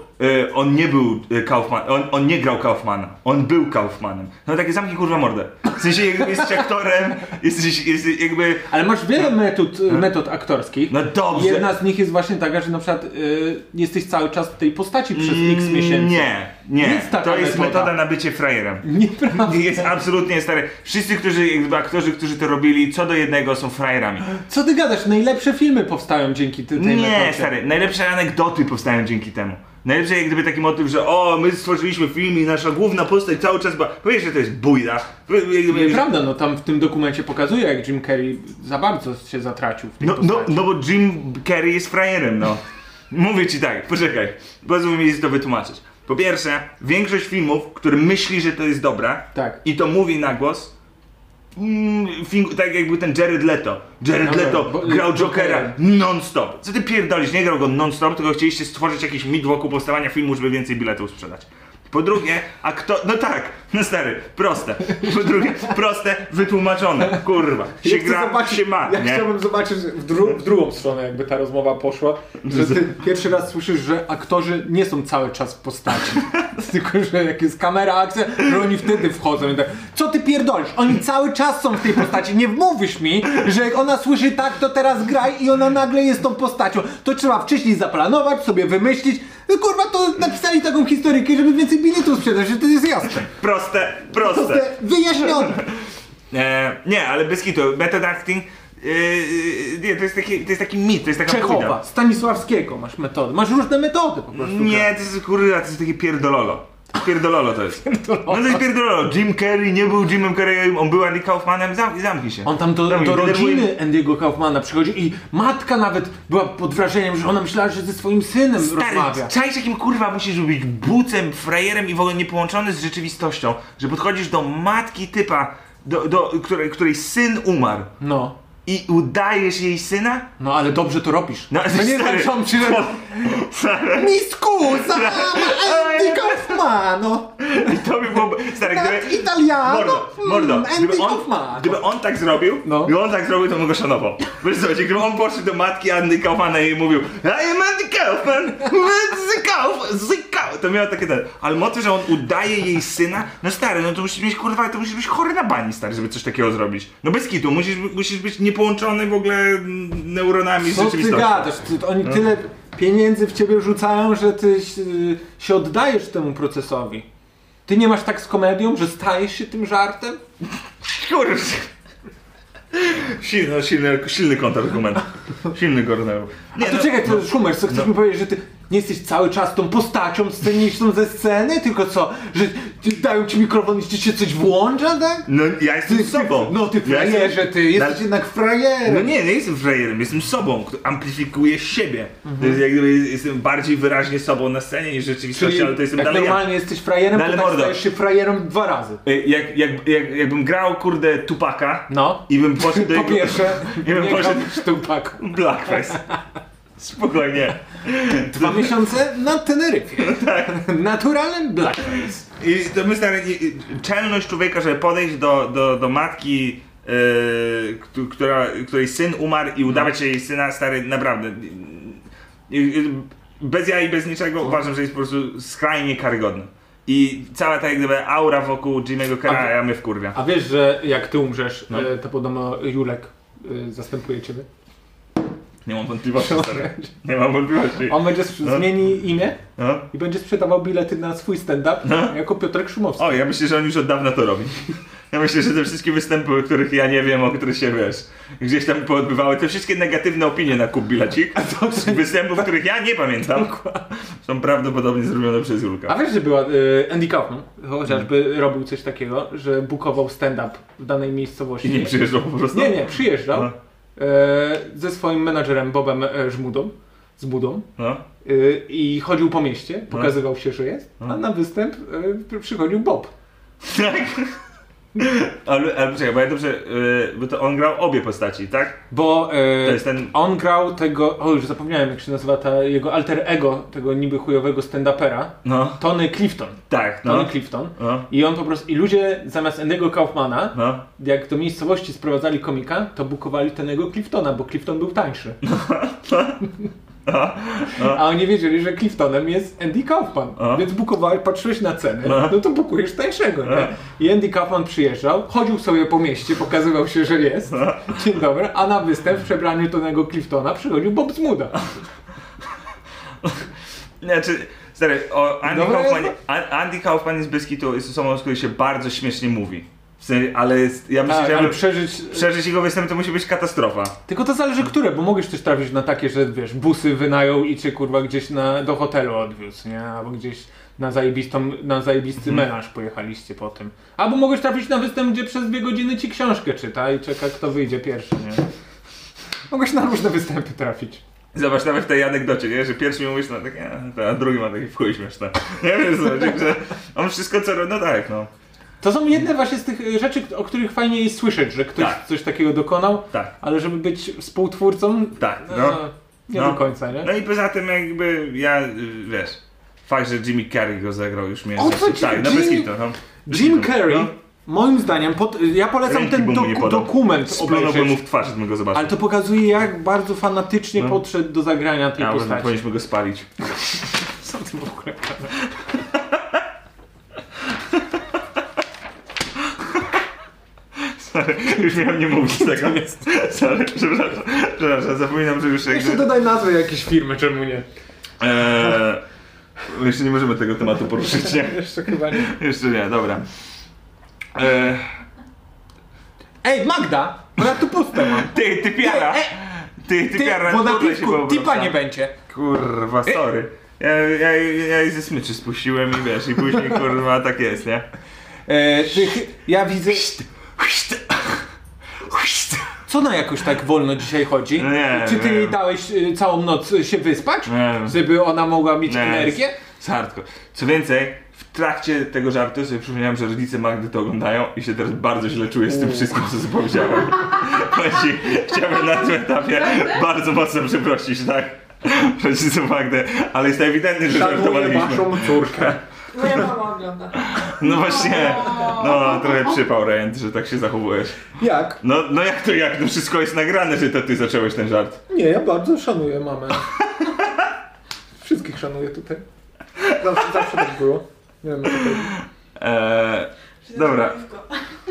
S2: e, on nie był e, Kaufman, on, on nie grał Kaufmana, on był Kaufmanem. No takie zamki kurwa mordę. W sensie jakby
S4: (laughs)
S2: jest aktorem, jesteś jest, jakby...
S4: Ale masz wiele metod, e, metod aktorskich.
S2: No dobrze.
S4: Jedna z nich jest właśnie taka, że na przykład e, jesteś cały czas w tej postaci przez x miesięcy.
S2: Mm, Nie, nie.
S4: Jest taka
S2: To jest
S4: metoda.
S2: metoda na bycie frajerem.
S4: Nieprawda.
S2: Jest absolutnie stary. Wszyscy, którzy, jakby aktorzy, którzy to robili, co do jednego są frajerami.
S4: Co ty gadasz? Najlepsze filmy powstają dzięki ty- tej
S2: nie,
S4: metodzie.
S2: stary, najlepsze anegdoty powstają dzięki temu. Najlepszy jak gdyby taki motyw, że o, my stworzyliśmy film i nasza główna postać cały czas była... Powiesz, że to jest bujda. Powiesz, jak gdyby-
S4: Nieprawda, no tam w tym dokumencie pokazuje, jak Jim Carrey za bardzo się zatracił w tej
S2: No,
S4: postaci.
S2: no, no bo Jim Carrey jest frajerem, no. Mówię ci tak, poczekaj. Pozwól mi to wytłumaczyć. Po pierwsze, większość filmów, który myśli, że to jest dobra
S4: Tak.
S2: i to mówi na głos, mm, film, tak jakby ten Jared Leto. Jared
S4: Dobra,
S2: Leto
S4: bo-
S2: grał
S4: Jokera.
S2: Jokera non-stop. Co ty pierdolisz? Nie grał go non-stop, tylko chcieliście stworzyć jakiś mit wokół powstawania filmu, żeby więcej biletów sprzedać. Po drugie, a kto... No tak, no stary, proste. Po drugie, proste, wytłumaczone, kurwa. Się
S4: Ja chcę
S2: gra,
S4: zobaczyć-
S2: się ma,
S4: Ja
S2: nie?
S4: chciałbym zobaczyć w, dru- w drugą stronę, jakby ta rozmowa poszła. Że
S2: (laughs)
S4: ty pierwszy raz słyszysz, że aktorzy nie są cały czas w postaci. (laughs) Tylko, że jak jest kamera, akcja, że oni wtedy wchodzą i tak, co ty pierdolisz? Oni cały czas są w tej postaci. Nie mówisz mi, że jak ona słyszy tak, to teraz graj i ona nagle jest tą postacią. To trzeba wcześniej zaplanować, sobie wymyślić. No kurwa, to napisali taką historykę, żeby więcej biletów sprzedać, że to jest jasne.
S2: Proste,
S3: To
S2: proste.
S3: jest wyjaśnione.
S2: E, nie, ale bez kitu, method acting, e, e, nie, to jest, taki, to jest taki mit, to jest taka
S4: Czechowa,
S2: bujda.
S4: Stanisławskiego masz metody. Masz różne metody po prostu.
S2: Nie, to jest kurwa, to jest takie pierdololo. Pierdololo to
S4: (laughs)
S2: jest. No to jest pierdololo. Jim Carrey nie był Jimem Carreyem, on był Andy Kaufmanem, zam, zamknij się.
S4: On tam do,
S2: Zamknij,
S4: do
S2: denerwuje mnie.
S4: rodziny Andy'ego Kaufmana przychodzi i matka nawet była pod wrażeniem, że ona myślała, że ze swoim synem rozmawia.
S2: Stary, czaisz jakim kurwa musisz być bucem, frajerem i w ogóle niepołączony z rzeczywistością, że podchodzisz do matki typa, do, do, której, której syn umarł
S4: No.
S2: i udajesz jej syna?
S4: No ale dobrze to robisz.
S2: No,
S4: No nie
S2: stary,
S4: tańczą przy...
S2: Stary.
S4: Misku, sama Andy Kaufmano!
S2: I to by było... Stary, gdyby...
S4: Italiano?
S2: Mordo, mordo.
S4: Mm,
S2: Gdyby on,
S4: Kaufman.
S2: gdyby on tak zrobił,
S4: No.
S2: gdyby on tak zrobił, to bym go szanował. Wiesz co, gdyby on poszedł do matki Anny Kaufmana i jej mówił I am Andy Kaufman, the Kauf, the Kauf. To miał takie ten. Ale motyw, że on udaje jej syna, no stary, no to musisz mieć kurwa, to musisz być chory na bani, stary, żeby coś takiego zrobić. No bez kitu, musisz, musisz być niepołączony w ogóle mm, neuronami z
S4: Co ty
S2: rzeczywistością.
S4: gadasz? Ty, to oni
S2: No.
S4: tyle pieniędzy w ciebie rzucają, że ty y, się oddajesz temu procesowi. Ty nie masz tak z komedią, że stajesz się tym żartem?
S2: Kurwa. Silny, silny, silny kontrargument. Silny kornel. Nie, no,
S4: A to czekaj, to Szumer, co chcesz mi powiedzieć, że ty nie jesteś cały czas tą postacią sceniczną ze sceny, tylko co, że ci dają ci mikrofon i ci się coś włącza, tak?
S2: No ja jestem
S4: Ty,
S2: sobą.
S4: no ty
S2: ja
S4: frajerze, ty jesteś jednak frajerem.
S2: No nie, nie jestem frajerem, jestem sobą, który amplifikuje siebie.
S4: Mhm.
S2: To jest jak gdyby jestem bardziej wyraźnie sobą na scenie niż w rzeczywistości,
S4: Czyli
S2: ale to jestem
S4: jak
S2: dalej ja.
S4: normalnie jesteś frajerem,
S2: No ale
S4: to tak
S2: mordo.
S4: stajesz się frajerem dwa razy.
S2: Y, Jak, jak, jak, jakbym grał kurde Tupaka
S4: No.
S2: i bym poszedł do
S4: Po
S2: jego...
S4: pierwsze,
S2: (laughs) Ja bym
S4: nie
S2: poszedł-
S4: robisz tupaku.
S2: Blackface. Spokojnie.
S4: Dwa miesiące na Teneryfie.
S2: No tak.
S4: Naturalnym blackface.
S2: I to my stary, i- i- czelność człowieka, żeby podejść do, do, do matki, yy, któ- która, której syn umarł
S4: No.
S2: i udawać jej syna, stary, naprawdę. yy, yy, Bez ja i bez niczego
S4: No.
S2: uważam, że jest po prostu skrajnie karygodny. I cała ta jak gdyby aura wokół Jimmy'ego Carrera mnie wkurwia.
S4: A wiesz, że jak ty umrzesz,
S2: No.
S4: e, to podobno Julek e, zastępuje ciebie?
S2: Nie mam wątpliwości,
S4: (laughs)
S2: stary. Nie mam wątpliwości.
S4: On będzie sprz-
S2: No.
S4: zmieni imię
S2: No.
S4: i będzie sprzedawał bilety na swój stand-up jako Piotrek Szumowski.
S2: O, ja myślę, że on już od dawna to robi. (laughs) Ja myślę, że te wszystkie występy, o których ja nie wiem, o których się wiesz, gdzieś tam poodbywały, te wszystkie negatywne opinie na Kup Bilacik, z występów, których ja nie pamiętam, są prawdopodobnie zrobione przez
S4: A
S2: Julka.
S4: wiesz, że była e, Andy Kaufman, chociażby robił coś takiego, że bukował stand-up w danej miejscowości.
S2: I nie przyjeżdżał po prostu?
S4: Nie, nie, przyjeżdżał
S2: No.
S4: e, ze swoim menadżerem Bobem e, Żmudą, z Budą
S2: No.
S4: e, i chodził po mieście, pokazywał się, że jest,
S2: No.
S4: a na występ e, przychodził Bob.
S2: Tak. Ale, ale czekaj, bo ja dobrze, yy, bo to on grał obie postaci, tak?
S4: Bo e,
S2: To jest ten-
S4: on grał tego, o już zapomniałem jak się nazywa ta jego alter ego, tego niby chujowego stand-upera,
S2: No.
S4: Tony Clifton.
S2: Tak,
S4: Tony
S2: no.
S4: Clifton.
S2: No.
S4: I on po prostu, i ludzie zamiast Andy'ego Kaufmana,
S2: No.
S4: jak do miejscowości sprowadzali komika, to bukowali Tonego Cliftona, bo Clifton był tańszy. A oni wiedzieli, że Cliftonem jest Andy Kaufman,
S2: A.
S4: więc bukowali, patrzyłeś na ceny,
S2: A.
S4: no to bukujesz tańszego, nie? I Andy Kaufman przyjeżdżał, chodził sobie po mieście, pokazywał się, że jest, dzień dobry, a na występ w przebraniu Tonego Cliftona przychodził Bob Zmuda.
S2: Znaczy, stary, o Andy,
S4: Dobra,
S2: Kaufman,
S4: jest-
S2: An- Andy Kaufman jest bez kitu, jest osobą, z której się bardzo śmiesznie mówi. W sensie, ale jest, ja myślę,
S4: Tak,
S2: że
S4: ale
S2: aby
S4: przeżyć...
S2: przeżyć jego występ to musi być katastrofa.
S4: Tylko to zależy które, bo mogłeś też trafić na takie, że wiesz, busy wynajął i cię kurwa gdzieś na, do hotelu odwiózł, nie? Albo gdzieś na, zajebistą, na zajebisty
S2: Mhm.
S4: melanż pojechaliście po tym. Albo mogłeś trafić na występ, gdzie przez dwie godziny ci książkę czyta i czeka kto wyjdzie pierwszy, nie? Mogłeś na różne występy trafić.
S2: Zobacz, nawet w tej anegdocie, nie? że pierwszy mi mówisz, no tak, nie, a drugi ma taki w chuj śmieszne. Nie wiem, co, że on wszystko co robi, no tak, no.
S4: To są jedne właśnie z tych y, rzeczy, o których fajnie jest słyszeć, że ktoś
S2: Tak.
S4: coś takiego dokonał,
S2: Tak.
S4: ale żeby być współtwórcą,
S2: Tak,
S4: e,
S2: no.
S4: nie
S2: No.
S4: do końca, nie?
S2: No i poza tym jakby ja, y, wiesz, fakt, że Jimmy Carrey go zagrał już mnie...
S4: O, co ci-
S2: Tak, na
S4: Jimmy-
S2: bez kitu, no.
S4: Jim Carrey,
S2: No.
S4: moim zdaniem, pod, ja polecam
S2: Ręki
S4: ten
S2: bym mu nie
S4: doku,
S2: podał.
S4: dokument
S2: Splunąłbym mu
S4: obejrzeć,
S2: w twarz, gdybym go zobaczył.
S4: ale to pokazuje jak bardzo fanatycznie
S2: No.
S4: podszedł do zagrania tej
S2: Ja uważam, że
S4: postaci.
S2: powinniśmy go spalić. (laughs)
S4: Co ty w ogóle gadasz?
S2: Sorry, już miałem nie mówić
S4: (laughs)
S2: tego. Sorry, przepraszam, przepraszam, zapominam, że już
S4: Jeszcze
S2: jakby...
S4: dodaj nazwę jakiejś firmy, czemu nie?
S2: Eee, jeszcze nie możemy tego tematu poruszyć, nie?
S4: Jeszcze chyba nie.
S2: Jeszcze nie, dobra. Eee,
S4: Ej, Magda! Bo ja tu puste mam.
S2: ty, ty piara!
S4: Ty, e,
S2: Ty, ty
S4: Ty,
S2: piara,
S4: bo na
S2: tutaj się
S4: piwku
S2: wyobrażam.
S4: tipa nie E. będzie.
S2: Kurwa, sorry. Ja, ja, ja jej ze smyczy spuściłem i wiesz, i później kurwa tak jest, nie?
S4: E, ty, chy- ja widzę... Co na jakoś tak wolno dzisiaj chodzi?
S2: Nie
S4: Czy ty
S2: wiem.
S4: jej dałeś y, całą noc y, się wyspać?
S2: Nie.
S4: Żeby ona mogła mieć
S2: Nie.
S4: energię?
S2: Z hardcore. Co więcej, w trakcie tego żartu sobie przypomniałem, że rodzice Magdy to oglądają i się teraz bardzo źle czuję z tym wszystkim, co sobie
S4: (laughs)
S2: powiedziałem. Właśnie chciałbym na tym etapie bardzo mocno przeprosić, tak? Rodziców Magdy, ale jest to ewidentnie, że
S4: Szanuję
S2: żartowaliśmy.
S4: waszą córkę.
S5: Moja mama ogląda.
S2: No właśnie, no trochę przypał Rejent, że tak się zachowujesz.
S4: Jak?
S2: No, no jak to jak? No wszystko jest nagrane, że to ty zacząłeś ten żart.
S4: Nie, ja bardzo szanuję mamę. Wszystkich szanuję tutaj. Zawsze, zawsze tak było. Nie wiem, co to jest.
S2: Eee, Dobra.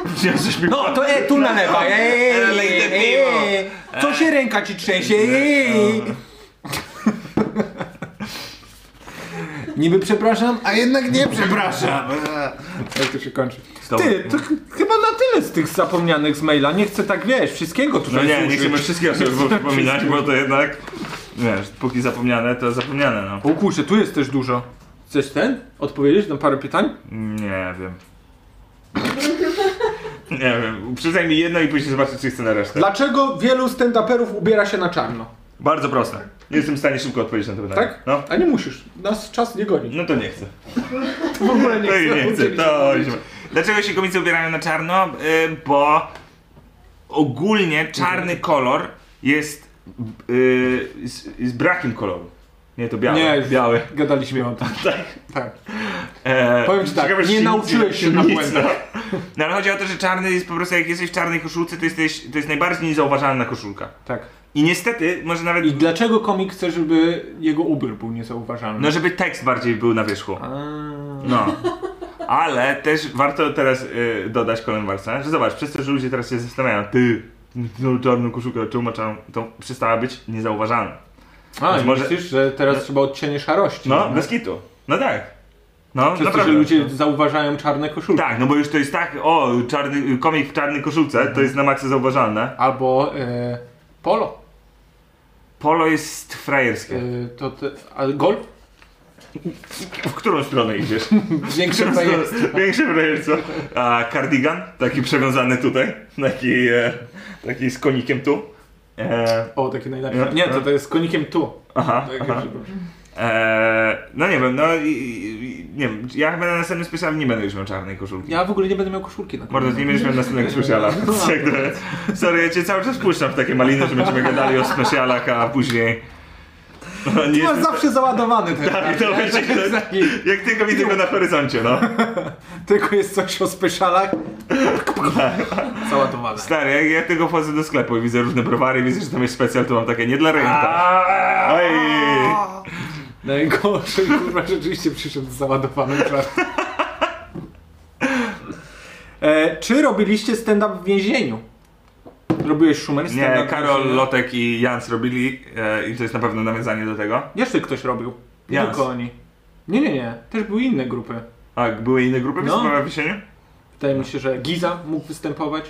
S2: wziąłeś mi
S4: No to e, tu nalewa, ej,
S2: Ale
S4: ej,
S2: idę
S4: ej,
S2: piwo.
S4: ej. Co się ręka ci trzęsie, ej.
S2: No.
S4: no. Niby przepraszam, a jednak nie przepraszam. Jak to się kończy?
S2: Stop.
S4: Ty, to ch- chyba na tyle z tych zapomnianych z maila. Nie chcę tak, wiesz, wszystkiego
S2: No
S4: tutaj
S2: nie, nie
S4: służyć.
S2: chcemy wszystkiego sobie przypominać, bo to jednak, wiesz, póki zapomniane, to zapomniane, no.
S4: O kurczę, tu jest też dużo. Chcesz ten? Odpowiedzieć na parę pytań?
S2: Nie wiem. Nie wiem, przyznaj mi jedno i później zobaczę, czy jest na resztę.
S4: Dlaczego wielu stand-uperów ubiera się na czarno?
S2: Bardzo proste. Nie jestem w stanie szybko odpowiedzieć na to pytanie.
S4: Tak?
S2: No.
S4: A nie musisz. Nas czas nie goni.
S2: No to nie chcę.
S4: W ogóle nie
S2: To i nie chcę.
S4: Uczyli się
S2: To
S4: mówić.
S2: idźmy. Dlaczego się komicy ubierają na czarno? Y, Bo ogólnie
S4: Mhm.
S2: czarny kolor jest y, z, z brakiem koloru. Nie, to biały.
S4: Nie,
S2: biały.
S4: Gadaliśmy o tym. Tak.
S2: E,
S4: Powiem ci tak,
S2: ciekawe, czy
S4: nie
S2: nic-
S4: nauczyłeś się na
S2: nic,
S4: błędach.
S2: No. no ale chodzi o to, że czarny jest po prostu, jak jesteś w czarnej koszulce, to, jesteś, to jest najbardziej niezauważalna koszulka.
S4: Tak.
S2: I niestety, może nawet,
S4: I dlaczego komik chce, żeby jego ubiór był niezauważalny?
S2: no żeby tekst bardziej był na wierzchu.
S4: A.
S2: No. Ale też warto teraz y, dodać Colin Barca, że zobacz, przez to, że ludzie teraz się zastanawiają, ty, tą czarną koszulkę, czemu ma czarną, to przestała być niezauważalna.
S4: A,
S2: Więc może-
S4: może... myślisz, że teraz trzeba odcienie szarości.
S2: No, bez kitu. No tak. No,
S4: Przez to,
S2: naprawdę.
S4: że ludzie zauważają czarne koszulki.
S2: Tak, no bo już to jest tak, o, czarny, komik w czarnej koszulce, to jest na maksa zauważalne.
S4: Albo e, polo.
S2: Polo jest frajerskie.
S4: E, to te, a golf?
S2: W którą stronę idziesz?
S4: (laughs)
S2: (laughs)
S4: Większe jest.
S2: Większe frajerstwo. A kardigan, taki przewiązany tutaj, taki, e, taki z konikiem tu. E,
S4: O, takie
S2: Ja-
S4: najlepsze. Nie, to, to jest z konikiem tu.
S2: aha,
S4: Tak,
S2: aha.
S4: żeby-
S2: Eee, no nie wiem, no i, i, i- nie wiem, ja chyba na następnym specjalnym nie będę już miał czarnej koszulki.
S4: Ja No, w ogóle nie będę miał koszulki na
S2: Mordo, nie będziesz miał następnego speciala. Jakby- Sorry, ja cię cały czas puszczam w takie maliny, że będziemy gadali o specialach, a później... No, nie
S4: Ty masz
S2: jestem-
S4: zawsze załadowany ten
S2: Tak, (laughs) to będzie...
S4: (laughs)
S2: Jak tylko widzę go na horyzoncie, no.
S4: Tylko jest coś o
S2: (laughs)
S4: speszalach.
S2: Tak.
S4: Załadowane.
S2: Stary, jak ja tylko wchodzę do sklepu i widzę różne browary, widzę, że tam jest specjal, to mam takie nie dla rejenta. Oj!
S4: Najgorszy, kurwa, rzeczywiście przyszedł z załadowanym żartem. E, czy robiliście stand-up w więzieniu? Robiłeś Schumer stand-up
S2: Nie,
S4: w
S2: Karol,
S4: więzieniu?
S2: Lotek i Jan zrobili e, i to jest na pewno nawiązanie do tego.
S4: Jeszcze ktoś robił. Nie
S2: Jas.
S4: tylko oni. Nie, nie, nie. Też były inne grupy.
S2: A były inne grupy
S4: No.
S2: występowały w Wisieniu?
S4: Wydaje mi się, że Giza mógł występować.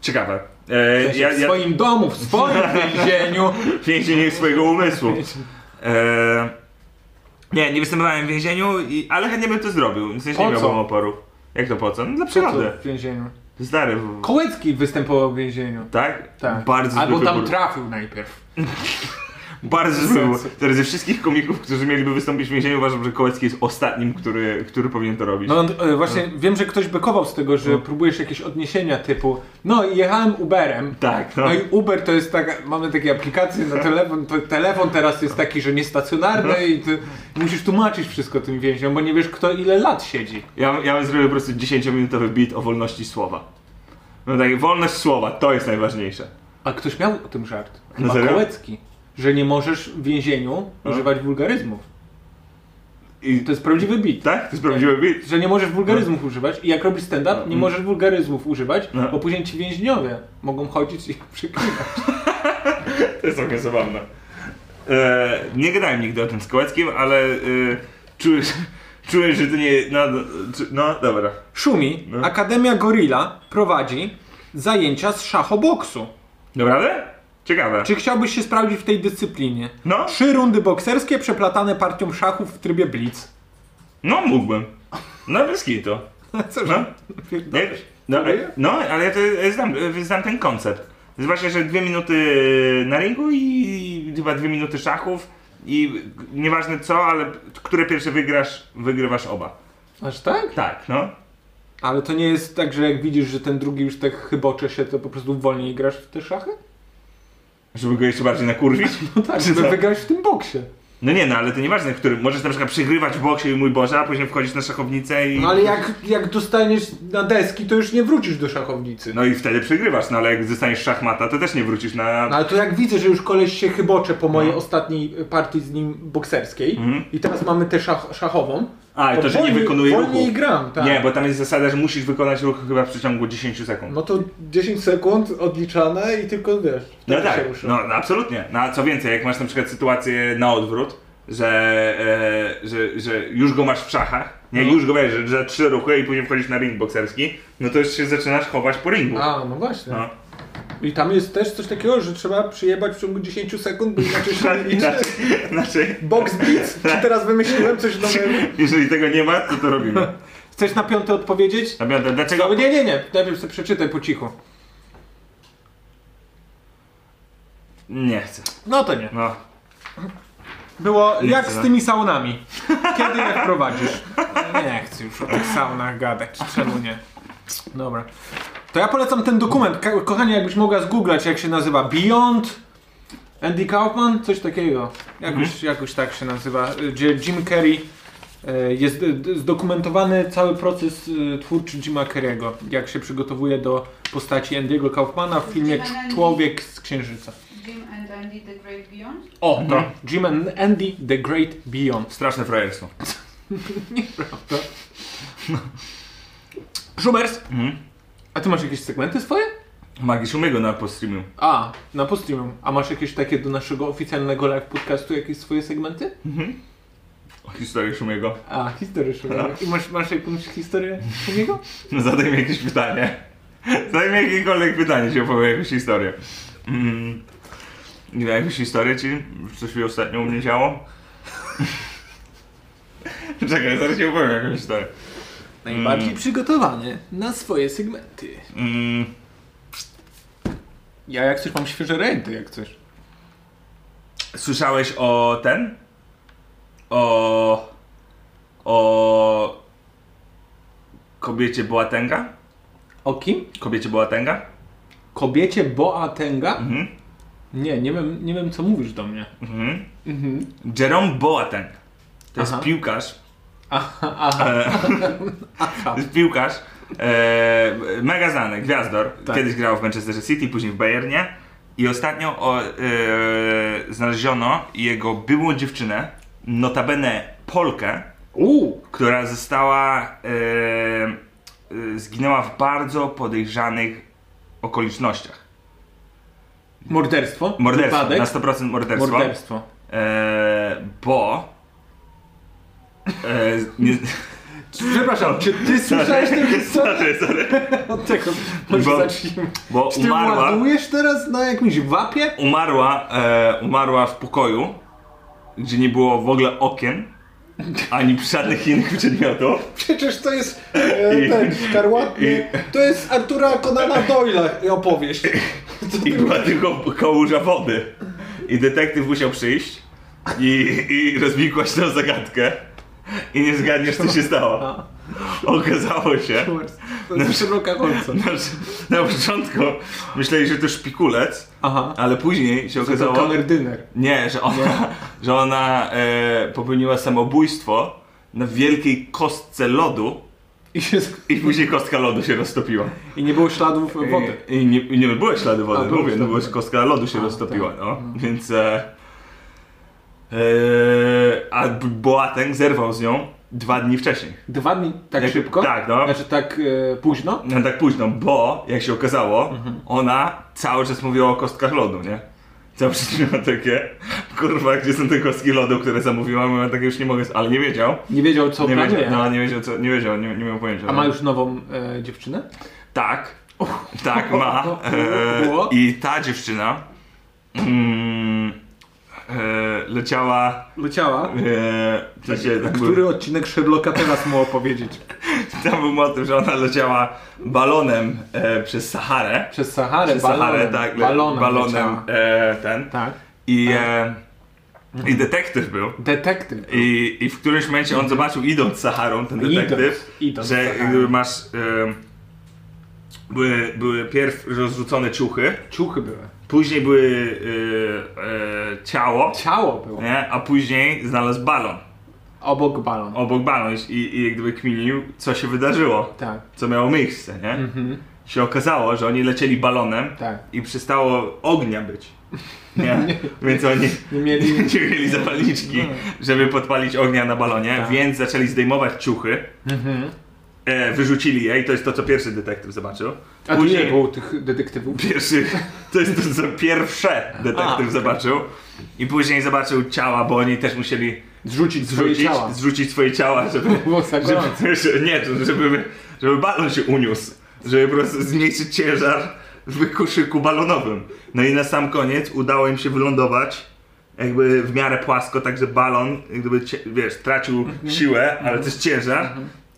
S2: Ciekawe. E,
S4: W
S2: ja, ja
S4: swoim domu, w swoim
S2: (laughs)
S4: więzieniu.
S2: w więzieniu swojego
S4: (laughs)
S2: umysłu. E, nie, nie występowałem w więzieniu, i, ale chętnie bym to zrobił. W sensie
S4: Po
S2: nie
S4: co?
S2: miałbym oporu. Jak to po co? No dla
S4: Co to
S2: przyrody.
S4: w więzieniu?
S2: Zdary. w-
S4: Kołecki występował w więzieniu.
S2: Tak?
S4: Tak.
S2: Bardzo
S4: Albo
S2: zły
S4: tam
S2: wybór.
S4: trafił najpierw.
S2: Bardzo zły.
S4: sensu.
S2: wybór. Teraz ze wszystkich komików, którzy mieliby wystąpić w więzieniu, uważam, że Kołecki jest ostatnim, który, który powinien to robić.
S4: No e, właśnie, wiem, że ktoś bekował z tego, że
S2: No.
S4: próbujesz jakieś odniesienia typu no jechałem Uberem.
S2: Tak, no.
S4: No i Uber to jest taka, mamy takie aplikacje na telefon, to telefon teraz jest taki, że
S2: No.
S4: niestacjonarny i ty musisz tłumaczyć wszystko tym więźniom, bo nie wiesz kto ile lat siedzi.
S2: Ja, ja bym zrobił po prostu 10-minutowy beat o wolności słowa. No tak, wolność słowa, to jest najważniejsze.
S4: A ktoś miał o tym żart.
S2: No
S4: Chyba
S2: serio?
S4: Kołecki. Że nie możesz w więzieniu
S2: No.
S4: używać wulgaryzmów.
S2: I
S4: To jest prawdziwy bit.
S2: tak? To jest prawdziwy beat?
S4: Że nie możesz wulgaryzmów używać i jak robisz stand-up, nie
S2: No.
S4: możesz wulgaryzmów używać,
S2: No.
S4: bo później ci więźniowie mogą chodzić i (laughs) przykrywać.
S2: To jest całkiem zabawne. E, nie gadałem nigdy o tym z Kołeckim, ale e, czułeś, czułeś, że to nie... No, no, czy- no dobra.
S4: Szumi,
S2: No.
S4: Akademia Gorilla prowadzi zajęcia z szachoboksu.
S2: Naprawdę? Ciekawe.
S4: Czy chciałbyś się sprawdzić w tej dyscyplinie?
S2: No,
S4: Trzy rundy bokserskie przeplatane partią szachów w trybie blitz. (laughs)
S2: no mógłbym. No bez kitu.
S4: Co
S2: No,
S4: Pierdol-
S2: nie, no,
S4: Próbuję?
S2: no ale ja to znam, e, znam ten koncept. Zwłaszcza, że dwie minuty e, na ringu i chyba dwie minuty szachów i nieważne co, ale które pierwsze wygrasz, wygrywasz oba.
S4: Aż tak?
S2: Tak, no.
S4: Ale to nie jest tak, że jak widzisz, że ten drugi już tak chybocze się, to po prostu wolniej grasz w te szachy?
S2: Żeby go jeszcze bardziej nakurwić.
S4: (laughs) No tak, żeby
S2: Tak.
S4: wygrać w tym boksie.
S2: No nie, no ale to nieważne, w którym. Możesz na przykład przegrywać w boksie i mój Boże, a później wchodzić na szachownicę i...
S4: No ale jak, jak dostaniesz na deski, to już nie wrócisz do szachownicy.
S2: No i wtedy przegrywasz, no ale jak zostaniesz szachmata, to też nie wrócisz na...
S4: No ale to jak widzę, że już koleś się chybocze po mojej ostatniej partii z nim bokserskiej
S2: No. Mhm.
S4: i teraz mamy tę szach, szachową.
S2: A, i to, że nie
S4: wolniej-
S2: wykonuje ruchu.
S4: wolniej gram, tak.
S2: Nie, bo tam jest zasada, że musisz wykonać ruch chyba w przeciągu 10 sekund.
S4: No to 10 sekund odliczane i tylko wiesz.
S2: No
S4: wtedy
S2: tak,
S4: się rusza.
S2: no, no absolutnie. No a co więcej, jak masz na przykład sytuację na odwrót, że, e, że, że już go masz w szachach, nie,
S4: No.
S2: już go wiesz, że, że trzy ruchy i później wchodzisz na ring bokserski, no to już się zaczynasz chować po ringu.
S4: A, no właśnie.
S2: No. (laughs)
S4: I tam jest też coś takiego, że trzeba przyjebać w ciągu 10 sekund, bo inaczej się nie
S2: (laughs)
S4: liczy.
S2: Inaczej, inaczej,
S4: Box beats? Czy teraz wymyśliłem coś
S2: (laughs)
S4: nowego?
S2: jeżeli tego nie ma, to to
S4: (laughs)
S2: robimy.
S4: Chcesz na piąte odpowiedzieć?
S2: Naprawdę, dlaczego...
S4: No, nie, nie, nie. Najpierw sobie przeczytaj po cichu.
S2: Nie chcę,
S4: No to nie.
S2: no.
S4: Było
S2: Nie
S4: jak
S2: chcę.
S4: z tymi saunami. Kiedy je wprowadzisz? Nie chcę już o tych saunach gadać. Czemu nie? Dobra. To ja polecam ten dokument. Ko- Kochanie, jakbyś mogła zgooglać, jak się nazywa. Beyond Andy Kaufman? Coś takiego. Jakoś, jakoś tak się nazywa. Gdzie Jim Carrey e, jest e, d- zdokumentowany cały proces e, twórczy Jima Carrey'ego. Jak się przygotowuje do postaci Andy'ego Kaufmana w filmie
S5: Jim and Andy.
S4: Człowiek z Księżyca.
S5: Jim and Andy The Great Beyond?
S4: O, to. Jim and Andy The Great Beyond.
S2: Straszne frajerstwo.
S4: Szumers,
S2: Mhm.
S4: a ty masz jakieś segmenty swoje?
S2: Magii Szumiego na postreamiu.
S4: A, na postreamem. A masz jakieś takie do naszego oficjalnego live podcastu jakieś swoje segmenty?
S2: O historii Szumiego.
S4: A, historię Szumera. I masz, masz jakąś historię Szumiego?
S2: No zadaj mi jakieś pytanie. Zadaj mi jakiekolwiek pytanie, ci opowiem jakąś historię. Mm. Nie wiem, jakąś historię ci? Coś mi ostatnio u mnie działo? (laughs) Czekaj, zaraz ci opowiem jakąś historię.
S4: Najbardziej przygotowany na swoje segmenty.
S2: Mm.
S4: Ja jak coś mam świeże renty, jak coś.
S2: Słyszałeś o ten? O... O... Kobiecie Boatenga?
S4: O kim?
S2: Kobiecie Boatenga?
S4: Kobiecie Boatenga?
S2: Mhm.
S4: Nie, nie wiem, nie wiem co mówisz do mnie.
S2: Mhm.
S4: Mhm.
S2: Jerome Boateng. To jest
S4: Aha.
S2: piłkarz.
S4: Aha, aha.
S2: E, (laughs) to jest piłkarz. E, mega znany, gwiazdor.
S4: Tak.
S2: Kiedyś grał w Manchesterze City, później w Bayernie. I ostatnio o, e, znaleziono jego byłą dziewczynę, notabene Polkę,
S4: Uuu.
S2: która została. E, e, zginęła w bardzo podejrzanych okolicznościach.
S4: Morderstwo?
S2: Morderstwo,
S4: Wypadek?
S2: na 100% morderstwo.
S4: Morderstwo.
S2: E, bo. E, nie,
S4: Przepraszam, czy
S2: (laughs)
S4: ty
S2: Tak.
S4: słyszałeś tę historię?
S2: sorry, sorry.
S4: Od tego może
S2: Bo-
S4: zacznijmy.
S2: Bo
S4: Czy ty
S2: umarła.
S4: ładujesz teraz na jakimś wapie?
S2: umarła, e, umarła w pokoju, gdzie nie było w ogóle okien, ani żadnych innych przedmiotów.
S4: Przecież to jest e,
S2: I-
S4: ten szkarłatny. To jest Artura Conana Doyle'a
S2: (laughs)
S4: opowieść.
S2: I była tylko kałuża wody. I detektyw musiał przyjść i, i rozwikłać tę zagadkę. I nie zgadniesz, co się stało. Okazało się,
S4: To
S2: No.
S4: jest Sherlocka Holmesa.
S2: na, na początku myśleli, że to szpikulec,
S4: Aha.
S2: ale później się
S4: To jest
S2: okazało...
S4: kamerdyner.
S2: Nie, że ona, (laughs) że ona e, popełniła samobójstwo na wielkiej kostce lodu
S4: I, się,
S2: i później kostka lodu się roztopiła.
S4: I nie było śladów wody.
S2: I, i, nie, i nie było śladu wody,
S4: A, było
S2: mówię, no
S4: ślady
S2: bo
S4: wody.
S2: kostka lodu się
S4: A,
S2: roztopiła,
S4: tak.
S2: no. Więc... E, e, a B- Boateng zerwał z nią dwa dni wcześniej.
S4: Dwa dni tak
S2: Jak-
S4: szybko?
S2: Tak, no.
S4: Znaczy tak e, późno?
S2: No tak późno, bo jak się okazało,
S4: Mhm.
S2: ona cały czas mówiła o kostkach lodu, nie? Cały czas (laughs) miała takie, kurwa, gdzie są te kostki lodu, które zamówiłam, ja takie już nie mogę, ale nie wiedział.
S4: Nie wiedział co
S2: nie wiedział,
S4: planuje.
S2: no, nie wiedział, co, nie wiedział, nie, nie miał pojęcia.
S4: A ma już nową e, dziewczynę?
S2: Tak, tak
S4: (laughs)
S2: ma.
S4: O,
S2: E,
S4: było?
S2: I ta dziewczyna mm, e, leciała,
S4: Leciała.
S2: e, w sensie, tak był-
S4: Który odcinek Sherlocka teraz mu opowiedzieć?
S2: (laughs) tam był motyw, że ona leciała balonem e, przez Saharę.
S4: Przez Saharę,
S2: Przez Saharę,
S4: balonem.
S2: tak, le-
S4: balonem.
S2: balonem
S4: leciała.
S2: e, ten.
S4: Tak.
S2: I, e, I detektyw był.
S4: Detektyw.
S2: I, I w którymś momencie on zobaczył, idąc Saharą, ten
S4: Idąc,
S2: detektyw,
S4: idąc
S2: że
S4: Saharą.
S2: jakby masz. E, były, były pierw rozrzucone ciuchy,
S4: Ciuchy były.
S2: Później były e, e, ciało,
S4: Ciało było.
S2: nie? a później znalazł balon.
S4: Obok balon.
S2: Obok balon i, i jak gdyby kminił, co się wydarzyło,
S4: Tak.
S2: co miało miejsce, nie?
S4: Mhm.
S2: Się okazało, że oni lecieli balonem
S4: Tak.
S2: i przestało ognia być.
S4: (laughs)
S2: Nie? Więc oni
S4: Nie
S2: (laughs)
S4: mieli... No.
S2: nie mieli zapalniczki, żeby podpalić ognia na balonie,
S4: Tak.
S2: więc zaczęli zdejmować ciuchy.
S4: Mhm.
S2: E, wyrzucili je i to jest to, co pierwszy detektyw zobaczył.
S4: A tu nie było tych detektywów.
S2: Pierwszy, (laughs) to jest to, co pierwsze detektyw
S4: (laughs) A.
S2: zobaczył. I później zobaczył ciała, bo oni też musieli
S4: Zrzucić swoje
S2: zrzucić,
S4: ciała.
S2: zrzucić swoje ciała, żeby,
S4: Było zagrożone.
S2: (laughs) żeby, że- nie, żeby, żeby balon się uniósł, żeby po prostu zmniejszyć ciężar w koszyku balonowym. No i na sam koniec udało im się wylądować jakby w miarę płasko, tak że balon jakby, cie- wiesz, tracił siłę, ale też ciężar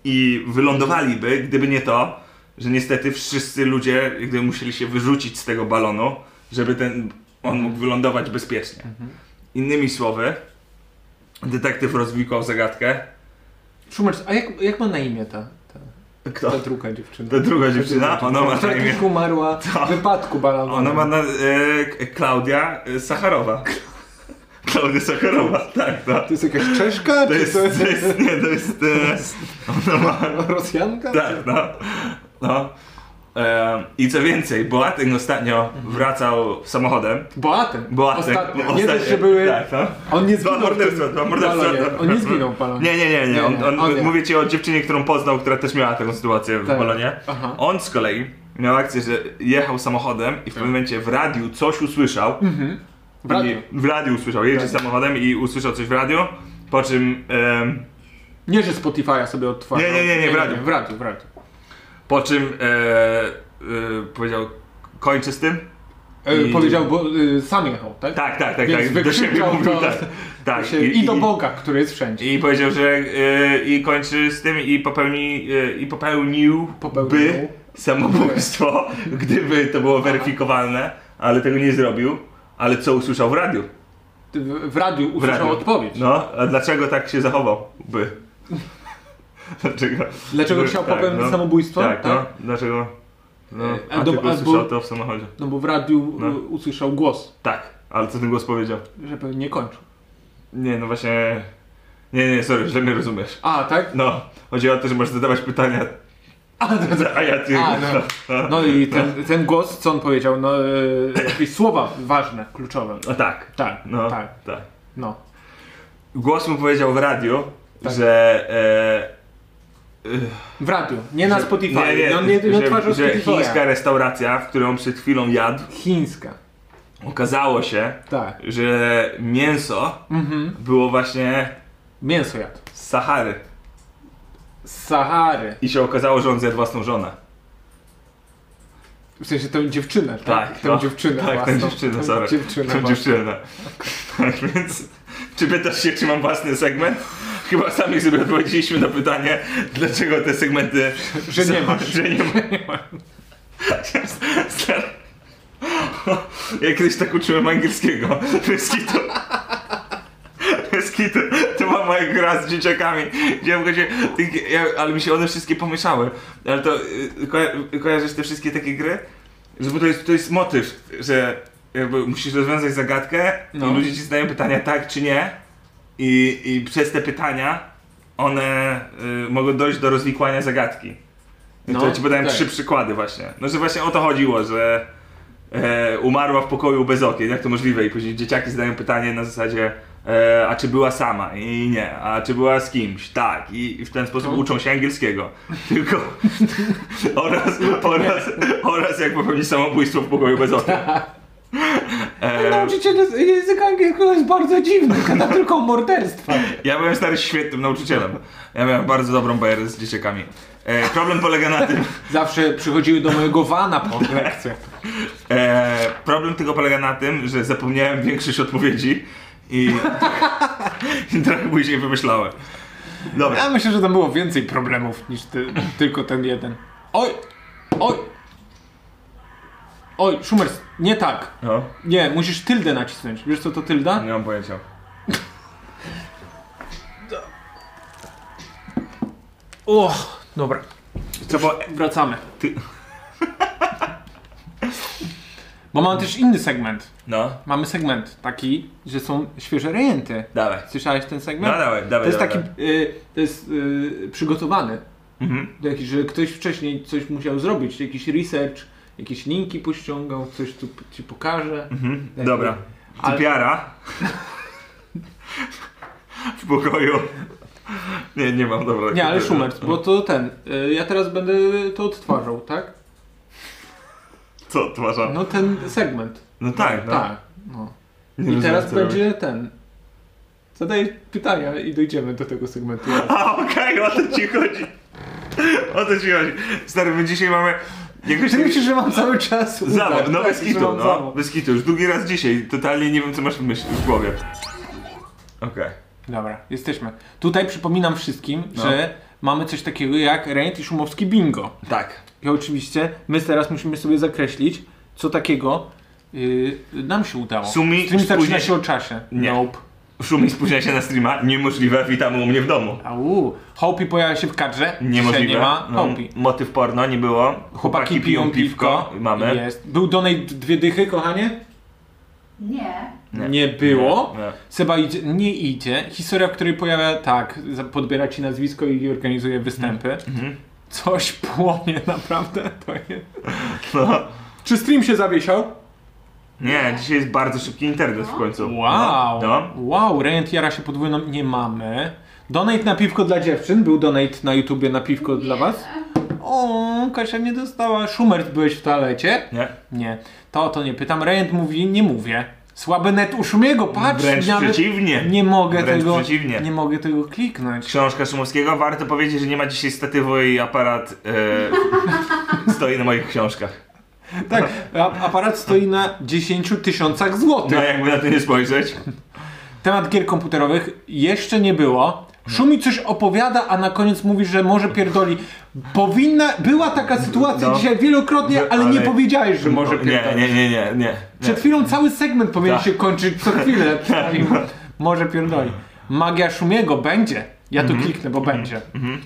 S2: i wylądowaliby, gdyby nie to, że niestety wszyscy ludzie jakby musieli się wyrzucić z tego balonu, żeby ten, on mógł wylądować bezpiecznie. Innymi słowy, detektyw rozwikłał zagadkę.
S4: Szumacz, a jak, jak ma na imię ta, ta,
S2: Kto?
S4: ta druga dziewczyna?
S2: Ta druga dziewczyna,
S4: znaczy,
S2: ona ma na
S4: Która
S2: imię.
S4: dziś umarła
S2: To.
S4: w wypadku balonowym.
S2: Ona ma na. E, K- Klaudia e, Sacharowa. Klaudia Sacharowa, tak, no.
S4: To jest jakaś Czeszka?
S2: To
S4: czy
S2: jest.
S4: to
S2: To jest nie, to jest. E, ona ma.
S4: Rosjanka?
S2: Tak, no. no. E, I co więcej, Boateng ostatnio wracał samochodem.
S4: Boatem.
S2: Boateng.
S4: Ostatnio. Mhm. Nie dość, że były...
S2: Tak, no.
S4: On nie
S2: Dwa
S4: zginął. w tym
S2: morderstwa, dwa morderstwa.
S4: balonie.
S2: dwa-
S4: On nie zginął w balonie.
S2: Nie, nie, nie, nie.
S4: Nie,
S2: On,
S4: nie,
S2: on,
S4: on nie.
S2: mówię ci o dziewczynie, którą poznał, która też miała taką sytuację w
S4: Tak.
S2: balonie.
S4: Aha.
S2: On z kolei miał akcję, że jechał samochodem i w pewnym momencie w radiu coś usłyszał.
S4: Mhm. Tak. W radiu. Tak.
S2: I w radiu usłyszał. Jedzie
S4: radiu.
S2: samochodem i usłyszał coś w radiu, po czym, em,
S4: Nie, że Spotify'a sobie odtwarzał.
S2: Nie, nie, nie, nie, w radiu.
S4: W radiu, w radiu.
S2: po czym e, e, powiedział kończę z tym.
S4: E,
S2: I-
S4: Powiedział, bo e, sam jechał, tak?
S2: Tak, tak, tak,
S4: Więc
S2: tak. Do siebie
S4: wykrzyczał
S2: mówił
S4: to-
S2: tak. tak.
S4: Się, I, do Boga, który jest wszędzie.
S2: I powiedział, że y, i kończy z tym i popełni y, i popełnił
S4: Popełnił.
S2: by samobójstwo, (laughs) gdyby to było weryfikowalne, ale tego nie zrobił. Ale co usłyszał w radiu?
S4: W, w radiu
S2: W
S4: usłyszał
S2: radiu.
S4: odpowiedź.
S2: No, a dlaczego tak się zachował? By. Dlaczego?
S4: Dlaczego
S2: By-
S4: chciał popełnić
S2: no.
S4: samobójstwo?
S2: Tak,
S4: Tak.
S2: no. Dlaczego? No,
S4: E,
S2: a
S4: do-
S2: tylko
S4: a
S2: usłyszał
S4: bo-
S2: to w samochodzie.
S4: No bo w radiu
S2: No.
S4: e, usłyszał głos,
S2: Tak, ale co ten głos powiedział?
S4: że pewnie nie kończył.
S2: Nie, no właśnie... Nie, nie, sorry, źle mnie rozumiesz.
S4: A, tak?
S2: No, chodzi o to, że możesz zadawać pytania (laughs)
S4: A, no,
S2: A ja ty.
S4: A, no. no i ten, ten głos, co on powiedział, no e, jakieś słowa ważne, kluczowe.
S2: No tak.
S4: Tak,
S2: No,
S4: tak,
S2: tak.
S4: no.
S2: Głos mu powiedział w radiu,
S4: Tak.
S2: że.
S4: W radiu, nie na
S2: E,
S4: Spotify. no, nie, nie
S2: że,
S4: odtwarzał
S2: że
S4: Spotify'a.
S2: chińska restauracja, w którą przed chwilą jadł,
S4: Chińska,
S2: okazało się,
S4: tak.
S2: że mięso
S4: Mhm.
S2: było właśnie
S4: Mięso jadł.
S2: z Sahary.
S4: Z Sahary.
S2: I się okazało, że on zjadł własną żonę.
S4: W sensie tę dziewczynę, tak? tę
S2: no.
S4: dziewczynę
S2: Tak,
S4: własną.
S2: tę dziewczynę,
S4: Tę
S2: sorry.
S4: dziewczynę
S2: Tą
S4: własną.
S2: dziewczynę. (laughs) Tak więc, czy pytasz się, czy mam własny segment? Chyba sami sobie odpowiedzieliśmy na pytanie, dlaczego te segmenty...
S4: Że nie
S2: są-
S4: masz.
S2: (laughs) Że nie ma. Stary. Ja kiedyś tak uczyłem angielskiego. Meskitu. Meskitu. To mama jak gra z dzieciakami. Gdzie się, ja, ale mi się one wszystkie pomieszały. Ale to y, koja- kojarzysz te wszystkie takie gry? Że bo to jest, to jest motyw, że jakby musisz rozwiązać zagadkę
S4: No.
S2: i ludzie ci zadają pytania tak czy nie i, i przez te pytania one y, mogą dojść do rozwikłania zagadki. No,
S4: No,
S2: to ja ci podałem
S4: tak.
S2: trzy przykłady właśnie. No że właśnie o to chodziło, że e, umarła w pokoju bez okien, jak to możliwe i później dzieciaki zadają pytanie na zasadzie e, a czy była sama? I nie. A czy była z kimś? Tak. I, i w ten sposób
S4: No.
S2: uczą się angielskiego. (laughs) Tylko (laughs) oraz, oraz, oraz jak popełnić samobójstwo w pokoju bez okien.
S4: (laughs)
S2: E,
S4: No, Nauczyciel języ- języka angielskiego jest bardzo dziwny, gada tylko o morderstwach.
S2: ja byłem stary świetnym nauczycielem. Ja miałem bardzo dobrą bajerę z dzieciakami. E, problem polega na tym,
S4: Zawsze przychodziły do mojego wana po lekcjach.
S2: E, problem tego polega na tym, że zapomniałem większość odpowiedzi i, (laughs) i trochę później wymyślałem. Dobra.
S4: Ja myślę, że tam było więcej problemów niż ty, tylko ten jeden. Oj! Oj! Oj, Szumers, nie tak.
S2: No,
S4: Nie, musisz tyldę nacisnąć. Wiesz co to tylda?
S2: nie mam pojęcia.
S4: Och, dobra.
S2: Co bo,
S4: Wracamy.
S2: Ty-
S4: Bo mam też inny segment.
S2: No,
S4: Mamy segment taki, że są świeże rejenty.
S2: dawaj.
S4: Słyszałeś ten segment?
S2: No dawaj, dawaj.
S4: To jest
S2: dawaj.
S4: taki, y, to jest y, przygotowany,
S2: Mhm.
S4: do jakiś, że ktoś wcześniej coś musiał zrobić, jakiś research, jakieś linki pościągał, coś tu p- ci pokaże.
S2: Mhm.
S4: Taki-
S2: Dobra.
S4: Ale- (laughs)
S2: Typiara. w pokoju. Nie, nie mam, dobra.
S4: Nie, ale Schumert, bo to ten, y, ja teraz będę to odtwarzał, tak?
S2: Co, twarza? No,
S4: No ten segment.
S2: tak, no.
S4: Tak. No.
S2: Nie
S4: I
S2: rozumiem,
S4: teraz
S2: co robisz.
S4: będzie ten. Zadaj pytania i dojdziemy do tego
S2: (laughs)
S4: segmentu.
S2: A, okej, o to ci chodzi. O to ci chodzi. Stary, my dzisiaj mamy... Jakoś
S4: Czy
S2: taki-
S4: myślisz, że mam cały czas?
S2: Zawód, no
S4: Tak,
S2: bez
S4: że
S2: kitu,
S4: mam
S2: no.
S4: zawód.
S2: Bez kitu, już drugi raz dzisiaj. Totalnie nie wiem, co masz w, myśl, w głowie. Okej.
S4: Dobra, jesteśmy. Tutaj przypominam wszystkim,
S2: No.
S4: że mamy coś takiego jak Rejent i Szumowski Bingo.
S2: Tak.
S4: I oczywiście my teraz musimy sobie zakreślić, co takiego yy, nam się udało.
S2: Sumi-
S4: Z tym zaczyna
S2: spóźnia-
S4: się o czasie.
S2: Nie.
S4: Nope.
S2: Szumi spóźnia się na streama. Niemożliwe, witam u mnie w domu.
S4: Au. Hopi pojawia się w kadrze.
S2: Niemożliwe.
S4: Dzisiaj nie ma
S2: No,
S4: Hopi.
S2: motyw porno nie było.
S4: Chłopaki piją piwko.
S2: Mamy.
S4: Jest. Był donej dwie dychy, kochanie?
S5: Nie.
S2: Nie.
S4: Nie było.
S2: Nie, nie.
S4: Seba idzie, nie idzie. Historia, w której pojawia, tak, za- podbiera ci nazwisko i organizuje występy.
S2: Mhm.
S4: Coś płonie, (laughs) naprawdę. To jest.
S2: No.
S4: Czy stream się zawiesiał?
S2: nie, dzisiaj jest bardzo szybki internet w końcu.
S4: Wow.
S2: No.
S4: Wow, rent jara się podwójną nie mamy. Donate na piwko dla dziewczyn. Był donate na YouTubie na piwko dla was. O, Kasia nie dostała. Szumert byłeś w toalecie?
S2: Nie.
S4: Nie. To o to nie pytam. Rent mówi, nie mówię. Słaby net u Szumiego, patrz.
S2: Wręcz
S4: nawet
S2: przeciwnie.
S4: Nie mogę
S2: Wręcz
S4: tego.
S2: przeciwnie.
S4: Nie mogę tego kliknąć.
S2: Książka Szumowskiego. Warto powiedzieć, że nie ma dzisiaj statywu i aparat e, (laughs) stoi na moich książkach.
S4: Tak, a- aparat stoi na 10 tysiącach złotych.
S2: No jakby na to nie spojrzeć.
S4: Temat gier komputerowych jeszcze nie było. Szumi coś opowiada, a na koniec mówi, że może pierdoli. Powinna, była taka sytuacja
S2: No.
S4: dzisiaj wielokrotnie, ale, nie powiedziałeś, że może
S2: Nie,
S4: pierdolić.
S2: nie, nie, nie, nie. nie.
S4: Przed chwilą cały segment powinien
S2: Tak.
S4: się kończyć co
S2: (laughs)
S4: chwilę. przynajmniej. może pierdoli. Magia Szumiego będzie. Ja tu kliknę, bo będzie.
S2: Mhm.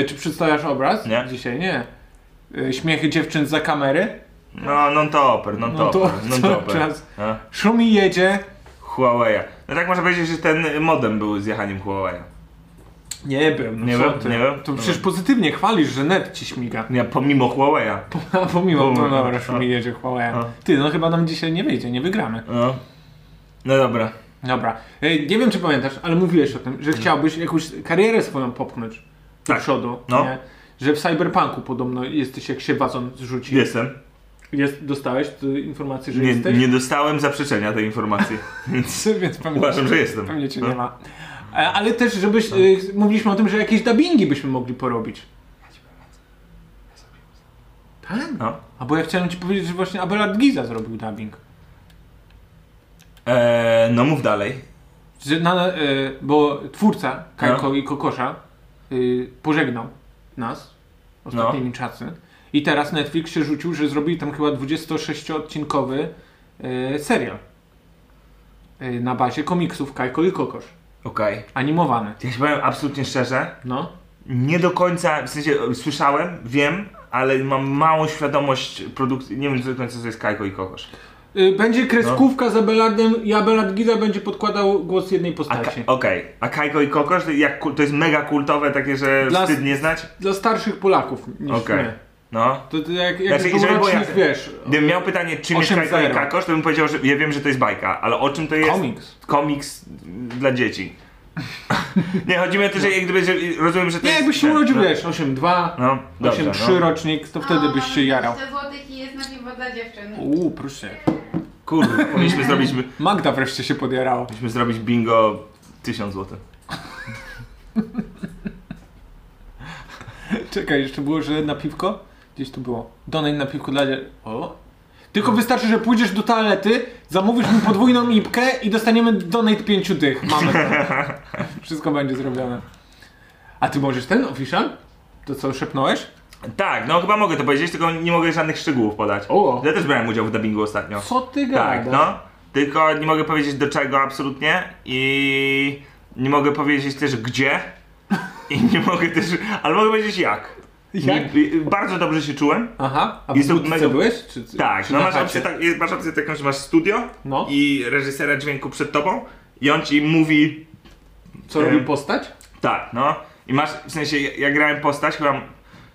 S4: Y, czy przedstawiasz obraz?
S2: Nie.
S4: Dzisiaj nie. Y, śmiechy dziewczyn za kamery.
S2: No, non-topper,
S4: No (laughs) to
S2: non-topper,
S4: cały
S2: non-topper.
S4: czas.
S2: No.
S4: Szumi jedzie.
S2: Huawei'a. No tak można powiedzieć, że ten modem był zjechaniem Huawei'a.
S4: Nie był. No
S2: Nie
S4: co
S2: był,
S4: ty?
S2: nie był.
S4: To przecież pozytywnie chwalisz, że net ci śmiga.
S2: Nie, pomimo Huawei'a.
S4: A pomimo, no
S2: Dobra.
S4: dobra, szumi jedzie, chwała.
S2: A.
S4: Ty, no chyba nam dzisiaj nie wyjdzie, nie wygramy.
S2: No. No dobra.
S4: Dobra, Ej, nie wiem czy pamiętasz, ale mówiłeś o tym, że chciałbyś jakąś karierę swoją popchnąć do
S2: Tak.
S4: przodu,
S2: No.
S4: nie? Że w Cyberpunku podobno jesteś jak się wazon zrzuci.
S2: Jestem.
S4: Jest, dostałeś tu informację, że
S2: Nie,
S4: jesteś?
S2: nie dostałem zaprzeczenia tej informacji. Więc
S4: (laughs) Więc pewnie,
S2: uważam, że jestem.
S4: pewnie cię
S2: No.
S4: nie ma. E, Ale też, żebyś, y, mówiliśmy o tym, że jakieś dubbingi byśmy mogli porobić. Tak?
S2: No.
S4: A bo ja chciałem ci powiedzieć, że właśnie Abelard Giza zrobił dubbing.
S2: Eee, no mów dalej.
S4: Że na, e, bo twórca Kajko
S2: No.
S4: i Kokosza y, pożegnał nas ostatnimi
S2: No.
S4: czasy i teraz Netflix się rzucił, że zrobili tam chyba 26-odcinkowy y, serial y, na bazie komiksów Kajko i Kokosz,
S2: Okej.
S4: animowany.
S2: Ja się powiem absolutnie szczerze,
S4: No.
S2: nie do końca, w sensie e, słyszałem, wiem, ale mam małą świadomość produkcji, nie wiem do końca co jest Kajko i Kokosz.
S4: Y, będzie kreskówka z Abelardem i Abelard Giza będzie podkładał głos jednej
S2: No. A Ka-
S4: postaci.
S2: Okej, a Kajko i Kokosz to, jak, ku- to jest mega kultowe, takie, że
S4: Dla-
S2: wstyd nie znać?
S4: Dla starszych Polaków niż
S2: Okej.
S4: my.
S2: No.
S4: To, to jak, jak
S2: Znaczy,
S4: znaczy,
S2: żeby było
S4: dwurocznych,
S2: jasne.
S4: wiesz,
S2: Gdybym miał pytanie, czym jest
S4: 8-0.
S2: Kajko i Kokosz, to bym powiedział, że ja wiem, że to jest bajka, ale o czym to jest?
S4: komiks.
S2: komiks dla dzieci. nie, chodzi mi o to, że jak gdyby, że rozumiem, że to
S4: Nie,
S2: jest...
S4: jakbyś się
S2: ten,
S4: urodził,
S2: no,
S4: wiesz, 8-2,
S2: No, dobrze,
S4: 8-3
S2: no.
S4: rocznik, to wtedy byś się jarał.
S5: złotych i jest na piwo dla dziewczyn.
S4: Uuu, proszę.
S2: Kurde, powinniśmy zrobić,
S4: Magda wreszcie się podjarała.
S2: powinniśmy zrobić bingo 1000 zł.
S4: Czekaj, jeszcze było, że na piwko? Gdzieś tu było. Donate na piwko dla... dzie- O. Tylko
S2: Hmm.
S4: wystarczy, że pójdziesz do toalety, zamówisz mi podwójną ipkę i dostaniemy donate pięciu dych.
S2: (laughs)
S4: Mamy to. Wszystko będzie zrobione. A ty możesz ten official? To co szepnąłeś?
S2: Tak, no chyba mogę to powiedzieć, tylko nie mogę żadnych szczegółów podać.
S4: O.
S2: Ja też brałem udział w dubbingu ostatnio.
S4: Co ty
S2: Tak,
S4: gadasz?
S2: no. Tylko nie mogę powiedzieć do czego absolutnie i nie mogę powiedzieć też gdzie i nie mogę też, ale mogę powiedzieć jak.
S4: Jak?
S2: Nie- y, bardzo dobrze się czułem.
S4: Aha, a w
S2: Jestem
S4: budce
S2: mega-
S4: byłeś? Czy, czy,
S2: Tak,
S4: czy
S2: no
S4: na
S2: masz
S4: chacie?
S2: opcję, tak, jest- masz opcję taką, że masz studio
S4: No.
S2: i reżysera dźwięku przed tobą i on ci mówi
S4: Co robi
S2: Em,
S4: postać?
S2: tak, no. I masz, w sensie, ja, ja grałem postać, chyba,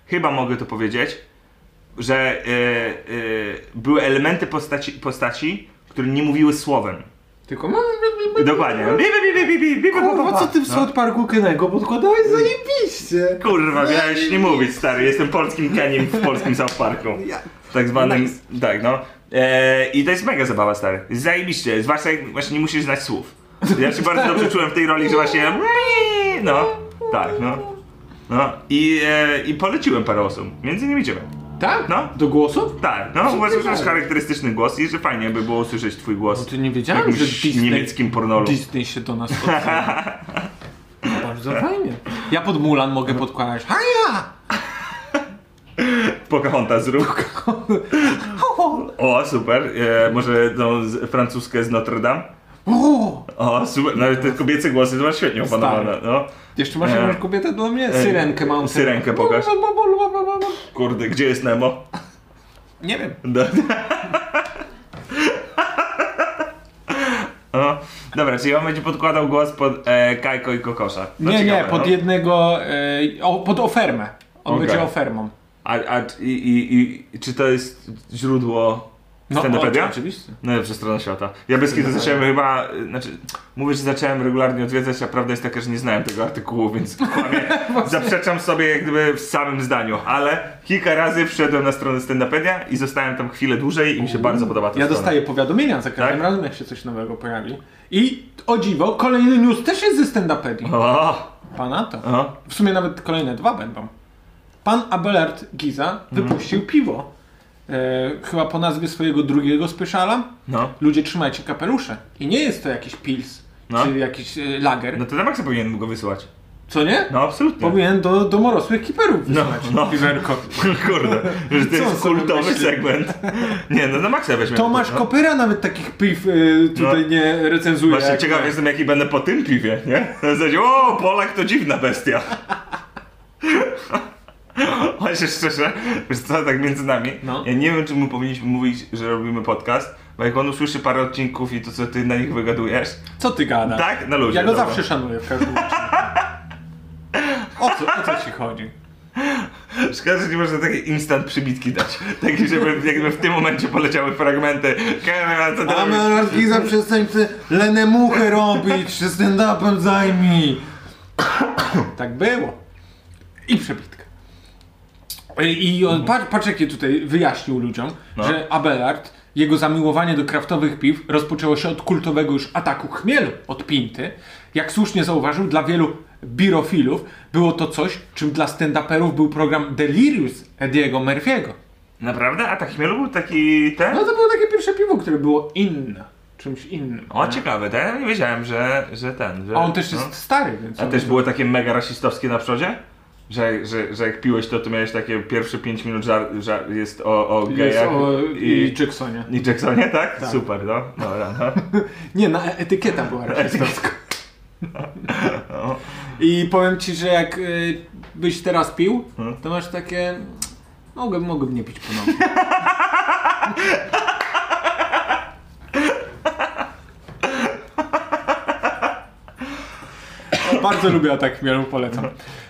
S2: chyba mogę to powiedzieć, że y, y, były elementy postaci, postaci, które nie mówiły słowem.
S4: Tylko no,
S2: Dokładnie. Bi, bi, bi, bi, bi, bi, bi,
S4: Kurwa, co ty
S2: No.
S4: w South Parku Kenego podkładałeś? Zajebiście!
S2: Kurwa, miałeś nie mówić, stary. Jestem polskim Keniem w polskim South Parku. Tak zwanym. Tak, no. Eee, I to jest mega zabawa, stary. Zajebiście. Zwłaszcza jak właśnie nie musisz znać słów. Ja się bardzo dobrze czułem w tej roli, że właśnie. No, tak, no. No i, e, i poleciłem parę osób. Między innymi ciebie.
S4: Tak?
S2: No.
S4: Do głosu?
S2: Tak, no uważam, że masz charakterystyczny głos i że fajnie by było usłyszeć twój głos.
S4: Bo ty No nie
S2: w
S4: wiedziałem, że
S2: jakimś
S4: Disney,
S2: niemieckim pornolu.
S4: Disney się do nas
S2: (laughs)
S4: odzywa. Bardzo fajnie. Ja pod Mulan mogę podkładać. Haja!
S2: Pocahontas zrób. O, super. E, może tą z, francuskę z Notre Dame?
S4: O!
S2: O, super. Nawet te kobiece głosy to masz świetnie opanowane. No.
S4: Jeszcze masz
S2: E.
S4: jakąś kobietę dla mnie? Syrenkę mam.
S2: Syrenkę pokaż. Kurde, gdzie jest Nemo?
S4: Nie wiem.
S2: No. O, dobra, czyli on będzie podkładał głos pod e, Kajko i Kokosza. No
S4: Nie, nie,
S2: ciekawe,
S4: pod
S2: no.
S4: jednego... e, o, Pod ofermę. On
S2: Okej.
S4: będzie ofermą.
S2: A, a i, i, i, czy to jest źródło Standupedia?
S4: No, o, oczywiście.
S2: Najlepsza strona świata. Ja bez kiedy zacząłem chyba, y, znaczy, mówię, że zacząłem regularnie odwiedzać, a prawda jest taka, że nie znałem tego artykułu,
S4: (laughs)
S2: więc kłamie, zaprzeczam sobie jak gdyby w samym zdaniu, ale kilka razy wszedłem na stronę Standupedia i zostałem tam chwilę dłużej i mi się bardzo podoba ta
S4: Ja
S2: strona.
S4: dostaję powiadomienia za każdym
S2: Tak?
S4: razem, jak się coś nowego pojawi. I o dziwo, kolejny news też jest ze stand-upedii.
S2: O,
S4: Pana to.
S2: o,
S4: W sumie nawet kolejne dwa będą. Pan Abelard Giza
S2: Mhm.
S4: wypuścił piwo. E, chyba po nazwie swojego drugiego speciala.
S2: no.
S4: Ludzie trzymajcie kapelusze. I nie jest to jakiś pils,
S2: No.
S4: czy jakiś e, lager.
S2: No to na maksa powinien mu go wysyłać.
S4: Co nie?
S2: No absolutnie.
S4: Powinien do domorosłych kiperów wysłać.
S2: no.
S4: Piwerko.
S2: (laughs) Kurde, że to
S4: Co
S2: jest
S4: on sobie
S2: kultowy
S4: myśli?
S2: segment. Nie, no na maksa weźmie.
S4: Tomasz
S2: no.
S4: Kopyra nawet takich piw e, tutaj
S2: No.
S4: nie recenzuje.
S2: Właśnie
S4: jak
S2: ciekaw
S4: my.
S2: jestem, jaki będę po tym piwie, nie? Na zasadzie, o, Polak to dziwna bestia. (laughs) On się szczerze, wiesz co, tak między nami,
S4: No.
S2: ja nie wiem, czy mu powinniśmy mówić, że robimy podcast, bo jak on usłyszy parę odcinków i to, co ty na nich wygadujesz,
S4: Co ty gadasz?
S2: tak? Na luzie.
S4: Ja go
S2: dobra.
S4: zawsze szanuję w każdym razie. O co, o co ci chodzi?
S2: Szkoda, że nie można takie instant przybitki dać. Takie, żeby jakby w tym momencie poleciały fragmenty. Kamera, co tam?
S4: Giza przestańcy Lenę Muchę robić, się stand-upem zajmij. Tak było. I przebitka. I i on, patrz, patrz jakie tutaj wyjaśnił ludziom,
S2: No.
S4: że Abelard, jego zamiłowanie do kraftowych piw rozpoczęło się od kultowego już ataku chmielu od Pinty. Jak słusznie zauważył, dla wielu birofilów było to coś, czym dla stand-uperów był program Delirious Ediego Murphy'ego.
S2: Naprawdę? A tak chmielu był taki ten?
S4: No to było takie pierwsze piwo, które było inne, czymś innym.
S2: O, ciekawe, ten? Ja nie wiedziałem, że, że ten. Że,
S4: A Tak. on też
S2: no.
S4: jest stary, więc...
S2: A
S4: on-
S2: też było takie mega rasistowskie na przodzie? Że, że, że jak piłeś to, to miałeś takie pierwsze 5 minut żar, żar jest o, o
S4: Jest
S2: gejach
S4: o i
S2: i,
S4: Jacksonie.
S2: i Jacksonie, tak? Super, no. Dobra, no.
S4: (laughs) Nie, na etykieta była rasistowska. I powiem ci, że jak y, byś teraz pił, to masz takie... Mogę, mogę nie pić ponownie. Bardzo lubię atak chmielu, polecam.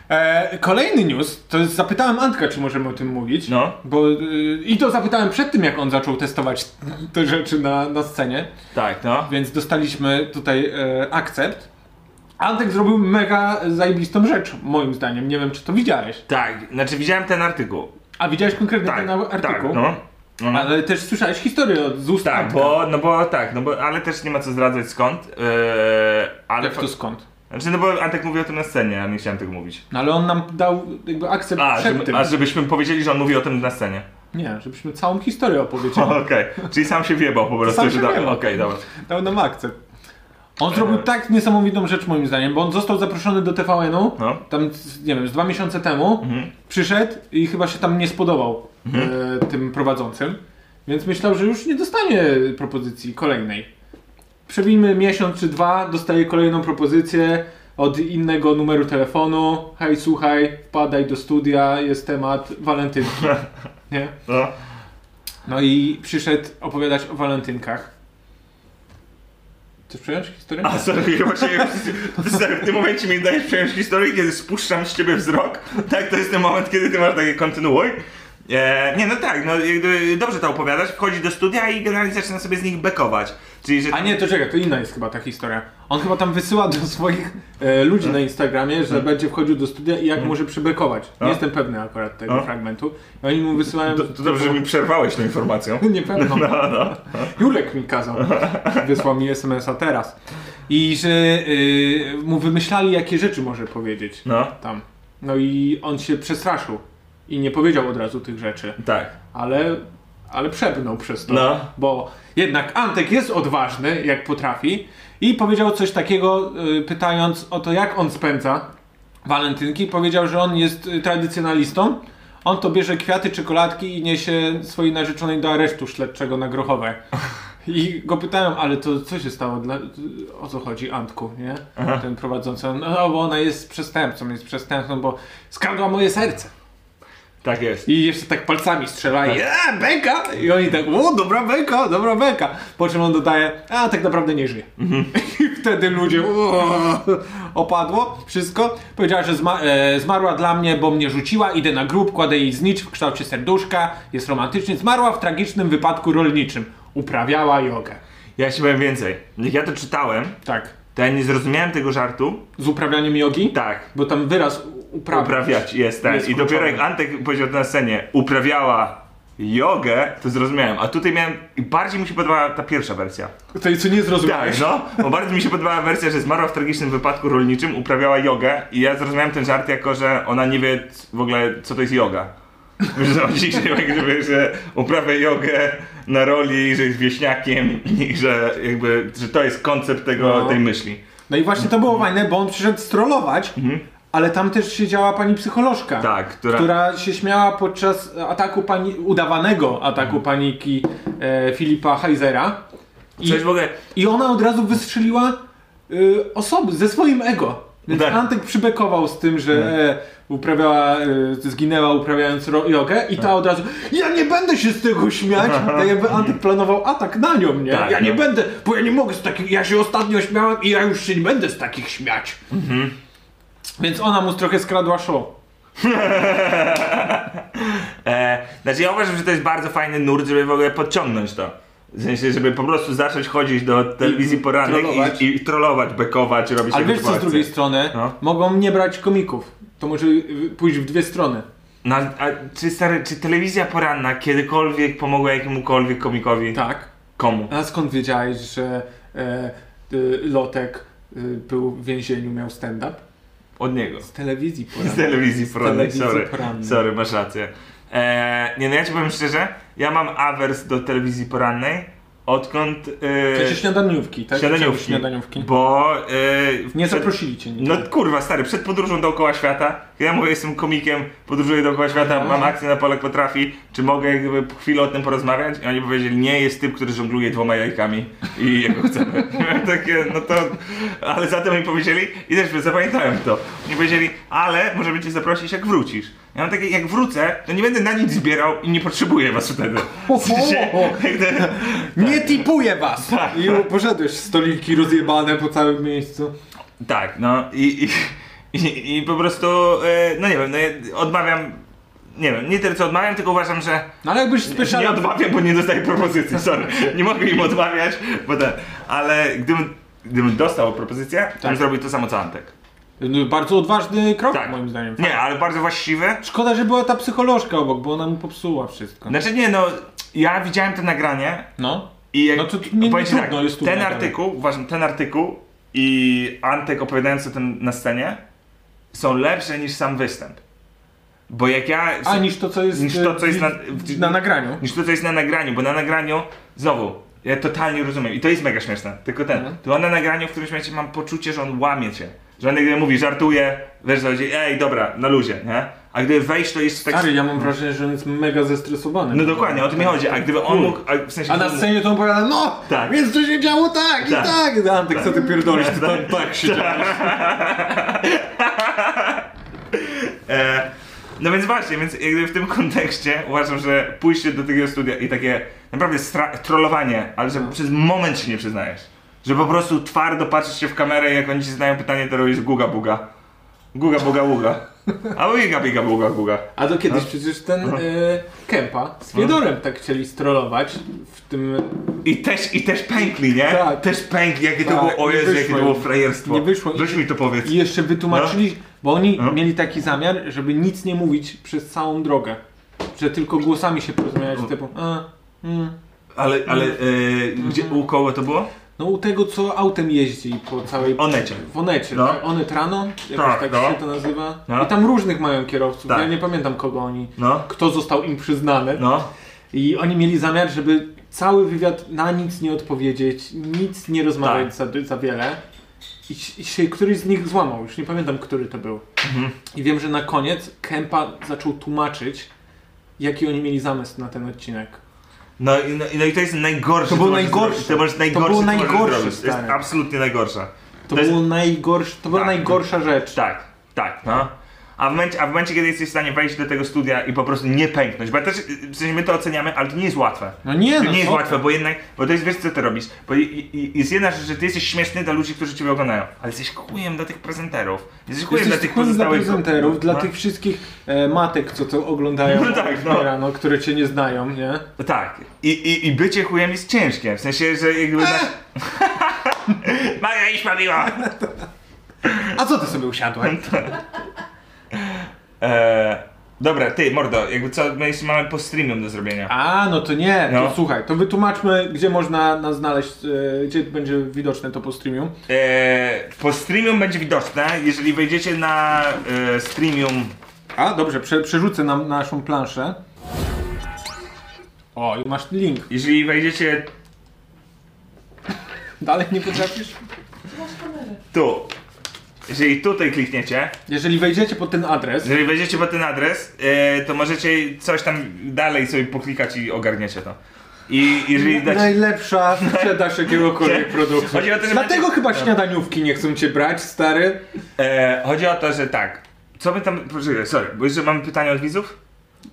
S4: E, kolejny news, to jest, zapytałem Antka, czy możemy o tym mówić.
S2: No.
S4: Bo, y, I to zapytałem przed tym, jak on zaczął testować te rzeczy na, na scenie,
S2: Tak, no.
S4: więc dostaliśmy tutaj e, akcept. Antek zrobił mega zajebistą rzecz, moim zdaniem. Nie wiem, czy to widziałeś.
S2: Tak, znaczy widziałem ten artykuł.
S4: A widziałeś konkretnie
S2: Tak,
S4: ten artykuł?
S2: tak, no. no.
S4: Ale też słyszałeś historię od- z ust
S2: Tak,
S4: Antka.
S2: bo, no bo tak, no bo, ale też nie ma co zdradzać skąd, yy, ale...
S4: Jak to skąd?
S2: Znaczy, no bo Antek mówił o tym na scenie, a nie chciałem tego mówić.
S4: No ale on nam dał jakby akcept
S2: A,
S4: przed
S2: żeby,
S4: tym.
S2: a żebyśmy powiedzieli, że on mówi o tym na
S4: (laughs)
S2: scenie.
S4: Nie, żebyśmy całą
S2: (laughs)
S4: historię opowiedzieli.
S2: Okej, czyli sam się wiebał po prostu.
S4: Sam
S2: że
S4: się
S2: da- Okej,
S4: wiebał.
S2: dobra.
S4: Dał nam akcept. On
S2: E.
S4: zrobił tak niesamowitą rzecz moim zdaniem, bo on został zaproszony do TVN-u,
S2: No.
S4: tam z- nie wiem, z dwa miesiące temu, przyszedł i chyba się tam nie spodobał e, tym prowadzącym, więc myślał, że już nie dostanie propozycji kolejnej. Przewijmy miesiąc czy dwa, dostaje kolejną propozycję, od innego numeru telefonu. Hej, słuchaj, wpadaj do studia, jest temat walentynki. Nie?
S2: No.
S4: No i przyszedł opowiadać o walentynkach. Chcesz przejąć historię?
S2: A sorry, (laughs) właśnie sorry, w tym momencie mi dajesz przejąć historię, kiedy spuszczam z ciebie wzrok. Tak, to jest ten moment, kiedy ty masz takie kontynuuj. E, nie, no tak, no jakby dobrze to opowiadasz, wchodzi do studia i generalnie zaczyna sobie z nich bekować. Czyli, że...
S4: A nie, to czekaj, to inna jest chyba ta historia. On chyba tam wysyła do swoich e, ludzi na Instagramie, że będzie wchodził do studia i jak może przybekować. Nie
S2: Hmm. A?
S4: jestem pewny akurat tego
S2: A?
S4: fragmentu. I oni mu wysyłają...
S2: To, to dobrze, że mi No, przerwałeś tą informacją.
S4: (laughs)
S2: (laughs)
S4: Nie pewno. Julek mi kazał. Wysłał mi SMS-a teraz. I że y, mu wymyślali, jakie rzeczy może powiedzieć
S2: No,
S4: tam. No i on się przestraszył. I nie powiedział od razu tych rzeczy.
S2: tak.
S4: Ale, ale przebnął przez to.
S2: No.
S4: Bo jednak Antek jest odważny, jak potrafi. I powiedział coś takiego, y, pytając o to, jak on spędza walentynki. Powiedział, że on jest y, tradycjonalistą. On to bierze kwiaty, czekoladki i niesie swojej narzeczonej do aresztu śledczego na Grochowe. I go pytałem, ale to co się stało? Dla, o co chodzi Antku, nie? Ten prowadzący, no bo ona jest przestępcą, jest przestępcą, bo skradła moje serce.
S2: Tak jest.
S4: I jeszcze tak palcami strzela i eee, beka! I oni tak, o, dobra beka, dobra beka. Po czym on dodaje, a tak naprawdę nie żyje.
S2: Mhm.
S4: (laughs) I wtedy ludzie, o, opadło wszystko. Powiedziała, że zma- e, zmarła dla mnie, bo mnie rzuciła, idę na grób, kładę jej znicz w kształcie serduszka, jest romantycznie. Zmarła w tragicznym wypadku rolniczym. Uprawiała jogę.
S2: Ja ci powiem więcej. Jak ja to czytałem,
S4: Tak.
S2: to ja nie zrozumiałem tego żartu.
S4: Z uprawianiem jogi?
S2: Tak.
S4: Bo tam wyraz uprawia.
S2: Uprawiać jest, tak.
S4: Jest
S2: I dopiero jak
S4: kluczowy.
S2: Antek powiedział to na scenie, uprawiała jogę, to zrozumiałem. A tutaj miałem, i bardziej mi się podobała ta pierwsza wersja.
S4: To jest co nie zrozumiałeś.
S2: Tak, no. Bo bardziej mi się podobała wersja, że zmarła w tragicznym wypadku rolniczym, uprawiała jogę i ja zrozumiałem ten żart jako, że ona nie wie c- w ogóle, co to jest joga. (laughs) Że on dzisiaj jakby, że uprawia jogę na roli, że jest wieśniakiem i że jakby, że to jest koncept tego,
S4: No.
S2: tej myśli.
S4: No i właśnie to było fajne, bo on przyszedł strollować, ale tam też siedziała pani psycholożka.
S2: Tak, która-
S4: która się śmiała podczas ataku pani, udawanego ataku paniki e, Filipa Heisera. I,
S2: Coś w ogóle...
S4: I ona od razu wystrzeliła y, osoby ze swoim ego. Więc
S2: Tak.
S4: Antek przybekował z tym, że e, uprawiała, e, zginęła uprawiając ro- jogę
S2: Tak.
S4: i ta od razu ja nie będę się z
S2: (laughs)
S4: tego śmiać, tak jakby Antek planował atak na nią, nie?
S2: Tak,
S4: ja nie
S2: no.
S4: będę, bo ja nie mogę z takich, ja się ostatnio śmiałem i ja już się nie będę z takich śmiać.
S2: Mhm.
S4: Więc ona mu trochę skradła show.
S2: E, znaczy ja uważam, że to jest bardzo fajny nurt, żeby w ogóle podciągnąć to. W sensie, żeby po prostu zacząć chodzić do telewizji porannych
S4: Mhm. trollować.
S2: i, i trollować, bekować, robić
S4: Ale
S2: jakieś
S4: wiesz co z
S2: akcje.
S4: drugiej strony?
S2: No.
S4: Mogą nie brać komików. To może y, pójść w dwie strony.
S2: No, a czy stary, czy telewizja poranna kiedykolwiek pomogła jakiemukolwiek komikowi?
S4: Tak.
S2: Komu?
S4: A skąd wiedziałeś, że e, y, Lotek y, był w więzieniu, miał stand-up?
S2: Od niego.
S4: Z telewizji
S2: (laughs) Z
S4: porannej.
S2: telewizji porannej,
S4: telewizji
S2: sorry.
S4: porannej.
S2: Sorry, masz rację. E, nie no, ja ci powiem szczerze, ja mam awers do telewizji porannej, odkąd... E,
S4: W sensie śniadaniówki, tak?
S2: śniadaniówki.
S4: śniadaniówki.
S2: Bo... E,
S4: Nie
S2: przed-
S4: zaprosili cię nigdy.
S2: No kurwa, stary, przed podróżą dookoła świata, ja mówię, jestem komikiem, podróżuję dookoła świata, mam akcję na Polak Potrafi, czy mogę jakby po chwilę o tym porozmawiać? I oni powiedzieli, nie, jest typ, który żongluje dwoma jajkami i jego chcemy. I miałem takie, no to... Ale zatem mi powiedzieli, i też zapamiętałem to, oni powiedzieli, ale możemy cię zaprosić, jak wrócisz. Ja mam takie, jak wrócę, to nie będę na nic zbierał i nie potrzebuję was wtedy. W sensie, jakby-
S4: Nie tipuję was! I poszedłeś w stoliki rozjebane po całym miejscu.
S2: Tak, no i, (laughs) i, i, i po prostu, e, no nie wiem, no ja odmawiam, nie wiem, nie tyle co odmawiam, tylko uważam, że
S4: No ale jakbyś
S2: nie
S4: specjalnie...
S2: odmawiam, bo nie dostaję propozycji,
S4: (laughs)
S2: sorry, nie mogę im odmawiać, bo ten, ale gdybym, gdybym dostał propozycję, to
S4: Tak.
S2: bym zrobił to samo co Antek.
S4: No, Bardzo odważny krok,
S2: Tak.
S4: moim zdaniem.
S2: Nie, ale bardzo właściwy.
S4: Szkoda, że była ta psycholożka obok, bo ona mu popsuła wszystko.
S2: Znaczy nie, no, ja widziałem to nagranie
S4: No.
S2: i jak,
S4: No to nie- nie
S2: powiem ci
S4: trudno, jest trudno,
S2: ten
S4: tak.
S2: artykuł, uważam, ten artykuł i Antek opowiadający o tym na scenie są lepsze niż sam występ. Bo jak ja...
S4: A niż to, co jest,
S2: niż to,
S4: e,
S2: co jest na- No.
S4: na nagraniu.
S2: niż to, co jest na nagraniu, bo na nagraniu, znowu, Ja totalnie rozumiem i to jest mega śmieszne, tylko ten,
S4: Mhm.
S2: to on na nagraniu w którymś momencie mam poczucie, że on łamie cię. Że on nagle mówi, żartuje, wiesz, że chodzi, ej, dobra, na luzie, nie? A gdy wejść, to jest tak...
S4: Stary, ja mam wrażenie, że on jest mega zestresowany.
S2: No dokładnie, o to mi chodzi, a gdyby on mógł, a w sensie...
S4: Tak, A na scenie to on powiada, no,
S2: Tak.
S4: więc to się działo tak,
S2: Tak.
S4: i tak. Antek, co ty pierdolisz, ty tam
S2: Tak.
S4: tak się działo.
S2: E, no więc właśnie, więc jakby w tym kontekście uważam, że pójście do takiego studia i takie naprawdę stra- trollowanie, ale
S4: No.
S2: że przez moment się nie przyznajesz. Że po prostu twardo patrzysz się w kamerę i jak oni ci zadają pytanie, to robisz guga buga. Guga buga buga. Albo biga biga buga buga.
S4: A do kiedyś przecież
S2: No.
S4: ten y, Kempa z Fiedorem tak chcieli strollować w tym...
S2: I też, i też pękli, nie?
S4: Tak.
S2: Też pękli, jakie to
S4: Tak,
S2: było, o
S4: nie
S2: Jezu, jakie
S4: wyszło
S2: to było
S4: im.
S2: frajerstwo.
S4: Nie wyszło im.
S2: Weź mi to powiedz.
S4: I jeszcze wytłumaczyli, bo oni
S2: No.
S4: mieli taki zamiar, żeby nic nie mówić przez całą drogę. Że tylko głosami się porozmawiać,
S2: No.
S4: typu... A, mm.
S2: Ale, ale, e, gdzie,
S4: Mhm.
S2: u koło to było?
S4: No u tego, co autem jeździ po całej...
S2: Onecie.
S4: W Onecie,
S2: No.
S4: tak? Onet rano, jakoś
S2: Tak,
S4: tak
S2: no.
S4: się to nazywa.
S2: No.
S4: I tam różnych mają kierowców,
S2: Tak.
S4: ja nie pamiętam kogo oni...
S2: No,
S4: Kto został im przyznany.
S2: no.
S4: I oni mieli zamiar, żeby cały wywiad na nic nie odpowiedzieć, nic nie rozmawiać
S2: Tak.
S4: za, za wiele. I, I się któryś z nich złamał, już nie pamiętam, który to był.
S2: Mhm.
S4: I wiem, że na koniec Kempa zaczął tłumaczyć, jaki oni mieli zamysł na ten odcinek.
S2: No i, no, i- no i to jest najgorsze.
S4: To było
S2: co możesz
S4: najgorsze.
S2: zrobić. To, możesz
S4: To
S2: najgorsze,
S4: było
S2: co możesz
S4: najgorsze,
S2: zrobić. To jest
S4: stary.
S2: absolutnie najgorsze.
S4: To,
S2: To jest-
S4: było najgorsz, to była
S2: Tak.
S4: najgorsza rzecz.
S2: Tak, tak, no. A w, momencie, a w momencie, kiedy jesteś w stanie wejść do tego studia i po prostu nie pęknąć, bo ja też, w sensie my to oceniamy, ale to nie jest łatwe.
S4: No nie,
S2: To
S4: no
S2: nie jest
S4: co
S2: łatwe, bo jednak, bo to jest, wiesz co ty robisz, bo i- i- jest jedna rzecz, że ty jesteś śmieszny dla ludzi, którzy ciebie oglądają, ale jesteś chujem dla tych prezenterów, jesteś chujem dla
S4: Jesteś
S2: tych
S4: tylko dla
S2: pozostałych...
S4: prezenterów, dla
S2: no.
S4: tych wszystkich e, matek, co to oglądają
S2: No tak,
S4: od
S2: no.
S4: rano, które cię nie znają, nie?
S2: No Tak. I, i, I bycie chujem jest ciężkie. W sensie, że jakby...
S4: E!
S2: Masz... (laughs) Maja iść bawiła!
S4: A co ty sobie usiadłeś?
S2: Eee, dobra, ty, mordo, jakby co, my jeszcze mamy po streamie do zrobienia.
S4: A, no to nie,
S2: No.
S4: to słuchaj, to wytłumaczmy, gdzie można nas znaleźć, e, gdzie będzie widoczne to po streamiu.
S2: Eee, po streamium będzie widoczne, jeżeli wejdziecie na e, streamium...
S4: A, dobrze, prze, przerzucę nam naszą planszę. O, i masz link.
S2: Jeżeli wejdziecie
S4: Dalej nie potrafisz?
S2: tu, jeżeli tutaj klikniecie,
S4: Jeżeli wejdziecie pod ten adres,
S2: jeżeli wejdziecie pod ten adres, e, to możecie coś tam dalej sobie poklikać i ogarniecie to. I jeżeli dać...
S4: najlepsza sprzedaż jakiegokolwiek produktu.
S2: Chodzi o to, że
S4: Dlatego
S2: będzie- Tak.
S4: chyba śniadaniówki nie chcą cię brać, stary.
S2: E, chodzi o to, że tak. Co my tam... Poczekaj, sorry, bo jeszcze mamy pytania od widzów?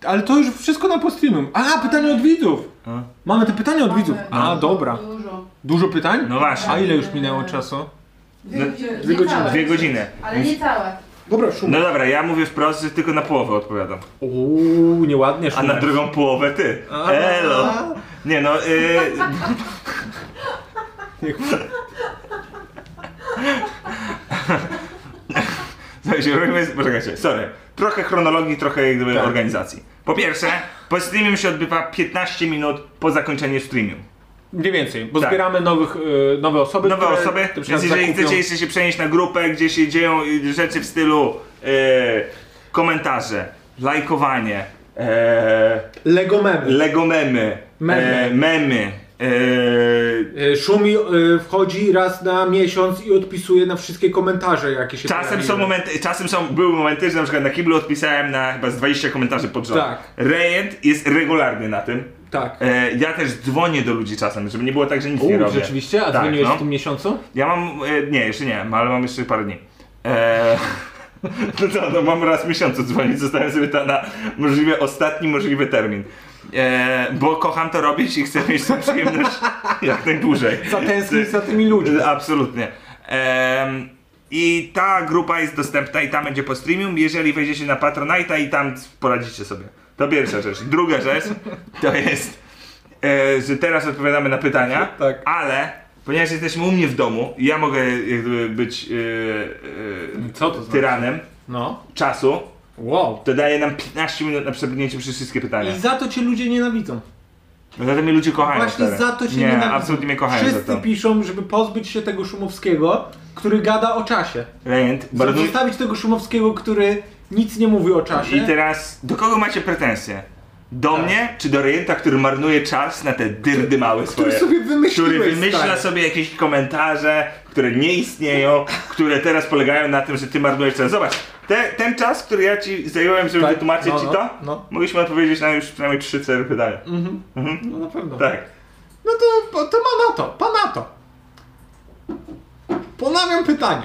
S4: Ale to już wszystko na po streamium. A, pytanie od widzów.
S2: No.
S4: Mamy te pytania od widzów. A, dobra.
S5: Dużo.
S4: Dużo pytań?
S2: No właśnie.
S4: A ile już minęło czasu? dwie
S5: Dwie godziny.
S4: godziny.
S5: Niecałe.
S2: Dwie godziny.
S5: Ale nie całe.
S4: Dobra, szum.
S2: No dobra, ja mówię wprost, że tylko na połowę odpowiadam.
S4: Uuu, nieładnie
S2: A
S4: szum.
S2: na drugą połowę ty. Elo. Nie no, y... Słuchajcie, robimy... Poczekajcie, sorry. Trochę chronologii, trochę jak gdyby
S4: Tak.
S2: organizacji. Po pierwsze, po streamie się odbywa 15 minut po zakończeniu streamu.
S4: (laughs) Mniej więcej, bo
S2: Tak.
S4: zbieramy nowych, y, nowe osoby.
S2: Nowe
S4: które
S2: osoby,
S4: tym
S2: więc
S4: razem
S2: jeżeli
S4: zakupią.
S2: chcecie jeszcze się przenieść na grupę, gdzie się dzieją y, rzeczy w stylu y, komentarze, lajkowanie, e,
S4: Lego memy.
S2: Lego memy.
S4: Memy.
S2: E, memy. E,
S4: Y, Szumi y, wchodzi raz na miesiąc i odpisuje na wszystkie komentarze, jakie się
S2: czasem są
S4: pojawiły.
S2: momenty, czasem są, były momenty, że na przykład na kiblu odpisałem na chyba z 20 komentarzy pod rząd.
S4: Tak.
S2: Rejent jest regularny na tym.
S4: Tak.
S2: E, ja też dzwonię do ludzi czasem, żeby nie było tak, że nic nie
S4: U,
S2: robię.
S4: rzeczywiście? A dzwoniłeś
S2: no.
S4: w tym miesiącu?
S2: Ja mam, e, nie, jeszcze nie, ale mam jeszcze parę dni. E, (laughs) no to, no mam raz w miesiącu dzwonić, zostawiam sobie to na możliwie ostatni możliwy termin. E, bo kocham to robić i chcę mieć tę
S4: (laughs)
S2: przyjemność jak najdłużej.
S4: Zatęsknić za tymi ludźmi.
S2: Absolutnie. Em, I ta grupa jest dostępna i tam będzie po streamium, jeżeli wejdziecie na Patronite'a i tam poradzicie sobie. To pierwsza rzecz. Druga
S4: (laughs)
S2: rzecz to jest, e, że teraz odpowiadamy na pytania,
S4: Tak.
S2: ale ponieważ jesteśmy u mnie w domu i ja mogę jak gdyby, być e, e,
S4: Co to znaczy?
S2: tyranem
S4: No.
S2: czasu,
S4: Wow.
S2: to daje nam 15 minut na przebrnięcie przez wszystkie pytania.
S4: I za to cię ludzie nienawidzą.
S2: No Zatem mnie ludzie kochają.
S4: Właśnie
S2: stary.
S4: za to się
S2: Nie,
S4: nienawidzą.
S2: absolutnie mnie kochają
S4: Wszyscy
S2: za to.
S4: piszą, żeby pozbyć się tego Szumowskiego, który gada o czasie.
S2: Rejent,
S4: Żeby
S2: bardzo,
S4: zostawić tego Szumowskiego, który nic nie mówi o czasie.
S2: I teraz, do kogo macie pretensje? Do
S1: Tak.
S2: mnie czy do rejenta, który marnuje czas na te dyrdy małe swoje?
S1: Który sobie wymyśliłeś,
S2: Który wymyśla
S1: stary.
S2: sobie jakieś komentarze, które nie istnieją, które teraz polegają na tym, że ty marnujesz czas. Zobacz, te, ten czas, który ja ci zająłem, żeby
S1: Tak,
S2: wytłumaczyć
S1: no,
S2: ci
S1: no,
S2: to,
S1: no.
S2: mogliśmy odpowiedzieć na już przynajmniej trzy, cztery pytania.
S1: Mhm. No na pewno.
S2: Tak.
S1: No to, po- to ma na to, pan na to. Ponawiam pytanie.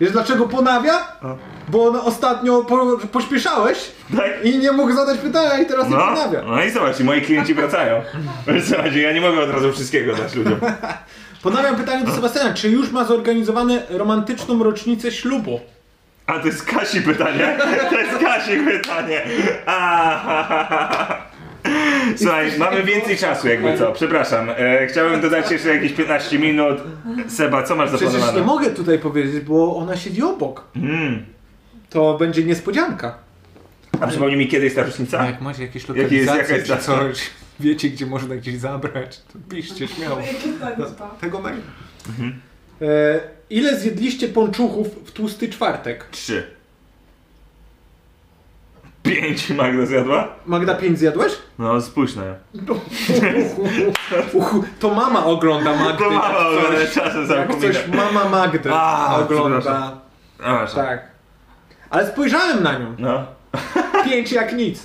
S1: Wiesz dlaczego ponawia? Bo on ostatnio po, pośpieszałeś
S2: Tak.
S1: i nie mógł zadać pytania i teraz nie
S2: No,
S1: ponawia.
S2: no i zobacz, i moi klienci wracają. (laughs) Zobacz, ja nie mogę od razu wszystkiego dać ludziom.
S1: Ponawiam pytanie do Sebastiana, czy już ma zorganizowane romantyczną rocznicę ślubu?
S2: A to jest Kasi pytanie. To jest Kasi pytanie. A, Słuchaj, mamy więcej czasu jakby co, przepraszam. E, chciałem dodać jeszcze jakieś 15 minut. Seba, co masz
S1: Przecież nie
S2: zaplanowane?
S1: mogę tutaj powiedzieć, bo ona siedzi obok.
S2: Mm.
S1: To będzie niespodzianka.
S2: A przypomnij mi kiedy jest ta rocznica?
S1: Jak macie jakieś
S2: Jaki jest- jaka
S1: lokalizacje
S2: jest
S1: czy
S2: data?
S1: coś, (laughs) wiecie gdzie można gdzieś zabrać, to piszcie śmiało. Tego maila.
S2: Mhm.
S1: E, ile zjedliście pończuchów w tłusty czwartek?
S2: Trzy. Pięć Magda zjadła?
S1: Magda 5
S2: (laughs)
S1: zjadłeś?
S2: No spójrz na ją.
S1: Uchu, to mama ogląda Magdy.
S2: To mama
S1: jak coś-
S2: ogląda, czasem
S1: Jak
S2: zapomina.
S1: coś mama Magdy
S2: A,
S1: ogląda.
S2: przepraszam. A, masz.
S1: Tak. Ale spojrzałem na nią.
S2: No.
S1: Pięć jak nic.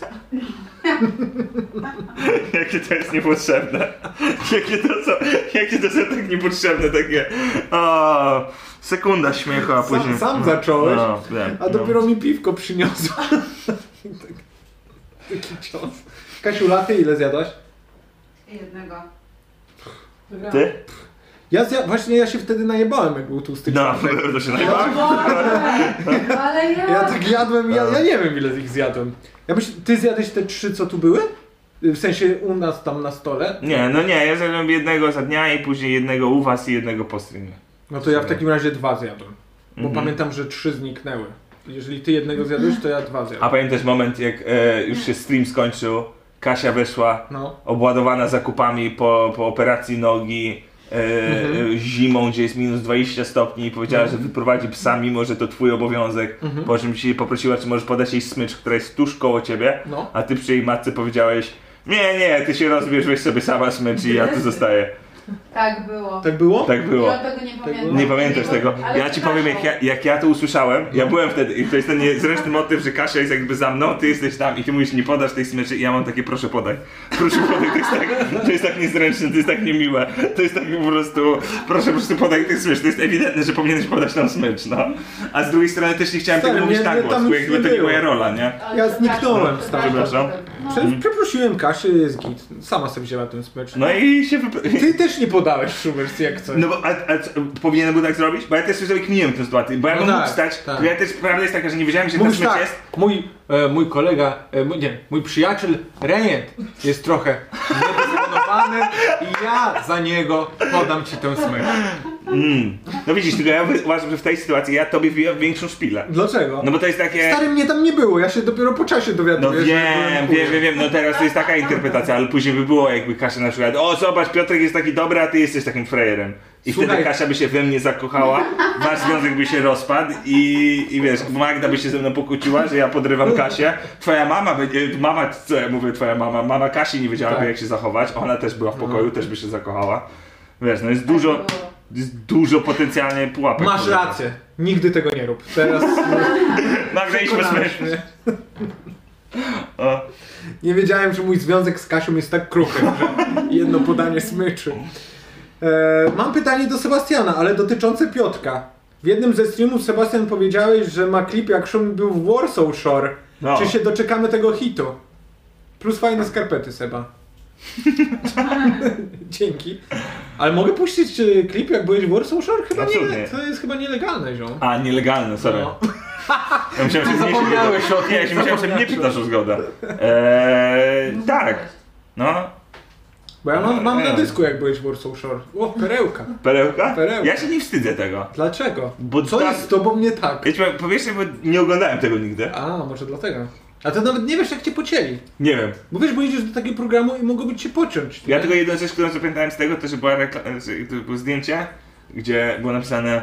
S2: (laughs) Jakie to jest niepotrzebne. Jakie to są, jakie to są tak niepotrzebne takie. O, sekunda śmiechu, a
S1: Sam,
S2: później.
S1: sam zacząłeś,
S2: No, wiem,
S1: a dopiero mi piwko (laughs) przyniosła. Taki cios. Kasiu, laty ile zjadłaś?
S5: Jednego.
S2: No. Ty?
S1: Ja zja- właśnie ja się wtedy najebałem, jak był tłusty
S2: No,
S1: czwartek.
S2: to się najbardziej.
S5: Boże, ale ja...
S1: Ja tak jadłem, ja,
S2: No.
S1: ja nie wiem ile z nich zjadłem. Ja myślę, ty zjadłeś te trzy, co tu były? W sensie u nas tam na stole?
S2: Nie, no nie, ja zrobiłem jednego za dnia i później jednego u was i jednego po streamie.
S1: No to ja w takim razie dwa zjadłem. Bo
S2: Mhm.
S1: pamiętam, że trzy zniknęły. Jeżeli ty jednego zjadłeś, to ja dwa
S2: A
S1: zjadłem.
S2: pamiętasz moment, jak e, już się stream skończył, Kasia wyszła,
S1: No.
S2: obładowana zakupami po, po operacji nogi, e, e, zimą, gdzie jest minus 20 stopni i powiedziała, że wyprowadzi psa, mimo że to twój obowiązek. Po czym się poprosiła, czy możesz podać jej smycz, która jest tuż koło ciebie,
S1: No.
S2: a ty przy jej matce powiedziałeś, nie, nie, ty się rozbierz, weź sobie sama smycz i ja tu zostaję.
S5: Tak było.
S1: Tak było?
S2: Tak było.
S5: Ja tego nie pamiętam.
S2: Nie pamiętasz tego.
S5: Ale
S2: Ja ci powiem, jak ja, jak ja to usłyszałem, ja byłem wtedy i to jest ten niezręczny motyw, że Kasia jest jakby za mną, ty jesteś tam i ty mówisz, nie podasz tej smyczy i ja mam takie, proszę podaj. Proszę podaj, to jest tak, to jest tak niezręczne, to jest tak niemiłe, to jest tak po prostu, proszę po prostu podaj tej smycz, to jest ewidentne, że powinieneś podać nam smycz, no. A z drugiej strony też nie chciałem
S1: Stary,
S2: tego mówić
S1: mnie-
S2: tak
S1: mnie tam
S2: głośno,
S1: już
S2: jakby
S1: nie
S2: to nie
S1: było.
S2: moja rola, nie?
S5: Ale
S1: Ja
S5: przepraszam,
S1: zniknąłem, stary.
S2: Przepraszam.
S5: No.
S1: Prze- Przeprosiłem Kasię, jest git. Sama sobie wzięła ten smycz.
S2: No i się wyp- (laughs)
S1: Ty też nie podałeś Schubert jak coś.
S2: No bo a, a, co, powinienem był tak zrobić? Bo ja też sobie kminiłem tę sytuację, bo ja
S1: No
S2: bym mógł
S1: tak,
S2: stać,
S1: tak.
S2: bo ja też, prawda jest taka, że nie wiedziałem, że ten
S1: Mówisz
S2: smycz
S1: tak,
S2: jest.
S1: mój, e, mój kolega, e, mój, nie, mój przyjaciel Renient jest trochę niedysponowany i ja za niego podam ci tę smycz.
S2: Mm. No widzisz, tylko ja uważam, że w tej sytuacji ja tobie wbijam większą szpilę.
S1: Dlaczego?
S2: No bo to jest takie...
S1: Stary mnie tam nie było, ja się dopiero po czasie
S2: No
S1: dowiaduję, że byłem chujem.
S2: wiem, wiem, wiem, wiem, no teraz to jest taka interpretacja, ale później by było jakby Kasia na przykład, o zobacz, Piotrek jest taki dobry, a ty jesteś takim frejerem. I wtedy
S1: Słuchaj.
S2: Kasia by się we mnie zakochała, wasz związek by się rozpadł i, i wiesz, Magda by się ze mną pokłóciła, że ja podrywam Kasię. Twoja mama, będzie- mama, co ja mówię, twoja mama, mama Kasi nie wiedziałaby
S1: Tak. No.
S2: jak się zachować, ona też była w pokoju, też by się zakochała. Wiesz, no jest dużo,
S5: było.
S2: jest dużo potencjalnie pułapek.
S1: Masz rację, nigdy tego nie rób.
S2: (laughs)
S1: Teraz
S2: Nagraliśmy
S1: przekonałeś
S2: smycz.
S1: mnie.
S2: O.
S1: nie wiedziałem, że mój związek z Kasią jest tak kruchy, że jedno podanie smyczy. E, mam pytanie do Sebastiana, ale dotyczące Piotrka. W jednym ze streamów Sebastian powiedziałeś, że ma klip jak Szum był w Warsaw Shore.
S2: No.
S1: Czy się doczekamy tego hitu? Plus fajne skarpety, Seba. (laughs) Dzięki. Ale mogę puścić e, klip, jak byłeś w Warsaw Shore? Chyba nie,
S2: Absolutnie.
S1: to jest chyba nielegalne, ziom.
S2: A, nielegalne, sorry.
S1: No.
S2: Ja myślałem, że
S1: Zapomniałeś
S2: zniesie-
S1: o tym,
S2: Nie, ja się myślałem, że mnie
S1: zapomniałeś.
S2: pytasz o zgodę. Eee, tak. No,
S1: Bo ja mam, mam na
S2: Nie.
S1: dysku, jak byłeś w Warsaw Shore. O, perełka.
S2: perełka?
S1: Perełka.
S2: Ja się nie wstydzę tego.
S1: Dlaczego?
S2: Bo
S1: Co
S2: tak-
S1: jest z tobą nie tak?
S2: Ja ci powiem, po pierwsze, bo nie oglądałem tego nigdy.
S1: A, może dlatego. A to nawet nie wiesz, jak cię pocięli.
S2: Nie wiem.
S1: Bo wiesz, bo idziesz do takiego programu i mogłoby cię pociąć.
S2: Ja
S1: nie?
S2: tylko jedną rzecz, którą zapamiętałem z tego, to, że była rekla- że to było zdjęcie, gdzie było napisane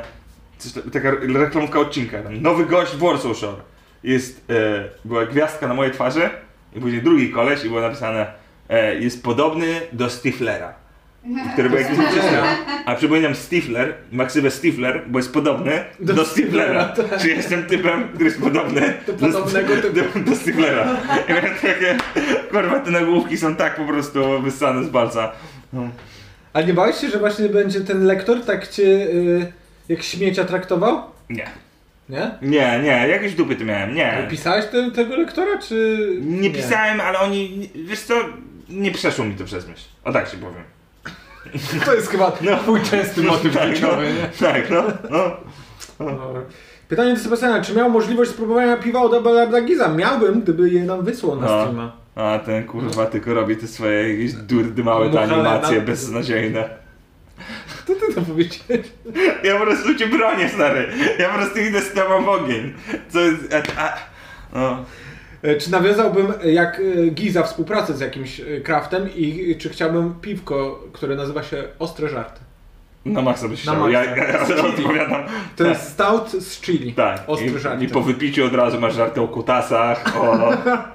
S2: coś, ta- taka reklamówka odcinka. Tam, Nowy gość w Warsaw Shore. Jest, e, była gwiazdka na mojej twarzy i później drugi koleś i było napisane e, jest podobny do Stiflera. Który był jakiś mężczyzna. A przypominam Stifler, maksywę Stifler, bo jest podobny do,
S1: Do
S2: Stiflera.
S1: Stiflera, tak.
S2: Czy jestem typem, który jest podobny
S1: Do podobnego
S2: do,
S1: typu.
S2: do, do Stiflera. I miałem takie, kurwa, te nagłówki są tak po prostu wyssane z palca. No.
S1: A nie bałeś się, że właśnie będzie ten lektor tak cię y, jak śmiecia traktował?
S2: Nie.
S1: Nie?
S2: Nie, nie, jakieś dupy tu miałem, nie.
S1: Pisałeś ten, tego lektora, czy...
S2: Nie pisałem, ale oni, wiesz co, nie przeszło mi to przez myśl. O tak się powiem.
S1: (laughs) To jest chyba
S2: No.
S1: twój częsty motyw
S2: (laughs) Tak,
S1: życiowy,
S2: no.
S1: nie?
S2: Tak, no, no.
S1: Dobra. Pytanie do Sebastiana, czy miał możliwość spróbowania piwa od Abelarda Giza? Miałbym, gdyby je nam wysłał na
S2: No.
S1: streama. (laughs)
S2: A ten kurwa tylko robi te swoje jakieś durdy małe te
S1: Muchalena.
S2: animacje beznadziejne.
S1: To ty to powiedziałeś.
S2: Ja po prostu cię bronię, stary. Ja po prostu idę z tobą w ogień. Co jest... A, a, no.
S1: E, Czy nawiązałbym e, jak e, Giza współpracę z jakimś e, craftem i e, czy chciałbym piwko, które nazywa się Ostre Żarty?
S2: Na maksa byś
S1: Na
S2: chciał. Ja, ja,
S1: maksa.
S2: ja odpowiadam.
S1: To
S2: Tak.
S1: jest stout z chili.
S2: Tak.
S1: Ostre
S2: I,
S1: Żarty.
S2: I po wypiciu od razu masz żarty o kutasach, o...
S1: (laughs)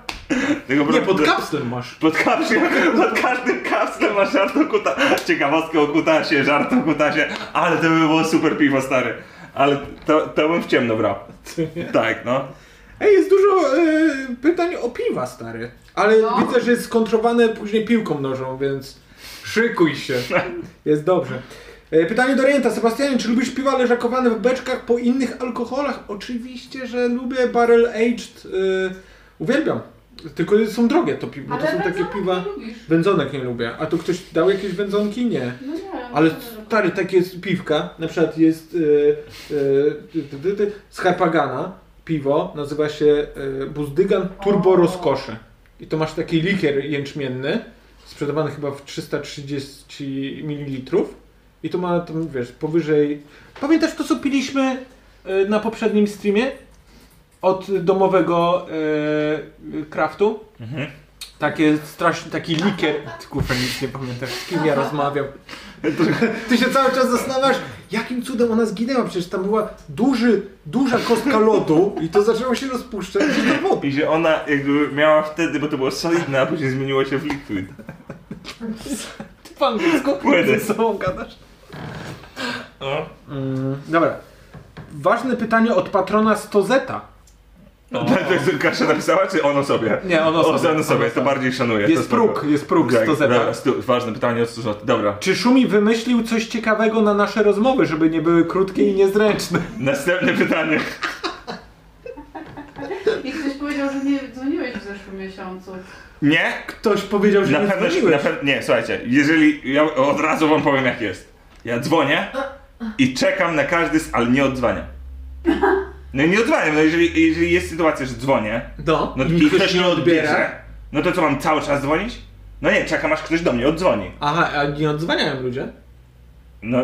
S2: Tego
S1: Nie,
S2: bro-
S1: pod kapslem masz.
S2: Pod, kapsle, pod każdym kapslem masz żart o kuta... Ciekawostkę o kutasie, żart o kutasie. Ale to by było super piwo, stary. Ale to, to bym w ciemno
S1: (laughs)
S2: brał. Tak, no.
S1: Ej, jest dużo e, pytań o piwa, stary. Ale
S5: No.
S1: widzę, że jest skontrowane później piłką nożą, więc szykuj się.
S2: (laughs)
S1: Jest dobrze. E, Pytanie do Renta. Sebastianie, czy lubisz piwa leżakowane w beczkach po innych alkoholach? Oczywiście, że lubię barrel aged. e, uwielbiam. Tylko są drogie to piwo. bo
S5: No Ale
S1: to są takie
S5: wędzonek
S1: piwa...
S5: nie lubisz.
S1: Wędzonek nie lubię. A tu ktoś dał jakieś wędzonki? Nie.
S5: No nie,
S1: Ale
S5: myślę, że-
S1: stary, takie jest piwka, na przykład jest yy, z Harpagana piwo, nazywa się e, Buzdygan Turbo
S5: O.
S1: Rozkosze. I to masz taki likier jęczmienny, sprzedawany chyba w 330 ml. I to ma, tam, wiesz, powyżej... Pamiętasz to, co piliśmy e, na poprzednim streamie? Od domowego e, kraftu?
S2: Mhm.
S1: Takie straszny, taki likier... Ty, Kurwa, nic nie pamiętasz, z kim ja rozmawiam. Ty się cały czas zastanawiasz, jakim cudem ona zginęła, przecież tam była duży, duża kostka lodu i to zaczęło się rozpuszczać i to wody.
S2: I że ona jakby miała wtedy, bo to było solidne, a później zmieniło się w liquid.
S1: Ty po angielsku
S2: Płyny.
S1: ze sobą gadasz?
S2: No.
S1: Mm, dobra. Ważne pytanie od patrona Stozeta.
S2: To jest Kasia napisała, czy ono sobie?
S1: Nie, ono
S2: O,
S1: sobie,
S2: ono sobie,
S1: ono
S2: to
S1: sobie.
S2: bardziej szanuję.
S1: Jest
S2: to spoko.
S1: próg, jest próg,
S2: Tak,
S1: 100 zeta.
S2: dobra, stu, ważne pytanie od 100 zeta. Dobra.
S1: Czy Szumi wymyślił coś ciekawego na nasze rozmowy, żeby nie były krótkie i niezręczne?
S2: Następne pytanie.
S5: I ktoś powiedział, że nie dzwoniłeś w zeszłym miesiącu. (laughs)
S2: Nie?
S1: Ktoś powiedział, że
S2: Na
S1: nie
S2: pewno, na
S1: dzwoniłeś.
S2: pewno, nie, słuchajcie, jeżeli, ja od razu wam powiem jak jest. Ja dzwonię i czekam na każdy, z, ale nie odzwaniam. No i nie odzwaniam, no jeżeli, jeżeli jest sytuacja, że dzwonię,
S1: No,
S2: no i ktoś nie odbierze, no to co, mam cały czas dzwonić? No nie, czekam aż ktoś do mnie odzwoni.
S1: Aha, a nie odzwaniają ludzie?
S2: No,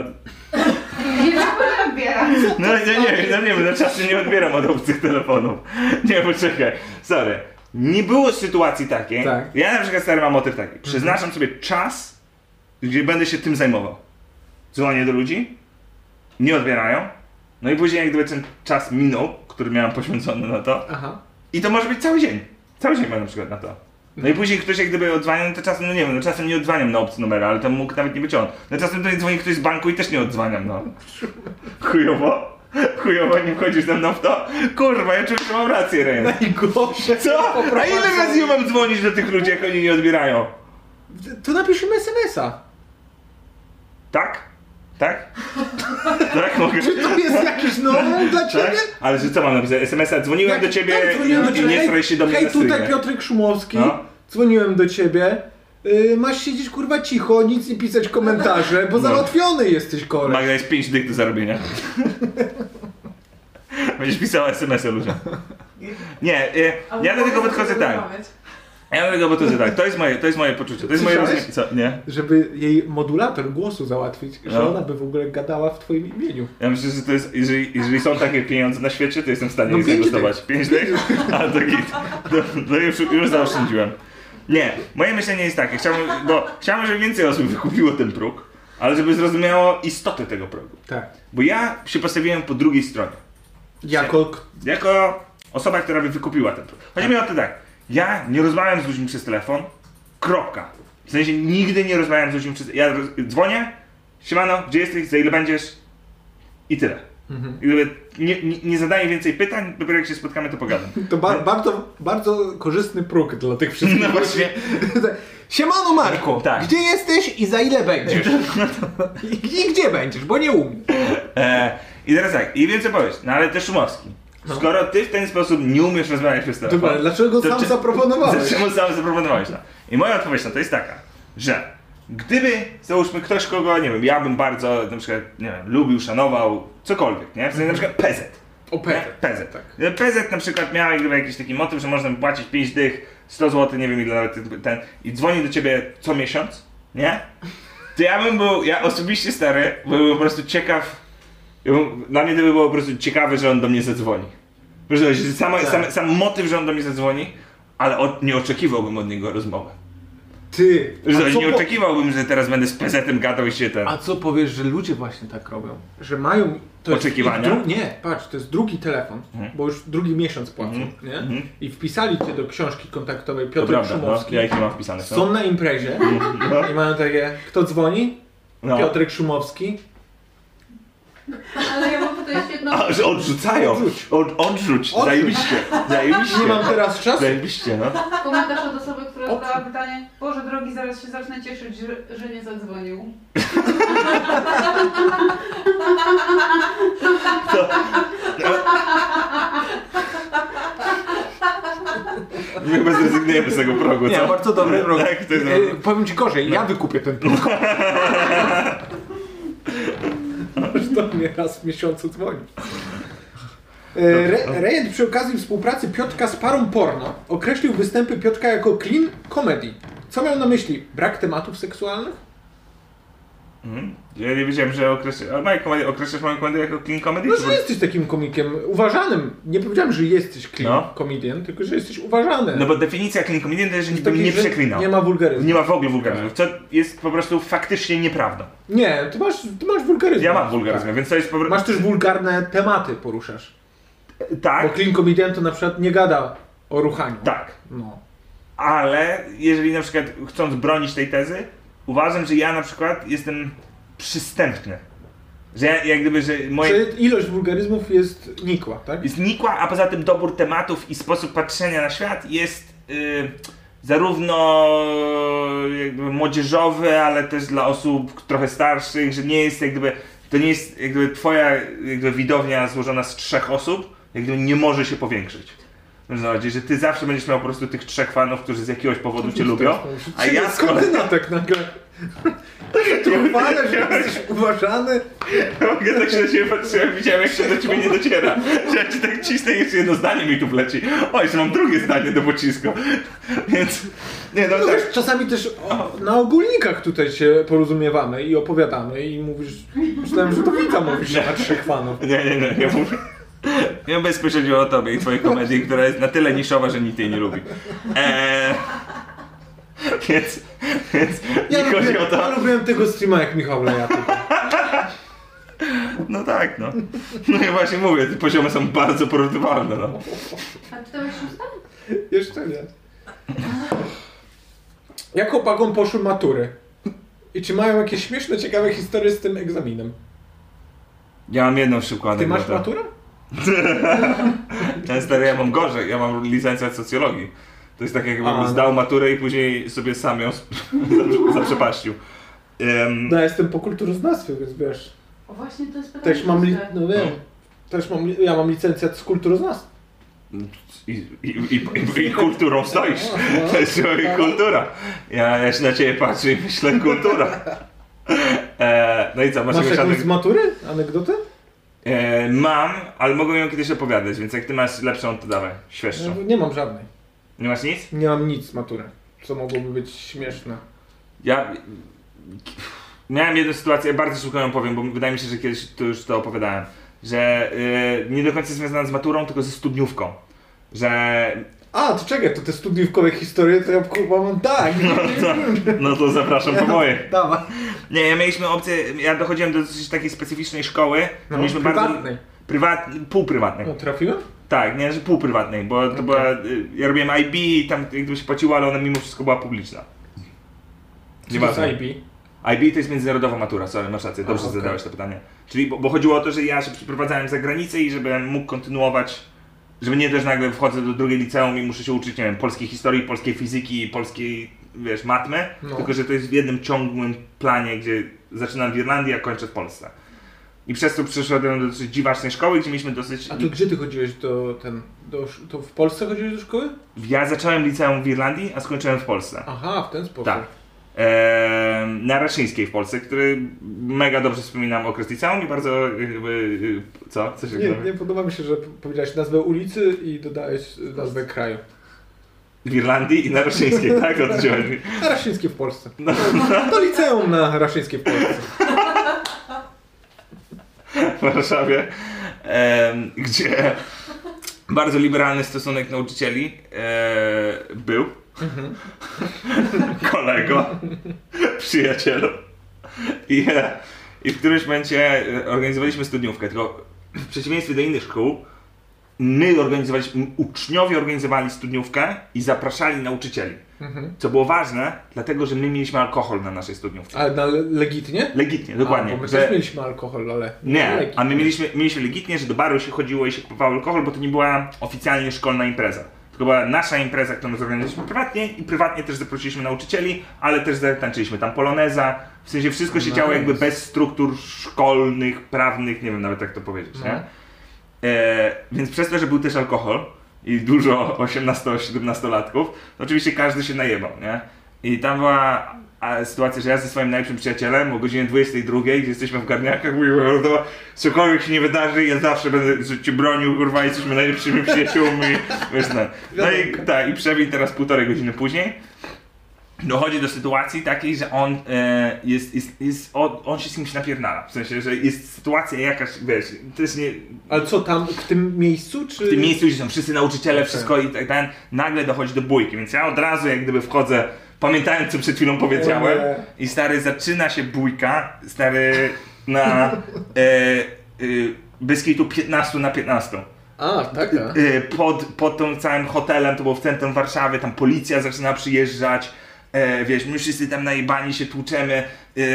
S5: Nie mogę odbierać.
S2: no ja nie wiem, no nie wiem, no czasem nie odbieram od obcych telefonów. Nie, poczekaj, sorry. Nie było sytuacji takiej,
S1: Tak.
S2: ja na przykład stary mam motyw taki, przeznaczam sobie czas, gdzie będę się tym zajmował. Dzwonię do ludzi, nie odbierają, no i później jak gdyby ten czas minął, który miałem poświęcony na to,
S1: Aha.
S2: i to może być cały dzień. Cały dzień mam na przykład na to. No i później ktoś jak gdyby odzwania, no to czasem, no nie wiem, no czasem nie odzwaniam na obcy numer, ale to mógł nawet nie być on. No czasem do mnie dzwoni ktoś z banku i też nie odzwaniam, no. Chujowo? Chujowo nie wchodzisz ze mną w to? Kurwa, ja czuję, że mam rację, Ren.
S1: Najgorsze.
S2: Co? A ile razy ja mam dzwonić do tych ludzi, jak oni nie odbierają?
S1: To napiszemy SMS-a.
S2: Tak? Tak? Tak mogę.
S1: To jest jakiś nowy dla
S2: Tak?
S1: ciebie?
S2: Ale że co mam napisać? SMS-a, dzwoniłem do ciebie
S1: tak, dzwoniłem do
S2: i
S1: ciebie.
S2: nie straj się do mnie
S1: Hej,
S2: na streamie.
S1: tutaj Piotrek Szumowski,
S2: No.
S1: dzwoniłem do ciebie. Y, masz siedzieć kurwa cicho, nic nie pisać
S2: (laughs)
S1: komentarze,
S2: No.
S1: bo załatwiony jesteś koleś.
S2: Magda jest 5 dych do (laughs) zarobienia. Będziesz pisała SMS-y ludziom. Nie, e, ja do tego podchodzę tak. Ja do tego podchodzę tak. To jest moje, to jest moje poczucie. To jest moje
S1: Słyszałeś?
S2: rozumienie. Co? Nie.
S1: Żeby jej modulator głosu załatwić, że
S2: No.
S1: ona by w ogóle gadała w twoim imieniu.
S2: Ja myślę, że to jest, jeżeli, jeżeli są takie pieniądze na świecie, to jestem w stanie
S1: No
S2: je
S1: pięć
S2: zainwestować. 5 dych? (laughs) A to git. No, no już, już no, zaoszczędziłem. Nie, moje myślenie jest takie. Chciałbym, bo chciałbym, żeby więcej osób wykupiło ten próg. ale żeby zrozumiało istotę tego progu.
S1: Tak.
S2: Bo ja się postawiłem po drugiej stronie.
S1: Jako... k-
S2: Jako osoba, która by wykupiła ten produkt. Chodzi mi o to tak. Ja nie rozmawiam z ludźmi przez telefon. Kropka. W sensie nigdy nie rozmawiam z ludźmi przez... Ja roz... dzwonię. Siemano, gdzie jesteś? Za ile będziesz? I tyle.
S1: Mhm.
S2: I jakby nie, nie, nie zadaję więcej pytań, dopiero jak się spotkamy, to pogadam.
S1: To ba- bardzo, bardzo korzystny próg dla tych wszystkich.
S2: (laughs) No właśnie.
S1: (laughs) Siemano Marko,
S2: Tak. No
S1: gdzie jesteś i za ile
S2: (laughs)
S1: będziesz? I i gdzie będziesz, bo nie umiem.
S2: E, I teraz tak, i wiem co powiesz, no ale też Szumowski. Skoro ty w ten sposób nie umiesz rozmawiać przez telefon...
S1: No. Dobra, dlaczego
S2: to
S1: sam
S2: czy-
S1: zaproponowałeś?
S2: (laughs) Dlaczego sam zaproponowałeś to? I moja odpowiedź na to jest taka, że gdyby, załóżmy, ktoś kogo, nie wiem, ja bym bardzo, na przykład, nie wiem, lubił, szanował, cokolwiek, nie? W sensie na przykład PZ.
S1: O
S2: PZ. PZ.
S1: tak.
S2: PZ E, na przykład miał jakby jakiś taki motyw, że można płacić 5 dych, 100 zł, nie wiem ile nawet ten, ten i dzwoni do ciebie co miesiąc, nie? To ja bym był, ja osobiście stary, byłbym po prostu ciekaw, ja bym- dla mnie to by było po prostu ciekawe, że on do mnie zadzwoni. Proszę, że sam,
S1: Tak.
S2: sam, sam motyw, że on do mnie zadzwoni, ale od, nie oczekiwałbym od niego rozmowy.
S1: Ty,
S2: Że
S1: a co,
S2: nie
S1: po-
S2: oczekiwałbym, że teraz będę z PZ-em gadał i się ten...
S1: a co powiesz, że ludzie właśnie tak robią? Że mają... To jest
S2: Oczekiwania?
S1: ich dru- Nie, patrz, to jest drugi telefon, bo już drugi miesiąc płacą,
S2: Mhm.
S1: nie?
S2: Mhm.
S1: I wpisali cię do książki kontaktowej
S2: To
S1: Piotr
S2: prawda, no,
S1: Szumowski.
S2: ja ich nie mam wpisanych. no.
S1: Są na imprezie
S2: No,
S1: i mają takie, kto dzwoni?
S2: no.
S1: Piotrek Szumowski.
S5: Ale ja mam tutaj
S2: (laughs)
S5: świetną...
S2: A, że odrzucają.
S1: Odrzuć.
S2: Od, odrzuć. Zajebiście. Zajebiście.
S1: Nie mam teraz czasu.
S2: Zajebiście, no.
S5: Komentarz od osoby, która
S1: O.
S5: zadała pytanie Boże drogi, zaraz się zacznę cieszyć, że, że nie zadzwonił.
S2: My chyba zrezygnujemy z tego progu,
S1: Nie,
S2: co?
S1: bardzo dobry rok.
S2: Tak, to jest...
S1: E, powiem ci gorzej,
S2: No.
S1: ja wykupię ten
S2: (laughs)
S1: próg. Aż do mnie raz w miesiącu dzwoni. E,
S2: no.
S1: Re, Rejent przy okazji współpracy Piotka z parą porno określił występy Piotka jako clean comedy. Co miał na myśli? Brak tematów seksualnych?
S2: Mhm. Ja nie wiedziałem, że określasz... A moje komedie, określasz moją komedię jako clean comedy?
S1: No,
S2: czy
S1: że
S2: po-
S1: jesteś takim komikiem uważanym. Nie powiedziałem, że jesteś clean
S2: No.
S1: comedian, tylko że jesteś uważany.
S2: No bo definicja clean comedy to jest, że nikt
S1: Taki,
S2: nie
S1: że
S2: przeklinał.
S1: Nie ma Tak. wulgaryzmu.
S2: Nie ma w ogóle wulgaryzmów, co jest po prostu faktycznie nieprawdą.
S1: Nie, ty masz, ty masz wulgaryzm.
S2: Ja mam wulgaryzm, więc to jest po prostu...
S1: Masz też wulgarne tematy poruszasz. Bo
S2: Tak,
S1: clean comedian to na przykład nie gada o ruchaniu.
S2: tak.
S1: No.
S2: Ale jeżeli na przykład chcąc bronić tej tezy, uważam, że ja na przykład jestem przystępny. Że ja, jak gdyby, że moje
S1: Czy ilość wulgaryzmów jest nikła, tak?
S2: znikła, a poza tym dobór tematów i sposób patrzenia na świat jest y, zarówno jakby młodzieżowy, ale też dla osób trochę starszych, że nie jest jakby, to nie jest jakby twoja jakby widownia złożona z trzech osób, jakby nie może się powiększyć. Znaczy, że ty zawsze będziesz miał po prostu tych trzech fanów, którzy z jakiegoś powodu cię lubią, a ja tak, z kolei... Tak,
S1: Skąd na tak nagle?
S2: (laughs)
S1: Takie trufale, że jesteś uważany.
S2: (laughs) Ja tak się na ciebie patrzyłem, widziałem jak się do ciebie nie dociera. Że jak ci tak cisnę jeszcze jedno zdanie mi tu wleci. O, jeszcze mam drugie zdanie do pocisku. Więc... Nie, no
S1: No
S2: tak. No.
S1: wiesz, czasami też o, na ogólnikach tutaj się porozumiewamy i opowiadamy i mówisz, myślałem, że to Wita mówisz na trzech fanów.
S2: Nie, nie, nie, ja mówię... Ja mówię bezpośrednio o tobie i twojej komedii, która jest na tyle niszowa, że nikt jej nie lubi. Eee... Więc... Więc...
S1: Ja
S2: nie chodzi o
S1: lubiłem,
S2: to...
S1: ja lubiłem tego streama jak Michał Lejatyk.
S2: No tak, no. No ja właśnie mówię, te poziomy są bardzo porównywalne, no.
S5: A czytałeś szóstą?
S1: Jeszcze nie. Jak chłopakom poszły matury? I czy mają jakieś śmieszne, ciekawe historie z tym egzaminem?
S2: Ja mam jedną przykładę.
S1: Ty masz
S2: na to.
S1: maturę?
S2: Ja stary, ja mam gorzej, ja mam licencjat socjologii. To jest tak jakbym
S1: A, no.
S2: zdał maturę i później sobie sam ją sp- (laughs) zaprzepaścił. Em,
S1: No ja jestem po kulturoznawstwie, więc wiesz,
S5: O właśnie, to jest pytanie.
S1: też mam, li-
S5: dobre.
S1: no wiem, też mam, li- ja mam licencjat z kulturoznawstwa.
S2: i, i, i, i, I kulturą stoisz.
S1: No, no.
S2: (laughs) To jest człowiek kultura. Ja, ja się na ciebie patrzę i myślę kultura. E, no i co, masz,
S1: Masz
S2: jakąś
S1: jakąś
S2: aneg-
S1: z matury? Anegdotę?
S2: e, Mam, ale mogę ją kiedyś opowiadać, więc jak ty masz lepszą, to dawaj,
S1: No,
S2: świeższą.
S1: nie mam żadnej.
S2: Nie masz nic?
S1: Nie mam nic z matury, co mogłoby być śmieszne.
S2: Ja miałem jedną sytuację, ja bardzo szybko ją powiem, bo wydaje mi się, że kiedyś to już to opowiadałem, że y, nie do końca związana z maturą, tylko ze studniówką. Że (laughs)
S1: A, to czekaj, to te studniówkowe historie, to ja kurwa mam tak.
S2: no to zapraszam po moje.
S1: Dawaj.
S2: Nie, ja mieliśmy opcję, ja dochodziłem do dosyć takiej specyficznej szkoły. No, mieliśmy
S4: prywatnej.
S2: Prywat, półprywatnej.
S4: No, trafiłem?
S2: Tak, nie, że półprywatnej, bo to była, y, ja robiłem IB i tam jakby się płaciło, ale ona mimo wszystko była publiczna. Nieważne.
S4: IP.
S2: IB to jest międzynarodowa matura, sorry, masz rację, dobrze
S4: okej.
S2: zadałeś to pytanie. Czyli, bo, bo chodziło o to, że ja się przeprowadzałem za granicę i żebym mógł kontynuować, żeby nie też nagle wchodzę do drugiej liceum i muszę się uczyć, nie wiem, polskiej historii, polskiej fizyki, polskiej, wiesz, matmy,
S4: No.
S2: tylko że to jest w jednym ciągłym planie, gdzie zaczynam w Irlandii, a kończę w Polsce. I przez to przeszedłem do dosyć dziwacznej szkoły, gdzie mieliśmy dosyć...
S4: A to gdzie ty chodziłeś do ten. Do, sz- to w Polsce chodziłeś do szkoły?
S2: Ja zacząłem liceum w Irlandii, a skończyłem w Polsce.
S4: Aha, w ten sposób.
S2: Tak. Eee, na Raszyńskiej w Polsce, który mega dobrze wspominam okres liceum i bardzo jakby... y, Co? Co się
S4: Nie,
S2: robi?
S4: nie podoba mi się, że powiedziałeś nazwę ulicy i dodałeś y, nazwę kraju.
S2: W Irlandii i na Raszyńskiej,
S4: (laughs)
S2: tak? O to ci chodzi.
S4: Na Raszyńskie w Polsce.
S2: No.
S4: To liceum na Raszyńskie w Polsce.
S2: w Warszawie, em, gdzie bardzo liberalny stosunek nauczycieli e, był.
S4: Mhm.
S2: (laughs) Kolego, przyjacielu. I, e, I w którymś momencie e, organizowaliśmy studniówkę, tylko w przeciwieństwie do innych szkół, my organizowaliśmy, uczniowie organizowali studniówkę i zapraszali nauczycieli.
S4: Mhm.
S2: Co było ważne, dlatego że my mieliśmy alkohol na naszej studniówce.
S4: Ale na, legitnie?
S2: Legitnie, dokładnie.
S4: A, bo my
S2: że-
S4: też mieliśmy alkohol, ale.
S2: nie,
S4: legitnie.
S2: a my mieliśmy, mieliśmy legitnie, że do baru się chodziło i się kupowało alkohol, bo to nie była oficjalnie szkolna impreza. Tylko była nasza impreza, którą zorganizowaliśmy prywatnie i prywatnie też zaprosiliśmy nauczycieli, ale też zatańczyliśmy tam poloneza. W sensie wszystko się działo jakby bez struktur szkolnych, prawnych, nie wiem nawet jak to powiedzieć, nie? E, więc przez to, że był też alkohol i dużo 18-17-latków, to oczywiście każdy się najebał, nie? I tam była a, sytuacja, że ja ze swoim najlepszym przyjacielem o godzinie 22, gdzie jesteśmy w garniakach, mówimy, że to cokolwiek się nie wydarzy, ja zawsze będę że cię bronił, kurwa, jesteśmy najlepszymi przyjaciółmi, wiesz, no. No i, tak, i przebił teraz półtorej godziny później. Dochodzi do sytuacji takiej, że on e, jest, jest, jest on, on się z kimś napierdala. W sensie, że jest sytuacja jakaś, wiesz, też nie,
S4: Ale co tam, w tym miejscu? Czy...
S2: w tym miejscu, gdzie są wszyscy nauczyciele, wszystko i tak dalej, nagle dochodzi do bójki, więc ja od razu jak gdyby wchodzę, pamiętając co przed chwilą powiedziałem
S4: Eee.
S2: i stary, zaczyna się bójka, stary, na e, e, Beskitu 15 na 15.
S4: A, tak, tak.
S2: E, pod, pod tym całym hotelem, to było w centrum Warszawy, tam policja zaczyna przyjeżdżać, e, wiesz, my wszyscy tam najebani się tłuczemy, e, e,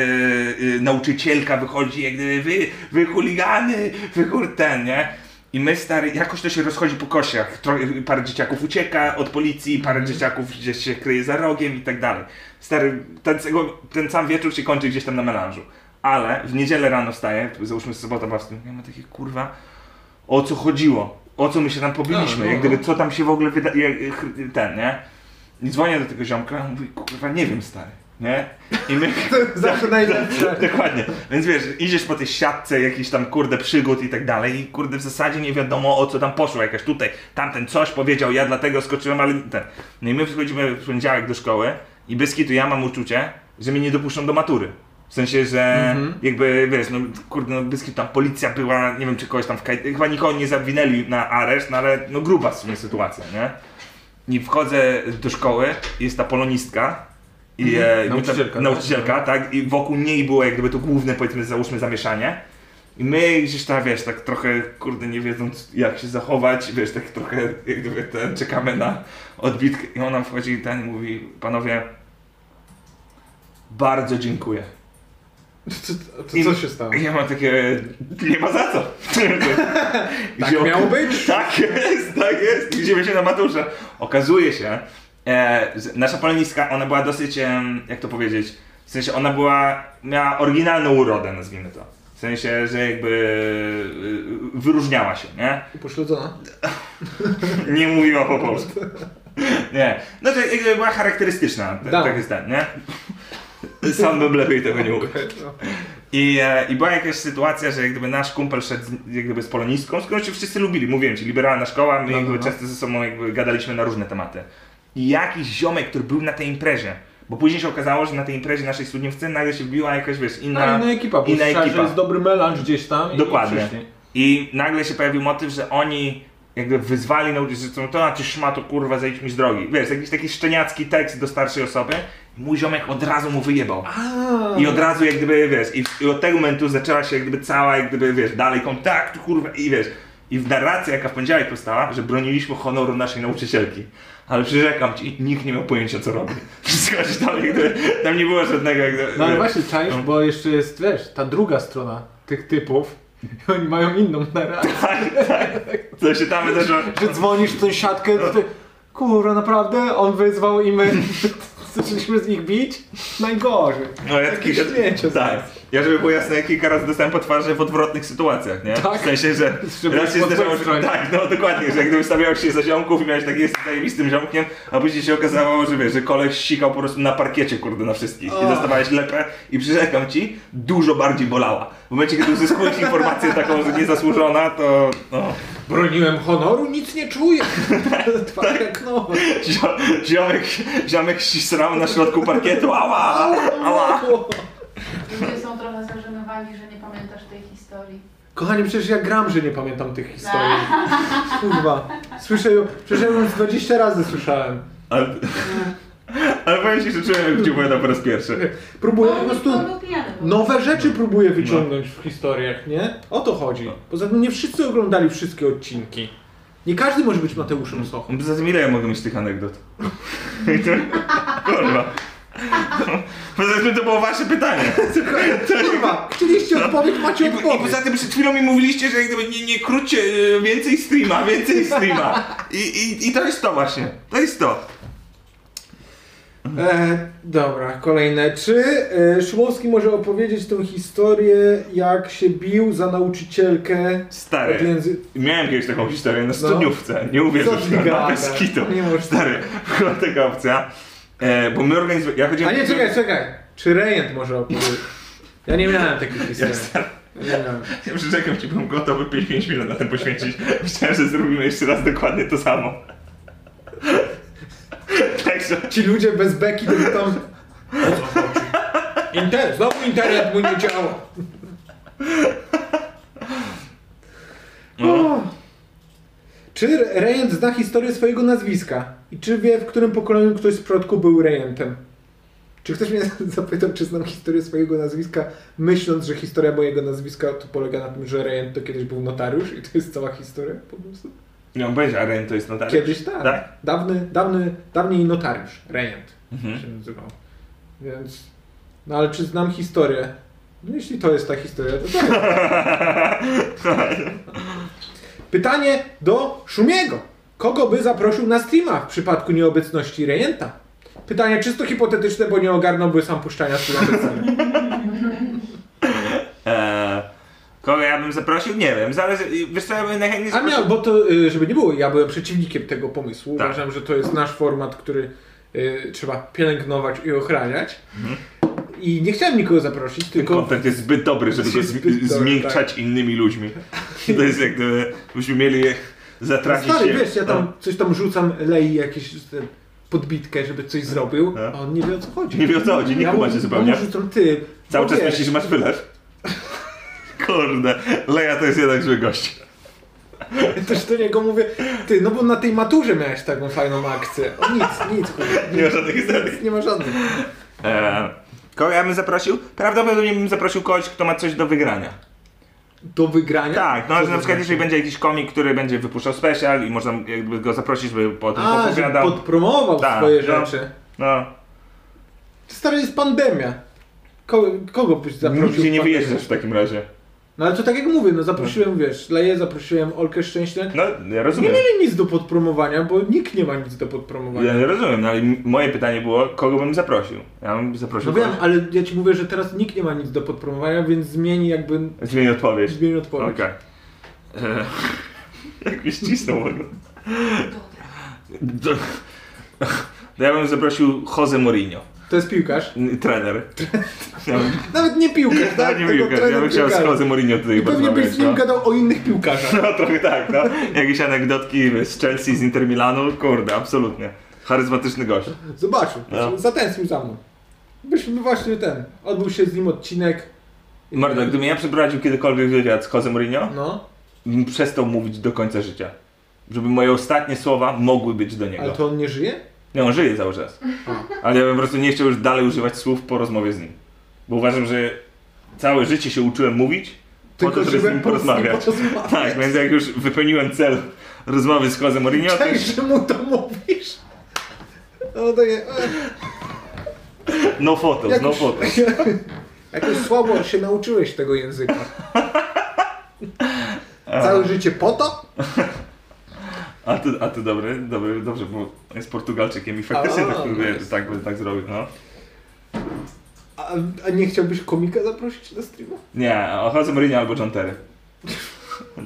S2: nauczycielka wychodzi jak gdyby, wy, wy chuligany, wy kur- ten, nie? I my stary, jakoś to się rozchodzi po kosiach, Tro, parę dzieciaków ucieka od policji, parę dzieciaków gdzieś się kryje za rogiem i tak dalej. Stary, ten, cego- ten sam wieczór się kończy gdzieś tam na melanżu. Ale w niedzielę rano wstaję, załóżmy sobota, była w tym, ja mam takie kurwa, o co chodziło, o co my się tam pobiliśmy,
S4: A, no,
S2: jak gdyby
S4: no.
S2: co tam się w ogóle wyda... jak- chr- ten, nie? I dzwonię do tego ziomka, on mówi, kurwa, nie wiem, stary, nie? I
S4: (laughs)
S2: my...
S4: Zawsze
S2: (laughs)
S4: najlepsze.
S2: Dokładnie. Więc wiesz, idziesz po tej siatce jakichś tam, kurde, przygód i tak dalej i kurde, w zasadzie nie wiadomo o co tam poszło, jakaś tutaj, tamten coś powiedział, ja dlatego skoczyłem, ale ten. No i my wchodzimy w poniedziałek do szkoły i bez kitu ja mam uczucie, że mnie nie dopuszczą do matury. W sensie, że
S4: Mhm.
S2: jakby, wiesz, no kurde, no bez kitu tam policja była, nie wiem czy kogoś tam w kaj... chyba nikogo nie zawinęli na areszt, no ale no gruba w sumie sytuacja, nie? I wchodzę do szkoły, jest ta polonistka i e,
S4: Nauczycielka, tak?
S2: nauczycielka, tak? I wokół niej było jak gdyby to główne, powiedzmy, załóżmy zamieszanie. I my gdzieś tam, wiesz, tak trochę, kurde, nie wiedząc jak się zachować, wiesz, tak trochę jak gdyby ten, czekamy na odbitkę i ona wchodzi i ten mówi, panowie, bardzo dziękuję.
S4: Co, to,
S2: I-
S4: co się
S2: (laughs)
S4: stało?
S2: I ja mam takie, nie ma
S4: (laughs)
S2: za co.
S4: Tak
S2: Gdzie-
S4: miało być?
S2: Tak jest, tak jest. Widzimy się na maturze. Okazuje się, e, że nasza poloniska, ona była dosyć, em, jak to powiedzieć, w sensie ona była, miała oryginalną urodę, nazwijmy to. W sensie, że jakby y, wyróżniała się, nie? (laughs)
S4: Upośledzona?
S2: Nie mówiła po polsku. Nie. No to jakby była charakterystyczna, t-
S4: Da.
S2: tak jest ten, nie? Sam bym lepiej tego nie mówił. I, e, I była jakaś sytuacja, że jak gdyby nasz kumpel szedł z- jak gdyby z polonistką, z którą się wszyscy lubili, mówiłem ci, liberalna szkoła, my
S4: No, no,
S2: jakby
S4: no.
S2: często ze sobą jakby gadaliśmy na różne tematy. I jakiś ziomek, który był na tej imprezie, bo później się okazało, że na tej imprezie naszej studniówce nagle się wbiła jakaś, wiesz,
S4: No,
S1: Tak,
S2: inna,
S4: inna ekipa, bo
S2: inna
S4: słyszałem, że
S2: ekipa.
S4: jest dobry melanż gdzieś tam i i
S2: Dokładnie.
S4: przyszli.
S2: I nagle się pojawił motyw, że oni jakby wyzwali nauczycielstwo, to na ty szmato kurwa zejdź mi z drogi. Wiesz, jakiś taki szczeniacki tekst do starszej osoby mój ziomek od razu mu wyjebał.
S1: A,
S2: I od razu jak gdyby, wiesz, i, i od tego momentu zaczęła się jak gdyby cała, jak gdyby, wiesz, dalej kontakt, kurwa, i wiesz. I w narracji, jaka w poniedziałek powstała, że broniliśmy honoru naszej nauczycielki. Ale przyrzekam ci, nikt nie miał pojęcia, co robi. (laughs) Wszystko się tam, jak gdyby, tam nie było żadnego, jak gdyby,
S1: No ale
S2: wiesz.
S1: właśnie czaisz,
S2: No.
S1: bo jeszcze jest, wiesz, ta druga strona tych typów. I oni mają inną narrację.
S2: Tak, tak. To się tam wydarzyło.
S1: (laughs) Że dzwonisz w tą siatkę, to ty... Kurwa, naprawdę? On wyzwał i my (laughs) zaczęliśmy z nich bić? Najgorzej.
S2: No, ja
S1: Jakieś śmiecie z
S2: tak.
S1: nas.
S2: Ja, żeby było jasne, kilka razy dostałem po twarzy w odwrotnych sytuacjach, nie?
S1: Tak.
S2: W sensie, że
S1: (laughs) Żeby
S2: raz się
S1: po
S2: zdarzało,
S1: twojej
S2: że...
S1: stronie.
S2: Tak, no dokładnie, że gdyby stawiałeś się za ziomków i miałeś taki jest zajebistym ziomkiem, a później się okazało, że wiesz, że koleś sikał po prostu na parkiecie, kurde, na wszystkich i dostawałeś lepę i przyrzekam ci, dużo bardziej bolała. W momencie, kiedy uzyskujesz informację taką, że niezasłużona, to no,
S1: Broniłem honoru, nic nie
S2: (laughs)
S1: czuję.
S2: Tak.
S1: Twarde jak nowa.
S2: zio, ziomek, ziomek srał na środku parkietu, ała, ała.
S5: Ludzie są trochę zażenowani, że nie pamiętasz tej historii.
S1: Kochanie, przecież ja gram, że nie pamiętam tych historii. Kurwa. Słyszę ją, przecież ja ją już 20 razy słyszałem.
S2: Ale, (laughs) ale powiem ci, że czułem, jak ci opowiadam po raz pierwszy.
S1: Próbuję po prostu...
S5: On był pijany. bo-
S1: Nowe rzeczy próbuję wyciągnąć w historiach, nie? O to chodzi. Poza tym nie wszyscy oglądali wszystkie odcinki. Nie każdy może być Mateuszem Sochą.
S2: Za tym ile ja mogę mieć tych anegdot? (laughs) Kurwa. Poza tym to było wasze pytanie.
S1: Kurwa, chcieliście odpowiedź, macie
S2: I
S1: odpowiedź.
S2: poza tym przed chwilą mi mówiliście, że jak gdyby nie, nie króćcie y, więcej streama, więcej streama. I, i, I to jest to właśnie. To jest to.
S1: E, dobra, kolejne. Czy e, Szumowski może opowiedzieć tę historię, jak się bił za nauczycielkę od
S2: Stary.
S1: języ...
S2: Miałem kiedyś taką historię na studniówce. Nie uwierzysz,
S1: No. Co ty
S2: no, bez
S1: gadasz?
S2: kitu.
S1: Nie możesz.
S2: Stary, była taka opcja. E, bo my organizowaliśmy... Ja
S1: A
S2: chodziłem...
S1: nie, czekaj, czekaj. Czy Rejent może opowiedzieć? Ja nie miałem takich historii. Ja nie miałem.
S2: Ja Przyrzekam ci, byłem gotowy 5 minut na tym poświęcić. Myślałem, że zrobimy jeszcze raz dokładnie to samo. Także...
S1: Ci ludzie bez beki to by tam... Inter, znowu internet mu nie działa. O. No. Czy Rejent zna historię swojego nazwiska? I czy wie, w którym pokoleniu ktoś z przodku był Rejentem? Czy ktoś mnie (laughs) zapytał, czy znam historię swojego nazwiska, myśląc, że historia mojego nazwiska to polega na tym, że Rejent to kiedyś był notariusz i to jest cała historia po prostu?
S2: No będzie, a Ren to jest notariusz.
S1: Kiedyś tak.
S2: Tak?
S1: Dawny, dawny, dawniej notariusz, rejent
S2: Mhm.
S1: się nazywał. Więc, no ale czy znam historię? No jeśli to jest ta historia, to
S2: (laughs)
S1: tak. Pytanie do Szumiego. Kogo by zaprosił na streama w przypadku nieobecności rejenta? Pytanie czysto hipotetyczne, bo nie ogarnąłby sam puszczania streama bez
S2: (laughs)
S1: ceny.
S2: Eee, kogo ja bym zaprosił? Nie wiem, zależy... Wiesz co, ja bym najchętniej
S1: A miał,
S2: zaprosił...
S1: bo to, y, żeby nie było, ja byłem przeciwnikiem tego pomysłu.
S2: Tak.
S1: Uważam, że to jest nasz format, który y, trzeba pielęgnować i ochraniać.
S2: Mhm.
S1: I nie chciałem nikogo zaprosić, tylko
S2: Kontent jest zbyt dobry, żeby go
S1: Jest
S2: zmi-
S1: zbyt dobry, tak.
S2: zmiękczać innymi ludźmi. To jest jak gdyby... Byśmy mieli je zatracić
S1: stary,
S2: się.
S1: wiesz, ja tam
S2: No.
S1: coś tam rzucam, lei jakieś e, podbitkę, żeby coś zrobił,
S2: No.
S1: a on nie wie o co chodzi.
S2: Nie wie o co chodzi, nie
S1: ja
S2: kuma
S1: mu-
S2: się zupełnie.
S1: ja mu rzucam ty.
S2: Cały
S1: bo
S2: czas
S1: wiesz,
S2: myślisz, że masz wylew. Kurde, Leja to jest jednak zły gość.
S1: Ja (laughs) też do niego mówię, ty, no bo na tej maturze miałeś taką fajną akcję. O nic,
S2: (laughs)
S1: nic, kurwa.
S2: Nie ma żadnych historii.
S1: Nic nie ma żadnych.
S2: Eee, kogo ja bym zaprosił? Prawdopodobnie bym zaprosił kogoś, kto ma coś do wygrania.
S1: Do wygrania.
S2: Tak, no
S1: Co
S2: że
S1: to
S2: na przykład
S1: znaczy?
S2: jeżeli będzie jakiś komik, który będzie wypuszczał special i można jakby go zaprosić, by po tym
S1: A, żeby
S2: opowiadał.
S1: podpromował
S2: Tak,
S1: swoje
S2: no.
S1: rzeczy.
S2: No,
S1: Stary, jest pandemia. Ko kogo byś zaprosił?
S2: nigdzie nie
S1: w
S2: wyjeżdżasz
S1: pandemii?
S2: w takim razie.
S1: No ale to tak jak mówię, no zaprosiłem, wiesz, Leję, zaprosiłem Olkę Szczęśle.
S2: No, ja
S1: Nie
S2: rozumiem.
S1: mieli nic do podpromowania, bo nikt nie ma nic do
S2: Ja
S1: podpromowania.
S2: nie rozumiem, no ale m- moje pytanie było, kogo bym zaprosił? Ja bym zaprosił
S1: No wiem,
S2: kogoś.
S1: ale ja ci mówię, że teraz nikt nie ma nic do podpromowania, więc zmieni jakby...
S2: Zmień odpowiedź.
S1: Zmieni
S2: Okej.
S1: odpowiedź.
S2: (laughs) Eee, Jak mi ścisnął w ogóle. Do- (laughs) To ja bym zaprosił Jose Mourinho,
S1: To jest piłkarz. (laughs)
S2: n- trener. Ja bym,
S1: Nawet nie
S2: (laughs)
S1: piłkarz,
S2: ja
S1: tak?
S2: bym,
S1: Tylko
S2: piłkarz, ja bym
S1: trener
S2: chciał z
S1: piłkarza.
S2: Jose Mourinho tutaj
S1: I pewnie byś
S2: porozmawiać,
S1: z nim
S2: no.
S1: gadał o innych piłkarzach.
S2: No trochę tak, no. Jakieś anegdotki z Chelsea, z Inter Milanu, kurde, absolutnie. Charyzmatyczny gość.
S1: Zobaczył,
S2: No.
S1: zatęsknił za mną. Byśmy właśnie ten, odbył się z nim odcinek.
S2: Mordo, gdybym ja przeprowadził kiedykolwiek wywiad z Jose Mourinho,
S1: No.
S2: bym przestał mówić do końca życia. Żeby moje ostatnie słowa mogły być do niego.
S1: Ale to on nie żyje?
S2: Nie, on żyje cały czas. Ale ja bym po prostu nie chciał już dalej używać słów po rozmowie z nim. Bo uważam, że całe życie się uczyłem mówić, po to, żeby z nim porozmawiać. Tak, więc jak już wypełniłem cel rozmowy z Jose Mourinho, to
S1: Tak, że mu to mówisz. O, to je...
S2: no photos, no
S1: Jakoś-
S2: photos.
S1: Jakoś słabo się nauczyłeś tego
S2: (laughs)
S1: języka.
S7: Całe życie po to?
S2: A ty, a ty dobry, dobry, dobrze, bo jest Portugalczykiem i faktycznie
S1: A,
S2: tak,
S1: no
S2: by,
S1: jest.
S2: tak by tak zrobił, no.
S1: A, a nie chciałbyś komika zaprosić do streamu?
S2: Nie, o Jose Mourinho albo John Terry.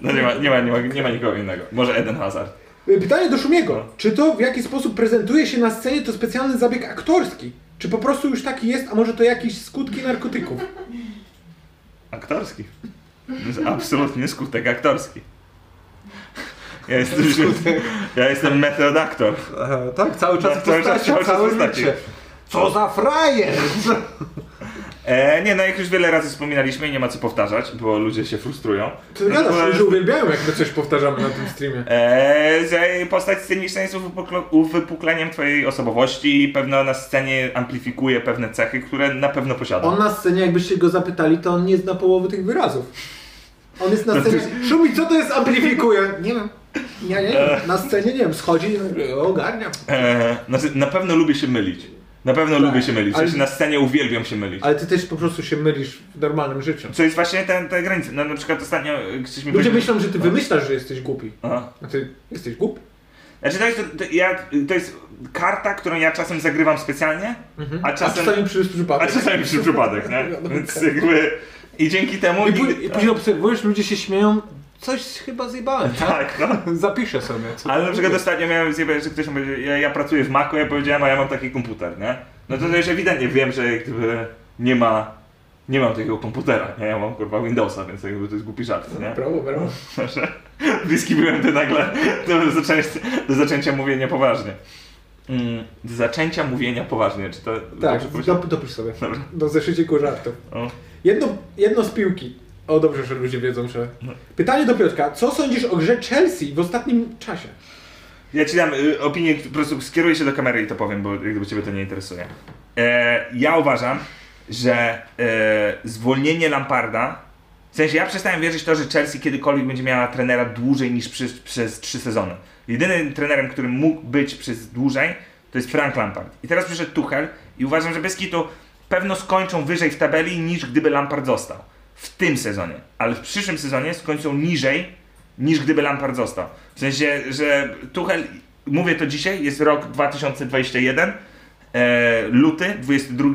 S2: No nie ma, nie ma, nie ma, nie ma nikogo innego. Może Eden Hazard.
S1: E, Pytanie do Szumiego. Czy to w jaki sposób prezentuje się na scenie to specjalny zabieg aktorski? Czy po prostu już taki jest, a może to jakieś skutki narkotyków?
S2: Aktorski. To jest absolutnie skutek aktorski. Ja jestem, ja jestem method aktor.
S1: tak, cały
S2: czas w Cały czas, postaci, cały czas całe w postaci. życie.
S1: Co za frajer!
S2: E, nie, no jak już wiele razy wspominaliśmy, nie ma co powtarzać, bo ludzie się frustrują. no
S1: Ty gadasz,
S2: Natomiast-
S1: ludzie uwielbiają jak my coś powtarzamy na tym streamie.
S2: Eee, że postać sceniczna jest uwypukl- uwypukleniem twojej osobowości i pewno na scenie amplifikuje pewne cechy, które na pewno posiada.
S1: On na scenie, jakbyście go zapytali, to on nie zna połowy tych wyrazów. On jest na scenie... Szumi, co No to jest amplifikuje? Nie wiem. Ja nie wiem. Na scenie nie wiem, schodzi i ogarniam.
S2: Eee, znaczy, na pewno lubię się mylić. Na pewno lubię się mylić.
S1: Tak, ale-
S2: Znaczy, na scenie uwielbiam się mylić.
S1: Ale ty też po prostu się mylisz w normalnym życiu.
S2: Co jest właśnie ten, te granice. No na przykład ostatnio e, ktoś
S1: Ludzie
S2: mi powiedział-
S1: myślą, że ty wymyślasz, że jesteś głupi.
S2: Aha.
S1: A ty jesteś głupi?
S2: Znaczy, to jest, to, ja, to jest karta, którą ja czasem zagrywam specjalnie, a
S1: Mhm. A
S2: czasem...
S1: czasami przy
S2: A
S1: przypadek.
S2: czasami przy przypadek, nie? Więc jakby... I dzięki temu...
S1: I, pó-
S2: nigdy-
S1: I później obserwujesz, ludzie się śmieją, coś chyba zjebałem, (laughs) tak?
S2: Tak, no.
S1: Zapiszę sobie. Co
S2: Ale na przykład ostatnio miałem zjebać, że ktoś mi powiedział, ja, ja pracuję w Macu, ja powiedziałem, a ja mam taki komputer, nie? No to, to już ewidentnie wiem, że jak gdyby nie ma, nie mam takiego komputera, nie? Ja mam kurwa Windowsa, więc jakby to jest głupi żart, nie? (laughs)
S1: Brawo, brawo.
S2: Bliski byłem do nagle do zaczęcia, do zaczęcia mówienia poważnie. Mm, do zaczęcia mówienia poważnie, czy to... No, dobrze
S1: Tak,
S2: powiedziałem?
S1: dop, dopisz sobie. No,
S2: Dobra.
S1: Do zeszyciku żartów.
S2: O.
S1: Jedno, jedno z piłki. O, dobrze, że ludzie wiedzą, że...
S2: No.
S1: Pytanie do Piotrka. Co sądzisz o grze Chelsea w ostatnim czasie?
S2: Ja ci dam y, opinię, po prostu skieruję się do kamery i to powiem, bo jak gdyby ciebie to nie interesuje. E, ja uważam, że e, zwolnienie Lamparda, w sensie ja przestałem wierzyć w to, że Chelsea kiedykolwiek będzie miała trenera dłużej niż przy, przez trzy sezony. Jedynym trenerem, który mógł być przez dłużej, to jest Frank Lampard. I teraz przyszedł Tuchel i uważam, że bez kitu pewno skończą wyżej w tabeli niż gdyby Lampard został. W tym sezonie. Ale w przyszłym sezonie skończą niżej niż gdyby Lampard został. W sensie, że Tuchel, mówię to dzisiaj, jest rok 2021, e, luty 22.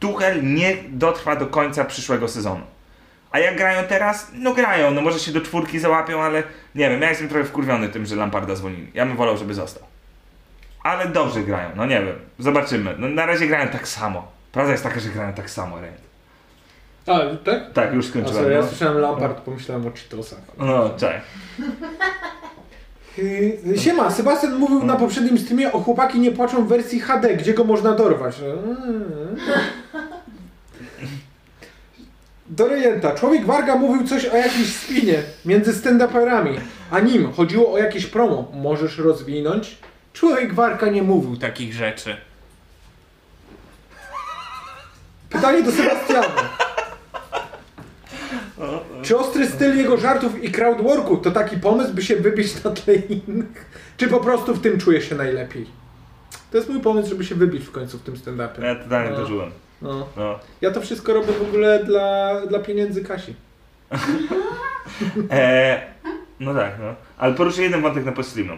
S2: Tuchel nie dotrwa do końca przyszłego sezonu. A jak grają teraz? No grają, no może się do czwórki załapią, ale nie wiem, ja jestem trochę wkurwiony tym, że Lamparda zwolnili. Ja bym wolał, żeby został. Ale dobrze grają, no nie wiem, zobaczymy. No na razie grają tak samo. Prawda jest taka, że grają tak samo, Rejent.
S1: A, tak?
S2: Tak, już
S1: A,
S2: skończyłem.
S1: sorry, ja
S2: no.
S1: słyszałem Lampard, pomyślałem o Cheetosach.
S2: No, cześć.
S1: Yy, Siema, Sebastian mówił na poprzednim streamie o chłopaki nie płaczą w wersji HD, gdzie go można dorwać. Mm. Do rejenta. Człowiek Warga mówił coś o jakiejś spinie między stand-uperami, a nim chodziło o jakieś promo. Możesz rozwinąć? Człowiek Warga nie mówił takich rzeczy. Pytanie do Sebastiana. Czy ostry styl jego żartów i crowdworku to taki pomysł, by się wybić na tle innych? Czy po prostu w tym czujesz się najlepiej? To jest mój pomysł, żeby się wybić w końcu w tym
S2: Ja
S1: stand-upie.
S2: totalnie
S1: No.
S2: dożyłem.
S1: No.
S2: No.
S1: Ja to wszystko robię w ogóle dla, dla pieniędzy Kasi.
S2: Eee, no tak, no. Ale poruszę jeden wątek na postreamu.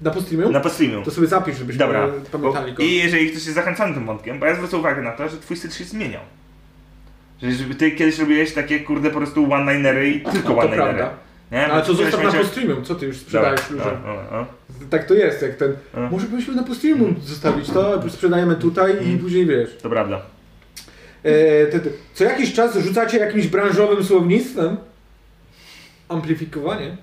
S1: Na postreamiu?
S2: Na postreamu.
S1: To sobie zapisz, żebyśmy
S2: Dobra.
S1: pamiętali go.
S2: I jeżeli ktoś jest zachęcany tym wątkiem, bo ja zwrócę uwagę na to, że twój styl się zmieniał. Że żeby ty kiedyś robiłeś takie kurde po prostu one-linery i tylko
S1: to
S2: one-linery.
S1: prawda. No,
S2: Nie?
S1: Ale to
S2: Kiedyś
S1: zostaw na
S2: będzie-
S1: postreamiu, co ty już
S2: Dobra,
S1: sprzedajesz
S2: no,
S1: ludziom?
S2: no, no.
S1: Tak to jest, jak ten...
S2: No.
S1: Może byśmy na postreamu zostawić
S2: Mm.
S1: to, sprzedajemy tutaj i później wiesz.
S2: To prawda.
S1: E, te, te, co jakiś czas rzucacie jakimś branżowym słownictwem? Amplifikowanie.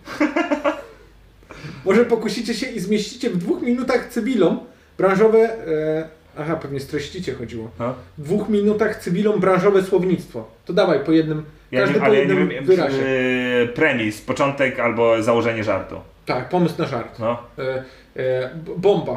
S1: Może pokusicie się i zmieścicie w dwóch minutach cybilom branżowe... E, aha, pewnie streścicie chodziło.
S2: No.
S1: W dwóch minutach cybilom branżowe słownictwo. To dawaj po jednym, każdy po jednym wyrazie.
S2: yy, premis, początek albo założenie żartu.
S1: Tak, pomysł na żart.
S2: No.
S1: E, e, b- bomba.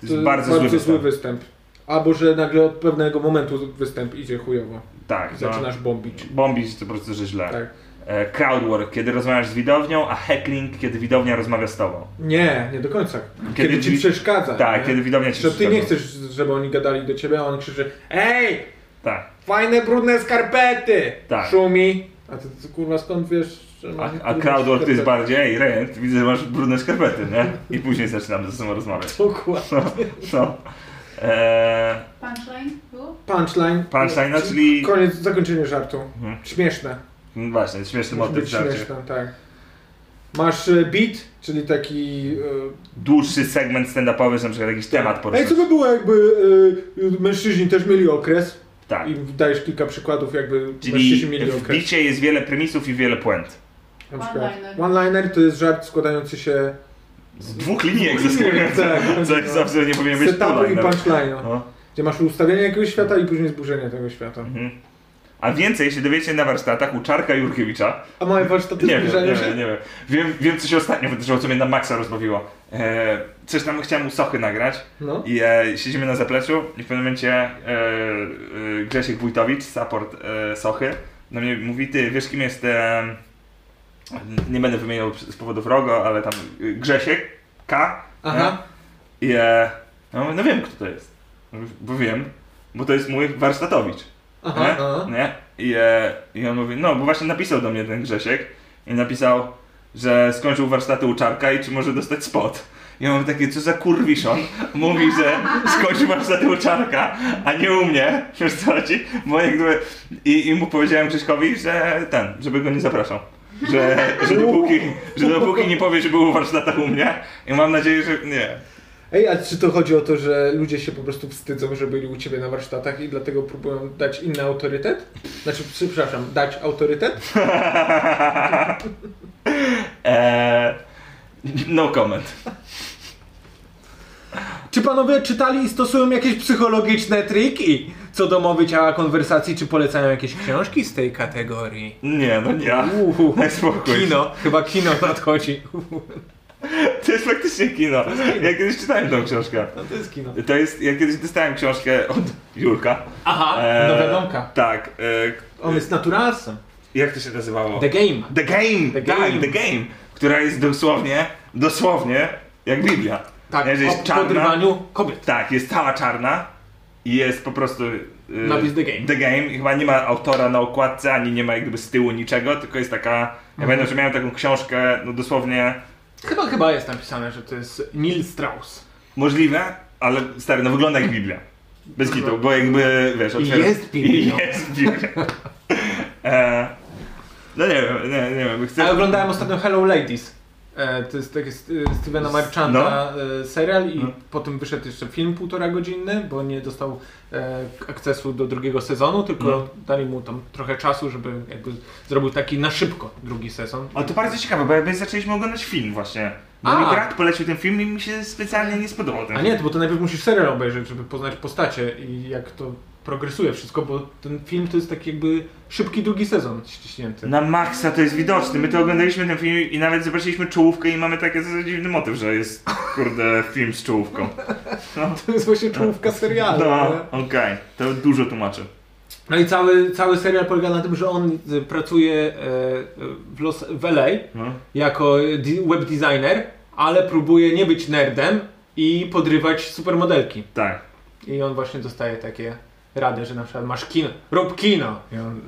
S2: To jest bardzo, zły występ.
S4: występ. Albo że nagle od pewnego momentu występ idzie chujowo.
S2: Tak, no.
S4: Zaczynasz bombić.
S2: Bombić to po prostu, że źle.
S4: Tak.
S2: E, crowdwork, kiedy rozmawiasz z widownią, a heckling, kiedy widownia rozmawia z tobą.
S4: Nie, nie do końca. Kiedy,
S2: Kiedy
S4: ci
S2: wi-
S4: przeszkadza.
S2: Tak,
S4: nie?
S2: kiedy widownia ci
S4: Że ty nie
S2: przeszkadza.
S4: chcesz, żeby oni gadali do ciebie, a on krzyczy Ej!
S2: Tak.
S4: Fajne brudne skarpety!
S2: Tak.
S4: Szumi! A ty, ty kurwa skąd wiesz, że
S2: A,
S4: masz
S2: a
S4: brudne
S2: crowdwork to jest
S4: No, skarpety?
S2: bardziej, ej, rent, widzę, że masz brudne skarpety, nie? I później zaczynamy ze sobą rozmawiać.
S4: Dokładnie.
S2: No. E,
S5: Punchline było?
S4: Punchline.
S2: Punchline, no, czyli-
S4: Koniec, zakończenie żartu.
S2: Mhm.
S4: Śmieszne.
S2: no właśnie, śmieszny
S4: Musi
S2: motyw
S4: być
S2: w żarcie.
S4: śmieszne, tak. Masz e, beat, czyli taki... e,
S2: Dłuższy segment stand-upowy, że na przykład jakiś temat
S4: Tak. Ej,
S2: poruszasz.
S4: co by było jakby e, mężczyźni też mieli okres?
S2: Tak.
S4: I dajesz kilka przykładów jakby
S2: Czyli
S4: mężczyźni mieli
S2: w
S4: okres.
S2: bicie jest wiele premisów i wiele puent.
S4: Na przykład.
S5: One-liner.
S4: One-liner to jest żart składający się
S2: Z dwóch linijek zaskakujących.
S4: Tak.
S2: Coś zawsze nie powinien być
S4: z setupu i
S2: two-liner.
S4: punchline'a.
S2: No.
S4: Gdzie masz ustawienie jakiegoś świata i później zburzenie tego świata.
S2: Mhm. A więcej się dowiecie na warsztatach u Czarka Jurkiewicza.
S4: A moje warsztaty
S2: Nie wiem, nie
S4: zbliżają się?
S2: wiem, nie wiem. Wiem, wiem co się ostatnio wydarzyło, co mnie na maksa rozbawiło. E, coś tam chciałem u Sochy nagrać
S4: No.
S2: i e, siedzimy na zapleczu i w pewnym momencie e, e, Grzesiek Wójtowicz, support e, Sochy, na mnie mówi, ty wiesz kim jest, e, nie będę wymieniał z powodów ROGO, ale tam e, Grzesiek K. nie?
S4: Aha.
S2: I e, ja mówię, no wiem kto to jest. Mówi, Bo wiem, bo to jest mój warsztatowicz.
S4: Aha.
S2: Nie?
S4: aha.
S2: Nie? I, e, I on mówi, no bo właśnie napisał do mnie ten Grzesiek i napisał, że skończył warsztaty u Czarka i czy może dostać spot. I on mówi takie, co za kurwiszon, mówi, że skończył warsztaty u Czarka, a nie u mnie, wiesz co chodzi? Bo jakby... I, I mu powiedziałem Grześkowi, że ten, żeby go nie zapraszał. Że, że, dopóki, że dopóki nie powie, że był u warsztatach u mnie i mam nadzieję, że nie.
S4: Ej, a czy to chodzi o to, że ludzie się po prostu wstydzą, że byli u ciebie na warsztatach i dlatego próbują dać inny autorytet? Znaczy, przepraszam, dać autorytet?
S2: Eee, no comment.
S4: Czy panowie czytali i stosują jakieś psychologiczne triki co do mowy ciała konwersacji, czy polecają jakieś książki z tej kategorii?
S2: Nie, no nie.
S4: Uhu,
S2: Daj spokój.
S4: kino, chyba kino nadchodzi. Uhu,
S2: To jest faktycznie kino. Ja kiedyś czytałem tą książkę.
S4: No to jest kino.
S2: To jest, ja kiedyś dostałem książkę od Julka.
S4: Aha,
S2: Eee,
S4: nowa domka.
S2: Tak. e,
S4: On jest naturalsem.
S2: jak to się nazywało?
S4: The Game.
S2: The Game!
S4: The
S2: tak,
S4: Game.
S2: The Game! Która jest dosłownie, dosłownie jak Biblia. Nie, że jest
S4: Tak, o podrywaniu kobiet.
S2: Tak, jest cała czarna i jest po prostu. Yy,
S4: Napis The Game.
S2: The Game. I chyba nie ma autora na okładce, ani nie ma jakby z tyłu niczego, tylko jest taka.
S4: Mhm.
S2: Ja pamiętam, że miałem taką książkę, no dosłownie
S4: Chyba, chyba jest napisane, że to jest Neil Strauss.
S2: możliwe, ale stary, no wygląda jak Biblia. Bez kitu, bo jakby wiesz,
S4: jest Biblią.
S2: I (laughs) jest Biblia. e, no nie wiem, nie, nie wiem. Chcę...
S4: Ale oglądałem ostatnio Hello Ladies. E, to jest taki St- e, Stevena Marchanta e, serial i
S2: No.
S4: potem wyszedł jeszcze film półtora godzinny, bo nie dostał e, akcesu do drugiego sezonu, tylko
S2: No.
S4: dali mu tam trochę czasu, żeby jakby zrobił taki na szybko drugi sezon.
S2: Ale to bardzo ciekawe, bo jakby zaczęliśmy oglądać film właśnie. Bo
S4: A.
S2: mi brat polecił ten film i mi się specjalnie nie spodobał ten
S4: A nie, to bo to najpierw musisz serial obejrzeć, żeby poznać postacie i jak to progresuje wszystko, bo ten film to jest taki jakby szybki drugi sezon ściśnięty.
S2: Na maksa to jest widoczne. My to oglądaliśmy ten film i nawet zobaczyliśmy czołówkę i mamy taki dziwny motyw, że jest kurde film z
S4: (laughs)
S2: czołówką.
S4: To jest właśnie czołówka serialu.
S2: No,
S4: nie?
S2: okej. To dużo tłumaczy.
S4: No i cały, cały serial polega na tym, że on y, pracuje e, e, w, Los, w LA
S2: No.
S4: jako y, di- web designer, ale próbuje nie być nerdem i podrywać supermodelki.
S2: Tak.
S4: I on właśnie dostaje takie rady, że na przykład masz kino, rób kino. I on,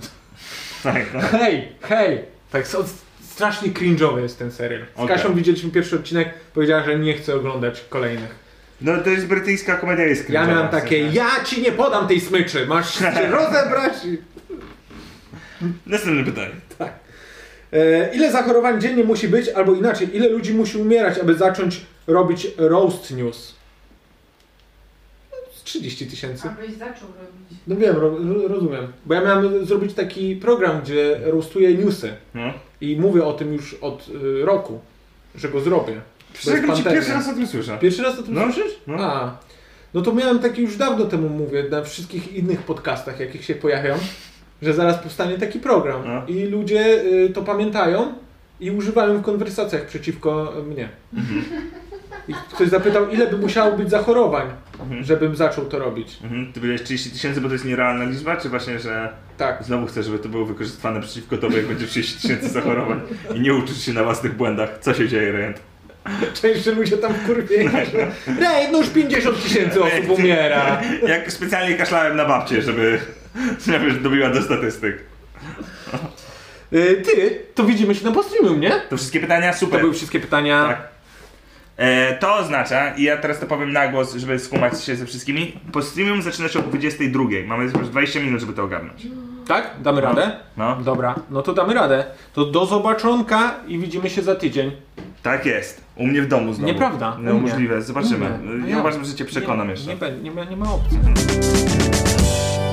S2: Tak, no.
S4: (laughs) hej, hej. Tak, są, strasznie cringe'owy jest ten serial. Z
S2: Okej.
S4: Kasią widzieliśmy pierwszy odcinek, powiedziała, że nie chce oglądać kolejnych.
S2: no to jest brytyjska komedia jest
S4: Ja
S2: cringe'owa,
S4: miałem
S2: w sensie.
S4: takie, ja ci nie podam tej
S2: (laughs)
S4: smyczy, masz się rozebrać i
S2: Następne pytanie.
S4: E, Ile zachorowań dziennie musi być, albo inaczej, ile ludzi musi umierać, aby zacząć robić roast news? No, z 30 tysięcy.
S5: Abyś zaczął robić.
S4: No wiem, ro, ro- rozumiem. Bo ja miałem zrobić taki program, gdzie roastuję newsy.
S2: No.
S4: I mówię o tym już od y, roku, że go zrobię. Bo jest
S2: Przepraszam, ci
S4: pandemia.
S2: pierwszy raz o tym słyszę.
S4: Pierwszy raz o tym
S2: No.
S4: słyszysz?
S2: No.
S4: A. No to miałem taki już dawno temu mówię, na wszystkich innych podcastach, jakich się pojawiają, że zaraz powstanie taki program.
S2: No.
S4: I ludzie
S2: Mhm.
S4: y, to pamiętają i używają w konwersacjach przeciwko mnie. I ktoś zapytał, ile by musiało być zachorowań, żebym zaczął to robić.
S2: Mhm. Ty powiedziałeś 30 tysięcy, bo to jest nierealna liczba, czy właśnie, że
S4: Tak.
S2: znowu chcesz, żeby to było wykorzystywane przeciwko tobie, jak będzie 30 tysięcy zachorowań i nie uczyć się na własnych błędach. Co się dzieje, Rejent?
S4: Częściej ludzie tam kurwieni. Rej, no już 50 tysięcy osób umiera.
S2: Jak specjalnie kaszlałem na babcię, żeby, żeby dobiła do statystyk.
S4: Y, Ty, to widzimy się na postreamium, nie?
S2: To wszystkie pytania?
S4: To
S2: Super.
S4: były wszystkie pytania.
S2: Tak. E, to oznacza, i ja teraz to powiem na głos, żeby skumać się ze wszystkimi, po streamium zaczyna się o 22. Mamy już 20 minut, żeby to ogarnąć.
S4: Tak? Damy radę?
S2: No,
S4: Dobra, no to damy radę. To do zobaczonka i widzimy się za tydzień.
S2: tak jest. U mnie w domu znowu.
S4: Nieprawda,
S2: No
S4: u mnie.
S2: możliwe,
S4: U
S2: zobaczymy.
S4: mnie.
S2: Ja uważam, że cię przekonam
S4: nie,
S2: jeszcze.
S4: Nie, be- nie, ma- nie ma opcji.